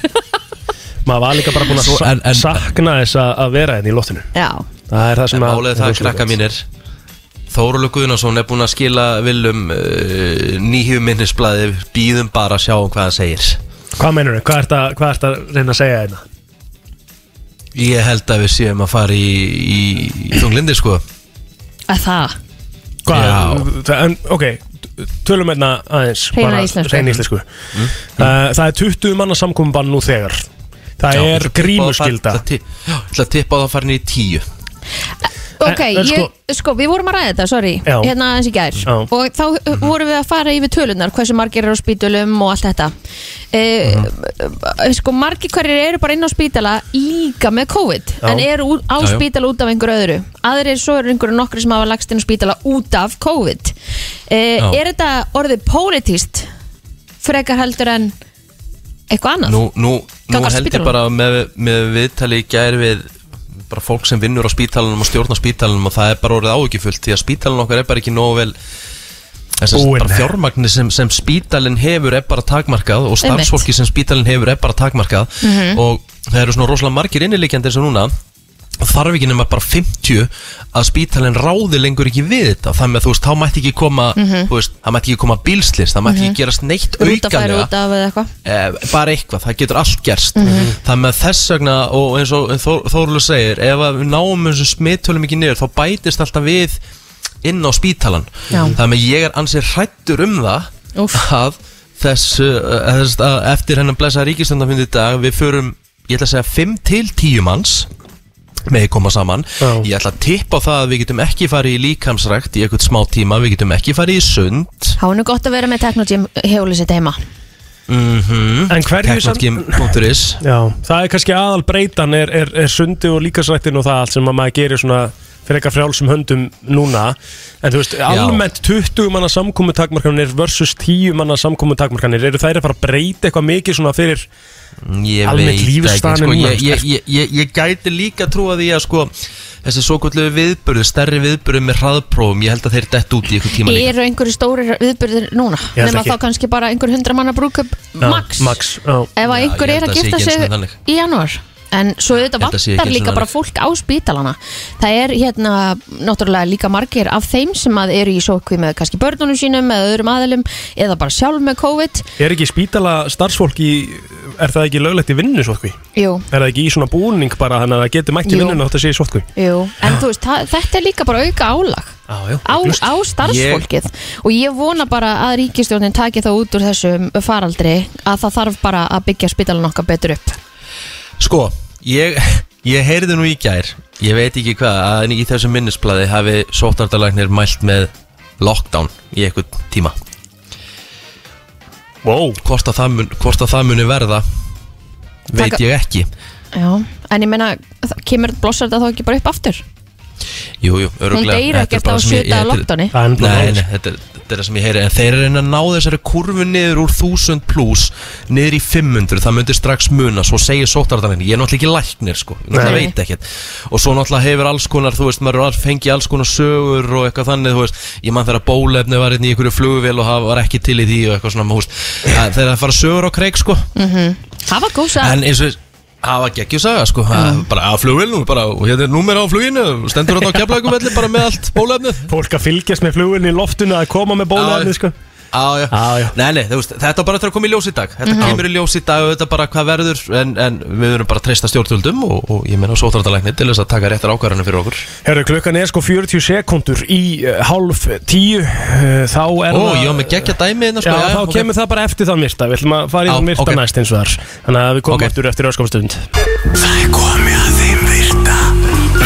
maður var líka bara búin að Svo- sa en- en- sakna þess að að vera henni í lottinu Já, það er það sem En að málið er það að krakka mínir Þórulega Guðnason er búinn að skila Viljum uh, nýhjum minnisblæði Býðum bara að sjá um hvað hann segir hvað meinur þau, hvað ert að, hvað ert að reyna að segja hérna Ég held að við séum að fara í, í, í þunglindi sko að það hvað, það- en, ok, tölum hérna aðeins Hreina bara íslensku. hreina íslensku. Mm. Uh, það er 20 manna samkomin bann nú þegar það Já, ég ætla að tippa er á það- grímuskylda Það ti- já, ég ætla að tippa á það farin í tíu Ok, En- en ég, sko- sko, við vorum að ræða þetta, sorry Já. Hérna aðeins í gær Já. Mhm. Og þá uh, vorum við að fara yfir tölunar Hversu margir eru á spítulum og allt þetta e, Mhm. Sko, margir hverjir eru bara inn á spítala Líka með COVID Já. En eru út- á Já, já. spítala út af einhverju öðru Aðrir svo eru einhverju nokkri sem hafa lagst inn á spítala Út af COVID e, Já. Er þetta orðið pólitíst? Frekar heldur en Eitthvað annað? Nú, nú, nú Gagnvart held ég spítalanum. bara með, með viðtali í gær við bara fólk sem vinnur á spítalunum og stjórnar spítalunum og það er bara orðið áhyggjufullt því að spítalun okkar er bara ekki nógu vel þess að Búin. bara fjármagnir sem, sem spítalinn hefur er bara takmarkað og Einmitt. starfsfólki sem spítalinn hefur er bara takmarkað Mhm. og það eru svona rosalega margir innileikjandi eins og núna og þarf ekki nema bara 50 að spítalinn ráði lengur ekki við þetta þannig að þú veist, þá mætti ekki koma Mhm. þú veist, það mætti ekki koma bílslis, það mætti Mhm. ekki gerast neitt Rútafæri aukanlega út af eða eitthvað eh, bara eitthvað, það getur allt gerst Mhm. þannig að þess vegna og eins og Þór, Þórlu segir ef að við náum þessu smittölum ekki niður þá bætist alltaf við inn á spítalan Já. þannig að ég er ansið hrættur um það Úff. að þess, eh, þess að eftir hennan blessa ríkistöndafundi í dag við förum, ég ætla að segja 5 til 10 manns með koma saman ég ætla að tippa á það að við getum ekki farið í líkamsrækt í eitthvað smá tíma við getum ekki farið í sund Há er nú gott að vera með teknogym hjólu sitt heima mm -hmm. Mhm. En hverju samt- Teknogym.is Já, það er kannski aðal breytan er, er, er sundi og líkasrættin og það allt sem að maður gerir svona frekar frjálsum höndum núna en þú veist, almennt 20 manna samkomutakmarkanir versus 10 manna samkomutakmarkanir eru þær að fara að breyta eitthvað mikið svona fyrir Ég almennt veit ekki, lífstæðan sko, ég, ég, ég, ég, ég gæti líka trúa því að sko, þessi svo kvöldlegu viðbörðu, stærri viðbörðu með hraðprófum, ég held að þeir dett út í eitthvað tíma líka Eru einhverju stórir viðbyrðir núna? Ég held Nefna ekki. þá kannski bara einhver hundra manna brúkup max Max já. Ef að einhver ég er held að að sé gifta ekki sig einu sinni þannig. í janúar En svo Ég auðvitað held að sé ekki vantar einu sinni líka bara þannig. fólk á spítalana Það er hérna náttúrulega líka margir af þeim sem að eru í sókví með kannski börnunum sínum eða öðrum aðilum eða bara sjálf með COVID Er ekki spítala starfsfólk í er það ekki löglegt í vinnu svo því? Jú, Er það ekki í svona búning bara þannig að það getur mætt í Jú. vinnuna þótt að sé í sótkví? jú, en þú veist, það, þetta er líka bara auka álag Já, já, á, á starfsfólkið og ég vona bara að ríkistjórnin taki það út úr þessum faraldri að það þarf bara að byggja spítalan okkar betur upp Sko, ég, ég heyrði nú í gær, ég veit ekki hvað, að í þessu minnisbladi hafi sóttartalagnir mælt með lockdown í eitthvað tíma Wow Hvort að það, mun, hvort að það muni verða, veit Taka- ég ekki Já, en ég meina, það- kemur blossar þetta þá ekki bara upp aftur? Jú, jú, öruglega deyr ekkert á sjö daga lockdowni. Það er Nei, bara nei, mál. þetta, er- þetta er það sem ég heyri En þeir eru að reyna að ná þessari kurvu niður úr 1000 pluss Niður í 500, það myndir strax muna Svo segir sóttarðaninn, ég er náttúrulega ekki læknir sko Ég náttúrulega Nei. veit ekkert Og svo náttúrulega hefur alls konar, þú veist, maður er all- fengið alls konar sögur Og eitthvað þannig, þú veist Ég mann þegar bólefni var einn í einhverju flugvél Og það var ekki til í því og eitthvað svona þú veist. Það- Þeir eru að fara sögur á kreik sko Mm Það var góð En sæð eins og Það var geggjum saga sko, mm. bara að flugvélnum, bara, og hérna er númer á fluginu, stendur þetta á keflækumelli bara með allt bólefnið. Fólk að fylgjast með flugurinn í loftuna að koma með bólaefni sko Já, já. Já, já. Nei, nei, þú veist, þetta á bara eftir að koma í ljós í dag Þetta Mhm. kemur í ljós í dag og þetta bara hvað verður en, en við verðum bara að treysta stjórnvöldum og, og ég meina sótratalækni til þess að taka réttar ákvarðanir fyrir okkur Herru, klukkan er sko 40 sekundur í uh, hálf tíu uh, Þá er Ó, ég var með geggja dæmi hérna, sko, Já, já, þá ok. kemur það bara eftir þann myrta Við ætlum að fara í Já, þann myrta ok. næst eins og þar Þannig að við komum eftir eftir öskamstund Það er komið að þeim virta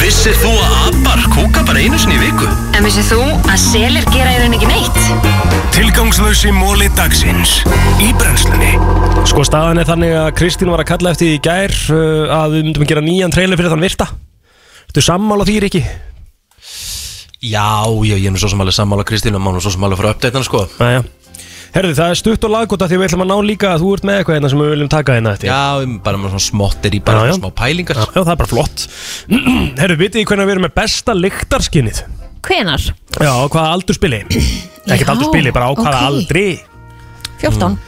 Vissir þú að abar kúka bara einu sinni í viku? En vissið þú að selir gera í raun ekki neitt? Tilgangslösi móli dagsins Í brennslunni Sko, staðan er þannig að Kristín var að kalla eftir því í gær uh, að við myndum að gera nýjan trailer fyrir þann myrta Þú sammála því, Riki? Já, já, ég er nú svo sem alveg sammála Kristín og mánu svo sem alveg frá uppdættan sko Næja Herru, það er stutt og laggóta því við ætlum að ná líka að þú ert með eitthvað hérna sem við viljum taka hérna eftir Já, bara með svona smottir í bara já, smá pælingar Já, það er bara flott Herru, vitið þið hvernig við erum með besta lyktarskinnið? Hvenar? Já, á hvaða aldur spili? Ekkert aldur spili, bara á hvaða ok. aldri 14,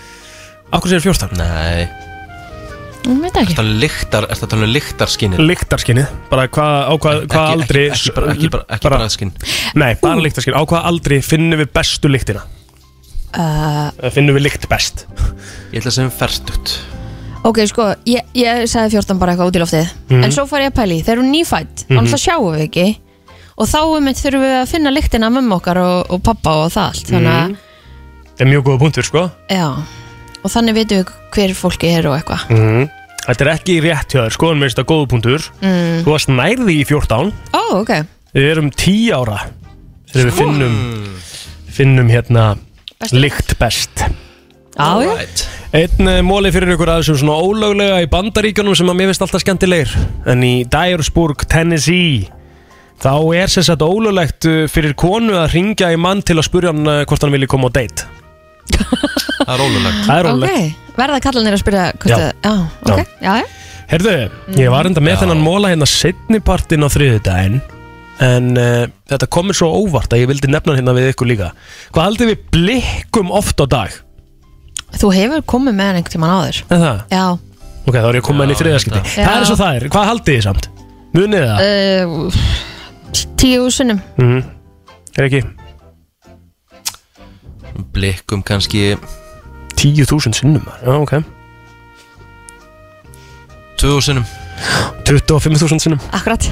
Akkur sér 14? Nei, mm. veit ekki þetta lyktar, er þetta talað um lyktarskinni? Lyktarskinnið, bara hvað, á hvað, hvað ekki- aldri ekki bara- ekki bara- ekki bragðskyn Nei, bara lyktarskinn, á hvað aldri finnum við bestu lyktina? uh, Eða Finnum við lykt best? Ég ætla að segja um ferstut Ok, sko, ég, ég sagði 14 bara eitthvað út í loftið Mhm. En svo far ég að pæli, þeir eru nýfætt mm Mhm. -hmm. Það sjáum við ekki Og þá um eitt þurfum við að finna lyktina af mömmu okkar og, og pappa og það allt Þannig að, Mhm. Það er mjög góða punktur, sko já Og þannig vitum við hver fólki er og eitthvað Mhm. mm. Þetta er ekki rétt hjá þér, sko, en mér finnst það góða punktur mm. Þú varst nærði í 14 Ó, ok Við erum 10 ára Þegar Sko. við finnum Finnum hérna Lykt best Á, já. Einn eh, móli fyrir ykkur að þessum svona ólöglega í bandaríkjunum sem að mér finnst alltaf skemmtilegir En í Dyersburg, Tennessee Þá er sem sagt ólöglegt eh, fyrir konu að ringja í mann til að spurja hann eh, hvort hann vilji koma á date Það er ólöglegt Það er ólöglegt Ok, verða kallanir að spyrja hvort Já. að, já, ok, já, já. Herðu, ég var enda með þennan móla hérna setnipartin á þriðudaginn En uh, þetta komir svo óvart að ég vildi nefna hann hérna við ykkur líka Hvað haldið við blikkum oft á dag? Þú hefur komið með hann einhvern tíman áður Er það? Já, Ok, þá er ég að koma henni í þriðaskipti þetta. Það Já. er svo það er, hvað haldið þið samt? Munið það? uh, tíu sinnum Uh. Mm. Er ekki? Blikkum kannski 10.000 sinnum maður. Já, ok 2000 sinnum 25.000 sinnum Akkurat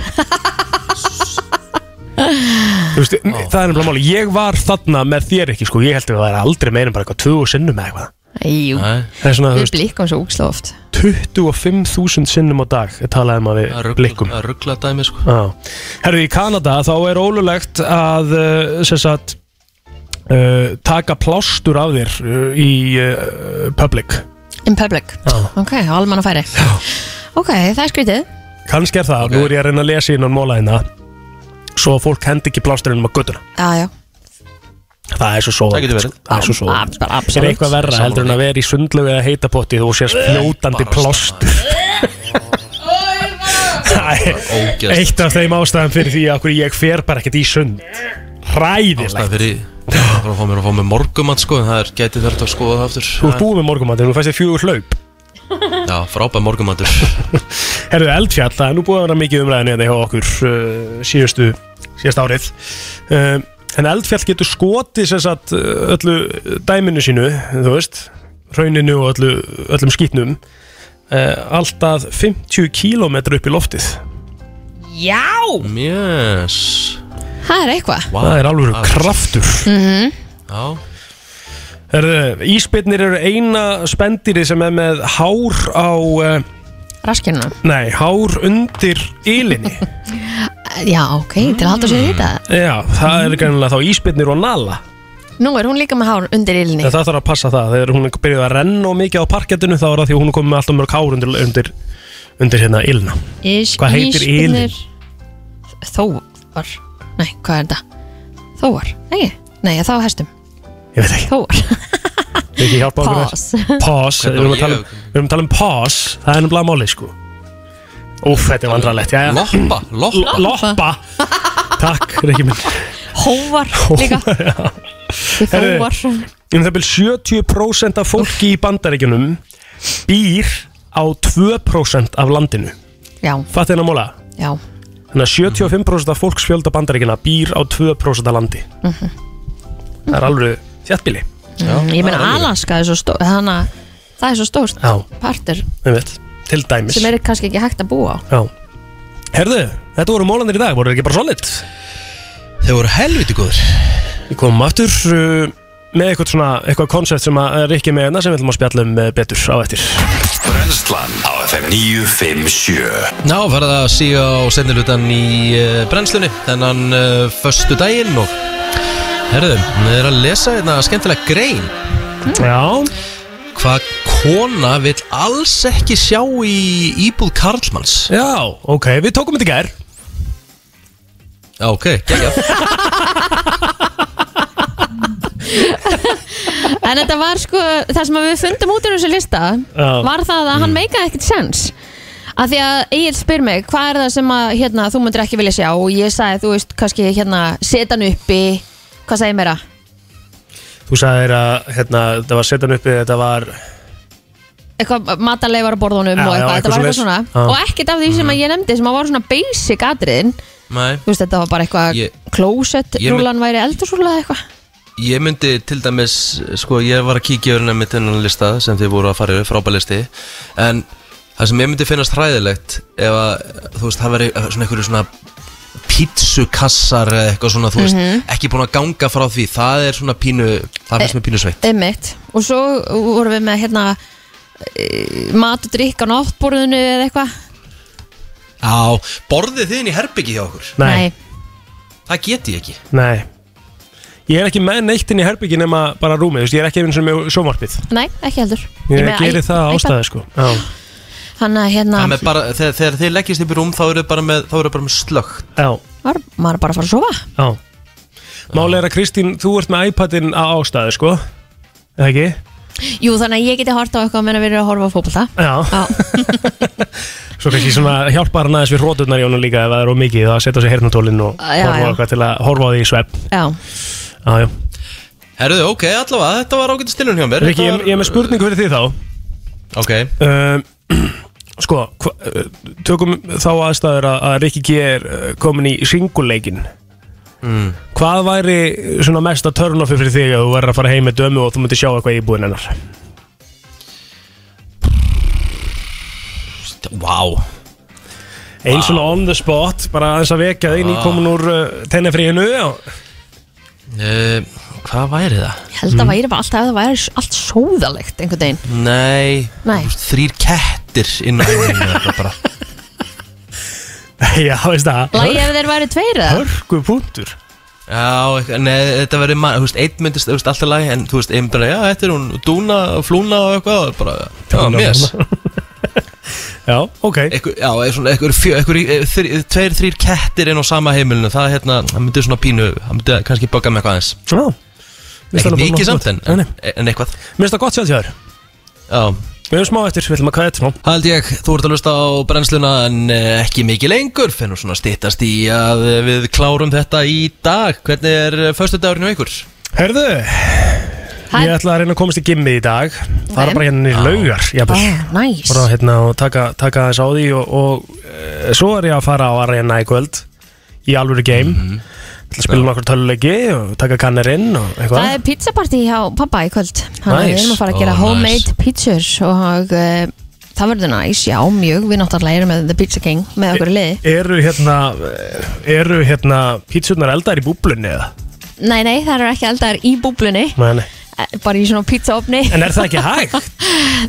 Þú veist, það er nefnilega máli Ég var þarna með þér ekki, sko Ég held að það er aldrei meina bara eitthvað 20 sinnum eða eitthvað Jú, Það er svona, þú við veist, blíkum svo úkslega oft 25.000 sinnum á dag er talað um að við blikkum Það ruggla dæmi sko Já. Herðu, í Kanada þá er ólulegt að uh, sem sagt, uh, taka plástur af þér uh, í uh, public In public Já. Ok, á almannafæri Ok, það er skrítið Kannski er það, nú er ég að reyna að lesa innan móla hérna svo að fólk hendi ekki plásturinn um að guttuna Já, já Það er svo svo Það getur verið. Það er svo svo Ab- Er eitthvað verra Sammála heldur en að vera í sundlegu eða heitapotti þú sést fljótandi plástur Það er Ógeðslegt. Eitt af þeim ástæðan fyrir því að okkur ég fer bara ekkert í sund Hræðilegt Ástæðan fyrir Það er að fá mér að fá mér morgumat sko En það er gæti þurft að skoða það aftur Þú ert búið með morgumatur, þú fæst þér fjögur hlaup Já, frábæð morgumatur Herðu eldfjall, það er nú búið að vera mikið umræðinu hérna hjá okkur uh, síðustu, síðast árið um, En eldfjall getur skotið sem sagt uh, öllu dæminu sínu, þú veist Rauninu og öllu, öllum skýtnum uh, Alltaf 50 km upp í loftið Já Mjöss Það er eitthvað Vá. Það er alveg kraftur Mhm. Já Herðu, ísbyrnir eru eina spendýri sem er með hár á uh, Raskinu Nei, hár undir ylinni Já, ok, til að halda sér í þetta Já, það er gæmlega þá ísbyrnir og nala Nú er hún líka með hár undir ilni En það þarf að passa það, þegar hún er byrjuð að renna og mikið á parkettinu þá er það því að hún er komið með alltaf mörg hár undir, undir, undir hérna ilna Ís, Hvað heitir ísbirnir- Þóvar Nei, hvað er þetta? Þóvar, ekki? Nei, þá er hestum Ég veit ekki Þóvar Við ekki hjálpa okkur Pause. þess Pause, við Hvernig á erum að tala um, við erum að tala um pause, það er nefnilega máli sko Úff, þetta er vandralegt jæja. Loppa, loppa. Loppa, takk, Rikki minn Hóvar líka Þið Herðu, Þóvar Um það byrjum 70% af fólki í bandaríkjunum býr á 2% af landinu Já, Fattið hennar móla? já Þannig að 75% af fólksfjölda bandaríkina býr á 2% af landi Það er alveg þjættbíli Mm, Ég meina Alaska er svo stór Þannig að það er svo stórt Já, partur við veit, til dæmis sem er kannski ekki hægt að búa á Já Herðu, þetta voru mólandir í dag, voru þeir ekki bara solid? Þeir voru helviti góður Við komum aftur uh, með eitthvað svona, eitthvað koncept sem að er ekki með hérna sem við ætlum að spjalla um uh, betur á eftir Brennslan á FM 957 Já, verða að síga á sendilutan í uh, brennslunni Þennan uh, föstu daginn og Herðu, við erum að lesa hérna skemmtilega grein Já, Hvað kona vill alls ekki sjá í íbúð Karlmanns já, ok, við tókum þetta í gær Já, ok, gegja En þetta var sko, það sem að við fundum út úr þessu lista Já. Mm. var það að hann meikaði ekkert sens að því að Egil spyr mig hvað er það sem að hérna, þú myndir ekki vilja sjá og ég sagði, þú veist, kannski hérna seta hann uppi, hvað sagði ég meira? Þú sagðir að, hérna, þetta var setan uppi, þetta var eitthvað matarleifar á Já, já, borðunum og eitthvað, þetta eitthvað var eitthvað svona svoleiðis. Já. og ekkert af því sem að ég nefndi sem að var svona basic atriðin Nei, þú veist, þetta var bara eitthvað Ég- closet, ég mynd- rúlan væri eldursúla eitthvað ég myndi til dæmis Sko, ég var að kíkja öðruna með þennan lista sem þið voru að fara yfir, frábælisti En það sem ég myndi finnast hræðilegt Ef að, þú veist, það veri svona einhverju svona pítsukassar eða eitthvað svona, þú veist, Mhm. ekki búin að ganga frá því, það er svona pínu það finnst mér pínu sveitt Einmitt. og svo vorum við með hérna eh, mat og drikk á náttborðinu eða eitthvað Já, borðið þið inn í herbyggi hjá okkur Nei, Það get ég ekki Nei Ég er ekki með neitt inn í herbyggi nema bara rúmið, þú veist, ég er ekki eins og með sjónvarpið Nei, ekki heldur Ég, meina, geri æ- það iPad. ástæði sko Já. Hann að hérna Það með bara, þegar, þegar þið leggist upp í rúm þá eru þið bara með, þá eru þið bara með slögt Já, var, Maður er bara að fara að sofa já Máli er að Kristín, þú ert með iPadin á ástæði sko Eða ekki? Jú, þannig að ég geti hort á eitthvað meðan við erum að horfa á fótbolta Já Svo kannski svona hjálpar hann aðeins við hróturnar í honum líka ef það er of mikið það setja á sig hernatólinn og Já, horfa á já. eitthvað til að horfa á því í svepp Já, Já, já Herruðu, ok, allavega, þetta var ágætið stilun hjá mér Riki, ég, ég er með spurningu fyrir því þá Ok um, Sko, hva, uh, tökum þá aðstæður að, að Riki G er uh, komin í singuleikin mm. Hvað væri svona mesta törnoffi fyrir þig að þú verður að fara heim með dömu og þú myndir sjá eitthvað í búinn hennar? Vá Einn svona on the spot, bara aðeins að vekja þig, Vá. nýkomin úr uh, tennefríinu uh, Hvað væri það? Mm. ég held að væri bara alltaf að það væri s- allt sóðalegt einhvern veginn Nei, Nei. þú veist, þrýr kettir inn á heiminu þetta bara Já, veist það Lægi ef þeir væri tveir eða? Hörgu punktur Já, eitthvað- nei, þetta verður mann, þú veist, einn myndist, þú veist, alltaf lagi, en þú veist, einn bara, já, þetta er hún, dúna, og flúna og eitthvað, og bara, já, Dúna og mér. Já, ok. Ekkur, já, eða svona, ekkur, fjö, ekkur, þr, tveir, þrýr kettir inn á sama heimilinu, það, hérna, það myndi svona pínu, það myndi kannski bögga með eitthvað aðeins. Já Mér finnst Ekkert það bara mikið nokkuð samt, en, gott. Nei, en, nei. en eitthvað. Mér finnst það gott sjálf þér Já. Við erum smá eftir, við ætlum að kæða þetta smá Haldi ég, þú ert að lusta á brennsluna en eh, ekki mikið lengur, finnum svona stýttast í að eh, við klárum þetta í dag. Hvernig er föstudagurinn á ykkur? Herðu, ég ætla að reyna að komast í gimmi í dag Það er Ok. bara hérna í laugar jafnvel. Ó, næs. Bara hérna og taka, taka þess á því og, og e, svo er ég að fara á arena í kvöld Í alvöru game Mhm. mm að spila nokkur töluleiki og taka kannerinn og eitthvað Það er pizzapartí hjá pappa í kvöld Þannig að Nice. við erum að fara að gera Ó, homemade nice. pizzur og uh, það verður næs, já, mjög Við náttúrulega erum með The Pizza King með okkur í liði Eru hérna, eh, eru hérna pítsurnar eldar í búblunni eða? Nei, nei, það eru ekki eldar í búblunni Nei, nei. eh, bara í svona pizzaofni En er það ekki hægt?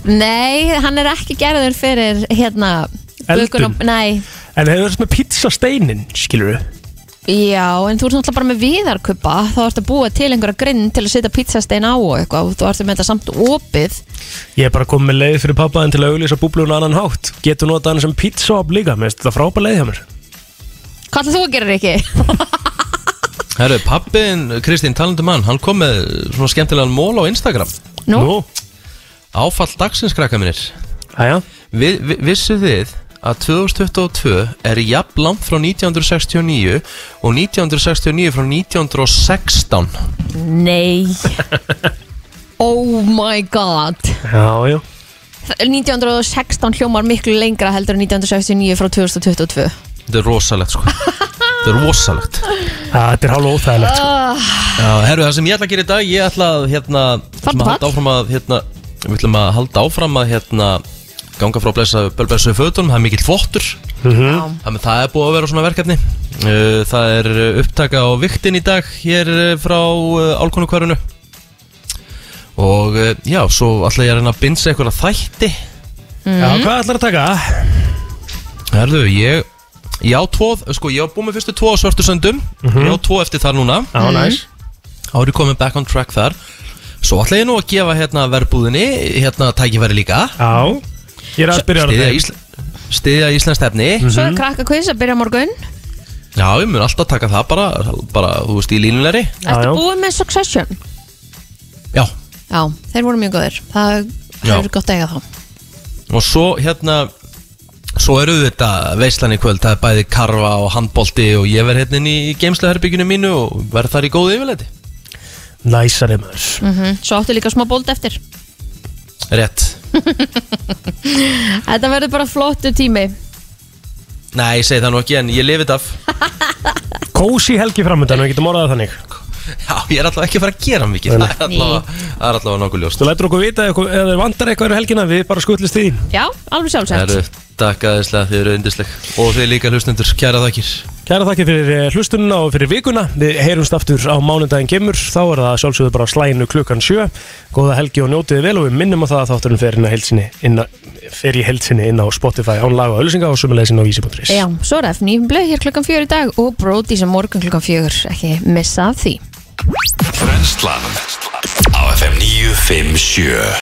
Nei, hann er ekki gerður fyrir hérna Eldun? bökun og- Nei, En hefur þetta með pizzasteinin, skilur við? já, en þú ert náttúrulega bara með viðarkuppa þá ert að búa til einhverja grinn til að setja pizzastein á og eitthvað og þú ert með þetta samt opið Ég er bara komið með leið fyrir pappaðin til að auglýsa búblun á annan hátt Getur notað hann sem pizzaop líka, mér finnst þetta frábæð leið hjá mér Hvað ætlar þú að gera, Riki? Herru, pappin, Kristín, talandum hann, hann kom með svona skemmtilegan mól á Instagram. Nú? Áfall dagsins, krakka mínir. Æja. Vi, vi, vissu þið að 2022 er jafn langt frá 1969 og 1969 frá 1916. Nei Oh my god Já, já 1916 hljómar miklu lengra heldur en 1969 frá 2022 Þetta er rosalegt, sko. Þetta er rosalegt. Þetta er hálf óþægilegt, sko uh, Já, herru, það sem ég ætla að gera í dag, ég ætla að hérna, við ætlum að halda áfram að hérna, við ætlum að halda áfram að hérna ganga frá blessa, bölbessu fötunum, það er mikill flottur Mhm. Þannig að það er búið að vera svona verkefni Uh, Það er uh, upptaka á viktin í dag hér uh, frá álkonukvarunu og uh, já, svo ætla ég að reyna að binsa eitthvað þætti Já, hvað ætlar að taka? Herðu, ég ég á tvo, sko, ég á búið með fyrstu tvo á svörtu söndum Mhm. Ég á tvo eftir það núna Já, næs. Þá er ég komin back on track þar Svo ætla ég nú að gefa hérna verbúðinni hérna tækifæri líka Já, ég er að spyrja á Stiðja, þeim. Ísla, stiðja Íslands tefni Svo er krakka quiz að byrja á morgun Já, ég mun alltaf taka það bara, bara þú veist, í línulegri Ertu búið með Succession? Já. Já, þeir voru mjög góðir Það Já. hefur gott að eiga þá Og svo hérna Svo eru þetta veislan í kvöld Það er bæði karfa og handbolti Og ég verð hérna inn í geimsluherbygginu mínu Og verð þar í góðu yfirleiti Næsari maður mm Svo áttu líka smá bóld eftir Rétt Þetta verður bara flottu tími Nei, ég segi það nú ekki En ég lifið af Kósi helgi framöndan, við getum orðað það þannig Já, ég er alltaf ekki að fara að gera mikið Það er allavega- það er allavega nokkuð ljóst Þú lætur okkur vita ef ef þið vantar eitthvað eru helgina Við bara skutlist í því Já, alveg sjálfsagt Herru, Takk aðeinslega, þið eru yndisleg Og þið líka hlustendur, kæra þakkir Kæra þakki fyrir eh, hlustunina og fyrir vikuna Við heyrumst aftur á mánudaginn kemur Þá er það sjálfsögðu bara á slæinu klukkan sjö Góða helgi og njótiði vel og við minnum á það að þátturinn fer, inn á heild sinni- inn á- fer í heldsinni inn á Spotify án laga og öllusinga og sumulegðsinn á vísi.is Já, svo er F9 blöð hér klukkan fjör í dag og Brody sem morgun klukkan fjör, ekki missa af því. Brennslan Á FM 957